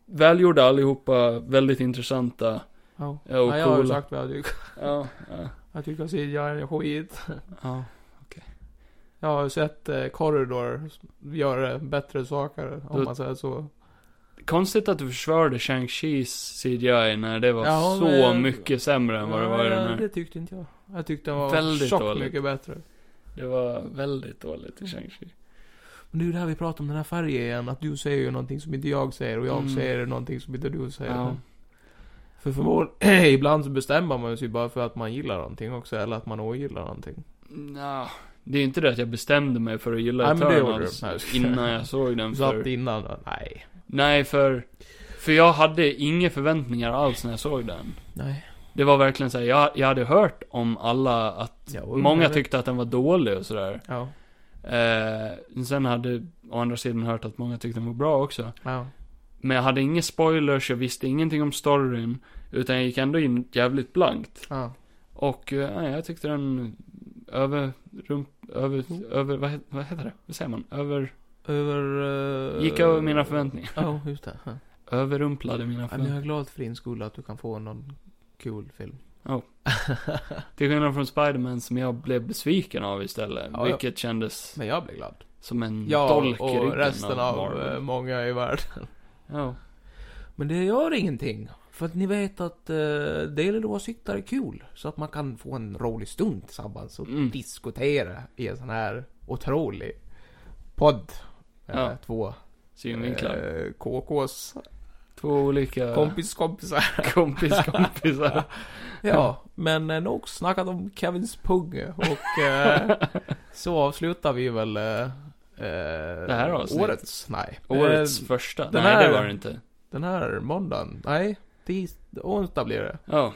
[SPEAKER 2] välgjorda allihopa. Väldigt intressanta.
[SPEAKER 1] Ja.
[SPEAKER 2] Ja, och
[SPEAKER 1] Nej, jag har ju
[SPEAKER 2] coola.
[SPEAKER 1] sagt vad jag tycker.
[SPEAKER 2] Ja, ja.
[SPEAKER 1] Jag tycker CGI är skit.
[SPEAKER 2] ja.
[SPEAKER 1] Jag har ju sett eh, Corridor göra bättre saker, om
[SPEAKER 2] Då-
[SPEAKER 1] man säger så.
[SPEAKER 2] Konstigt att du försvarade Shang-Chis CGI när det var
[SPEAKER 1] Ja,
[SPEAKER 2] så
[SPEAKER 1] men-
[SPEAKER 2] mycket sämre än vad det var i
[SPEAKER 1] Ja,
[SPEAKER 2] den här.
[SPEAKER 1] det tyckte inte jag. Jag tyckte den var
[SPEAKER 2] Väldigt
[SPEAKER 1] tjockt
[SPEAKER 2] dåligt.
[SPEAKER 1] mycket bättre.
[SPEAKER 2] Det var väldigt dåligt i Shang-Chi.
[SPEAKER 1] Men det är ju det här vi pratar om, den här färgen igen. Att du säger ju någonting som inte jag säger och jag
[SPEAKER 2] Mm.
[SPEAKER 1] säger någonting som inte du säger.
[SPEAKER 2] Ja.
[SPEAKER 1] För förmodligen, ibland så bestämmer man sig bara för att man gillar någonting också, eller att man ogillar någonting.
[SPEAKER 2] Nja, det är inte det att jag bestämde mig för att gilla
[SPEAKER 1] Nej, men det gjorde
[SPEAKER 2] Eternals
[SPEAKER 1] du. Nej, jag skojar.
[SPEAKER 2] innan jag såg den.
[SPEAKER 1] Så att
[SPEAKER 2] För,
[SPEAKER 1] innan, då, nej.
[SPEAKER 2] nej, för, för jag hade inga förväntningar alls när jag såg den.
[SPEAKER 1] Nej.
[SPEAKER 2] Det var verkligen såhär, jag, jag hade hört om alla att
[SPEAKER 1] Ja, och-
[SPEAKER 2] Många tyckte att den var dålig och sådär.
[SPEAKER 1] Ja.
[SPEAKER 2] Eh, sen hade å andra sidan hört att många tyckte den var bra också.
[SPEAKER 1] ja.
[SPEAKER 2] Men jag hade inga spoilers, jag visste ingenting om storyn. Utan jag gick ändå in jävligt blankt.
[SPEAKER 1] ja.
[SPEAKER 2] Och eh, nej, jag tyckte den över, rump, över,
[SPEAKER 1] Mm.
[SPEAKER 2] över, vad, he- vad heter det? Vad säger man? Över...
[SPEAKER 1] Över... eh,
[SPEAKER 2] Gick över mina förväntningar.
[SPEAKER 1] Ja, just det. Ja.
[SPEAKER 2] Överrumplade mina
[SPEAKER 1] Ja, men jag
[SPEAKER 2] förväntningar.
[SPEAKER 1] är glad för din skull att du kan få någon kul film.
[SPEAKER 2] Till skillnad från Spider-Man som jag blev besviken av istället.
[SPEAKER 1] Ja, ja.
[SPEAKER 2] vilket kändes
[SPEAKER 1] Men jag blir glad.
[SPEAKER 2] som en
[SPEAKER 1] Jag
[SPEAKER 2] Mm, dolk i
[SPEAKER 1] och
[SPEAKER 2] ryggen
[SPEAKER 1] resten
[SPEAKER 2] av
[SPEAKER 1] av
[SPEAKER 2] Marvel.
[SPEAKER 1] eh, många i världen.
[SPEAKER 2] Ja.
[SPEAKER 1] Men det gör ingenting. För att ni vet att uh, delade åsikter är kul. Så att man kan få en rolig stund tillsammans och
[SPEAKER 2] Mm.
[SPEAKER 1] diskutera i en sån här otrolig podd. Med
[SPEAKER 2] Ja.
[SPEAKER 1] två
[SPEAKER 2] Synvinklar.
[SPEAKER 1] eh, KKs
[SPEAKER 2] Två olika
[SPEAKER 1] kompis-kompisar.
[SPEAKER 2] kompis
[SPEAKER 1] Eh,
[SPEAKER 2] kompisar.
[SPEAKER 1] Ja, men eh, nog snackat om Kevins pung och eh, så avslutar vi väl eh, eh, det
[SPEAKER 2] här avsnittet.
[SPEAKER 1] årets, nej.
[SPEAKER 2] Årets
[SPEAKER 1] Eh,
[SPEAKER 2] första.
[SPEAKER 1] den
[SPEAKER 2] Nej,
[SPEAKER 1] här-
[SPEAKER 2] det var det inte.
[SPEAKER 1] den här måndagen, nej, tis, onsdag blir det.
[SPEAKER 2] Ja.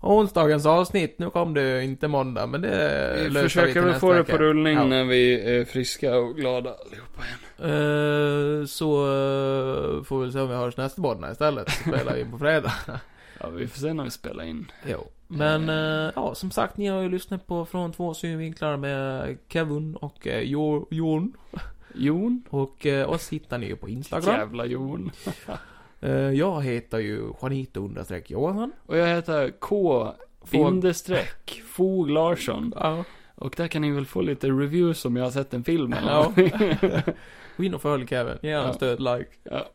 [SPEAKER 1] Onsdagens avsnitt, nu kom det ju inte måndag, men det
[SPEAKER 2] Vi
[SPEAKER 1] eh, löser
[SPEAKER 2] försöker
[SPEAKER 1] till
[SPEAKER 2] väl
[SPEAKER 1] nästa
[SPEAKER 2] få det
[SPEAKER 1] vecka.
[SPEAKER 2] på rullning
[SPEAKER 1] Ja.
[SPEAKER 2] när vi är friska och glada allihopa igen.
[SPEAKER 1] Eh, så eh, får vi väl se om vi hörs nästa måndag istället. Så Spelar vi in på fredag.
[SPEAKER 2] Ja, vi får se när vi spelar in.
[SPEAKER 1] Jo. Men eh, ja, som sagt, ni har ju lyssnat på Från två synvinklar med Kevin och eh, Jo- Jon.
[SPEAKER 2] Jon.
[SPEAKER 1] Och eh, oss hittar ni ju på Instagram.
[SPEAKER 2] Jävla Jon.
[SPEAKER 1] Eh, jag heter ju Juanito understreck Johansson.
[SPEAKER 2] Och jag heter K. Bindestreck. Fog Larsson.
[SPEAKER 1] Ja.
[SPEAKER 2] Och där kan ni väl få lite reviews om jag har sett en film eller
[SPEAKER 1] Ja.
[SPEAKER 2] någonting.
[SPEAKER 1] Gå in och följ Kevin. Ge honom
[SPEAKER 2] Ja.
[SPEAKER 1] stöd, like.
[SPEAKER 2] ja.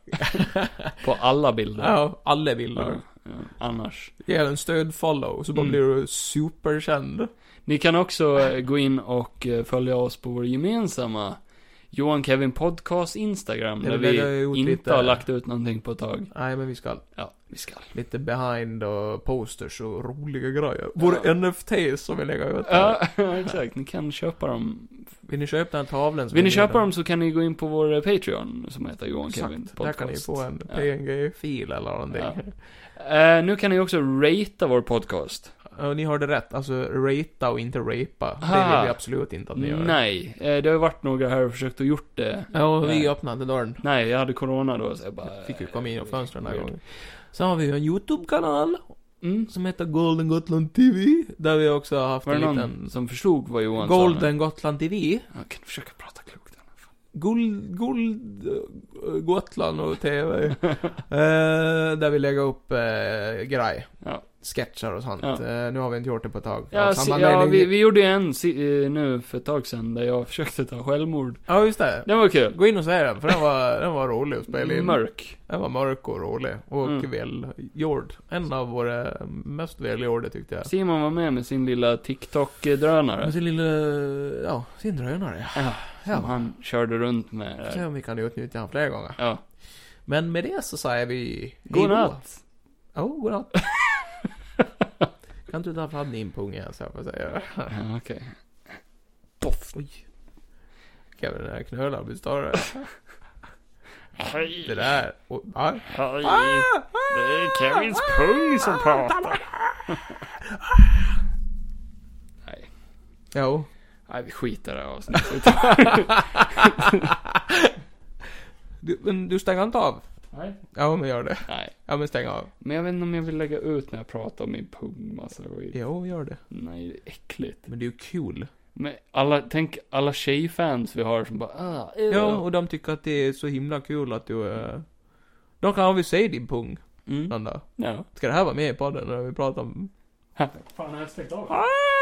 [SPEAKER 2] På alla bilder.
[SPEAKER 1] Ja, alla bilder.
[SPEAKER 2] Ja, Annars.
[SPEAKER 1] Ge honom stöd, follow. Så bara
[SPEAKER 2] Mm.
[SPEAKER 1] blir du superkänd.
[SPEAKER 2] Ni kan också eh, gå in och eh, följa oss på vår gemensamma Johan Kevin Podcast Instagram.
[SPEAKER 1] Det är
[SPEAKER 2] Där
[SPEAKER 1] väl det jag har
[SPEAKER 2] vi
[SPEAKER 1] gjort
[SPEAKER 2] inte
[SPEAKER 1] lite-
[SPEAKER 2] har lagt ut någonting på ett tag.
[SPEAKER 1] Nej, men vi ska.
[SPEAKER 2] Ja. Vi ska.
[SPEAKER 1] Lite behind och posters och roliga grejer. Våra
[SPEAKER 2] Ja.
[SPEAKER 1] NFT som vi lägger ut här.
[SPEAKER 2] Ja, exakt. Ni kan köpa dem.
[SPEAKER 1] Vill ni köpa den här tavlan som
[SPEAKER 2] Vill
[SPEAKER 1] vi
[SPEAKER 2] ni köpa
[SPEAKER 1] redan-
[SPEAKER 2] dem så kan ni gå in på vår Patreon som heter Johan
[SPEAKER 1] Exakt.
[SPEAKER 2] Kevin
[SPEAKER 1] Där kan ni
[SPEAKER 2] Podcast.
[SPEAKER 1] få en
[SPEAKER 2] Ja.
[SPEAKER 1] PNG-fil eller någonting.
[SPEAKER 2] Ja. Eh, nu kan ni också ratea vår podcast.
[SPEAKER 1] Ja, ni hörde rätt, alltså ratea och inte rapa. Det
[SPEAKER 2] Aha.
[SPEAKER 1] vill vi absolut inte att ni gör.
[SPEAKER 2] Nej, eh, det har ju varit några här och försökt att gjort det.
[SPEAKER 1] Ja, och vi öppnade inte dörren.
[SPEAKER 2] Nej, jag hade corona då så jag bara... eh,
[SPEAKER 1] Fick ju komma in genom fönstren den här
[SPEAKER 2] weird.
[SPEAKER 1] gången. Sen har vi ju en YouTube-kanal
[SPEAKER 2] Mm.
[SPEAKER 1] som heter Golden Gotland TV. Där vi också har haft
[SPEAKER 2] Var
[SPEAKER 1] en
[SPEAKER 2] det någon
[SPEAKER 1] liten...
[SPEAKER 2] som förstod vad Johan sa?
[SPEAKER 1] Golden Gotland TV.
[SPEAKER 2] Jag kan du försöka prata klokt. eller? Fan.
[SPEAKER 1] Gold, gold, eh, Gotland och TV. eh, där vi lägger upp eh, grej.
[SPEAKER 2] Ja,
[SPEAKER 1] Sketcher och sånt.
[SPEAKER 2] Ja.
[SPEAKER 1] Eh, nu har vi inte gjort det på ett tag. Av
[SPEAKER 2] ja, si,
[SPEAKER 1] samma
[SPEAKER 2] ja
[SPEAKER 1] anledning-
[SPEAKER 2] vi, vi gjorde ju en si, eh, nu för ett tag sedan där jag försökte ta självmord.
[SPEAKER 1] ja, just det.
[SPEAKER 2] Det var kul.
[SPEAKER 1] Gå in och se den, för den var, den var rolig att spela in.
[SPEAKER 2] Mörk.
[SPEAKER 1] Den var mörk och rolig. Och
[SPEAKER 2] Mm.
[SPEAKER 1] välgjord. En av våra mest välgjorda tyckte jag.
[SPEAKER 2] Simon var med med sin lilla TikTok-drönare.
[SPEAKER 1] Med sin lilla, ja, sin drönare.
[SPEAKER 2] Ja, som
[SPEAKER 4] Mm.
[SPEAKER 1] Ja.
[SPEAKER 2] han körde runt med
[SPEAKER 1] Får se
[SPEAKER 2] där.
[SPEAKER 1] om vi kan utnyttja den fler gånger.
[SPEAKER 2] Ja.
[SPEAKER 1] Men med det så säger vi... hej då.
[SPEAKER 2] Godnatt.
[SPEAKER 1] Ja, oh, godnatt. kan inte du ta fram din pung igen så jag får säga
[SPEAKER 2] Ja, okej.
[SPEAKER 1] Poff! Oj. Kevin, den här knölen blir större. Det
[SPEAKER 4] Hej,
[SPEAKER 1] där. Ah! Och, ja.
[SPEAKER 4] hej. Det är Kevins pung som
[SPEAKER 1] Ah!
[SPEAKER 4] pratar.
[SPEAKER 2] Nej.
[SPEAKER 1] Jo.
[SPEAKER 2] Nej, vi skiter i det här avsnittet.
[SPEAKER 1] Du, men du stänger inte av?
[SPEAKER 2] Nej.
[SPEAKER 1] Ja, men gör det.
[SPEAKER 2] Nej.
[SPEAKER 1] Ja, men stäng av.
[SPEAKER 2] Men jag vet inte om jag vill lägga ut när jag pratar om min pung alltså, massa skit.
[SPEAKER 1] Jo, gör det.
[SPEAKER 2] Nej, det är äckligt.
[SPEAKER 1] Men det är ju kul.
[SPEAKER 2] Men alla, tänk alla tjejfans vi har som bara ah, ew."
[SPEAKER 1] Ja, och de tycker att det är så himla kul att du är... De kan väl se din pung
[SPEAKER 2] Mm.
[SPEAKER 1] någon dag.
[SPEAKER 2] Ja.
[SPEAKER 1] Ska det här vara med i podden när vi pratar om...
[SPEAKER 2] Fan, har jag stängt av?
[SPEAKER 1] Ah!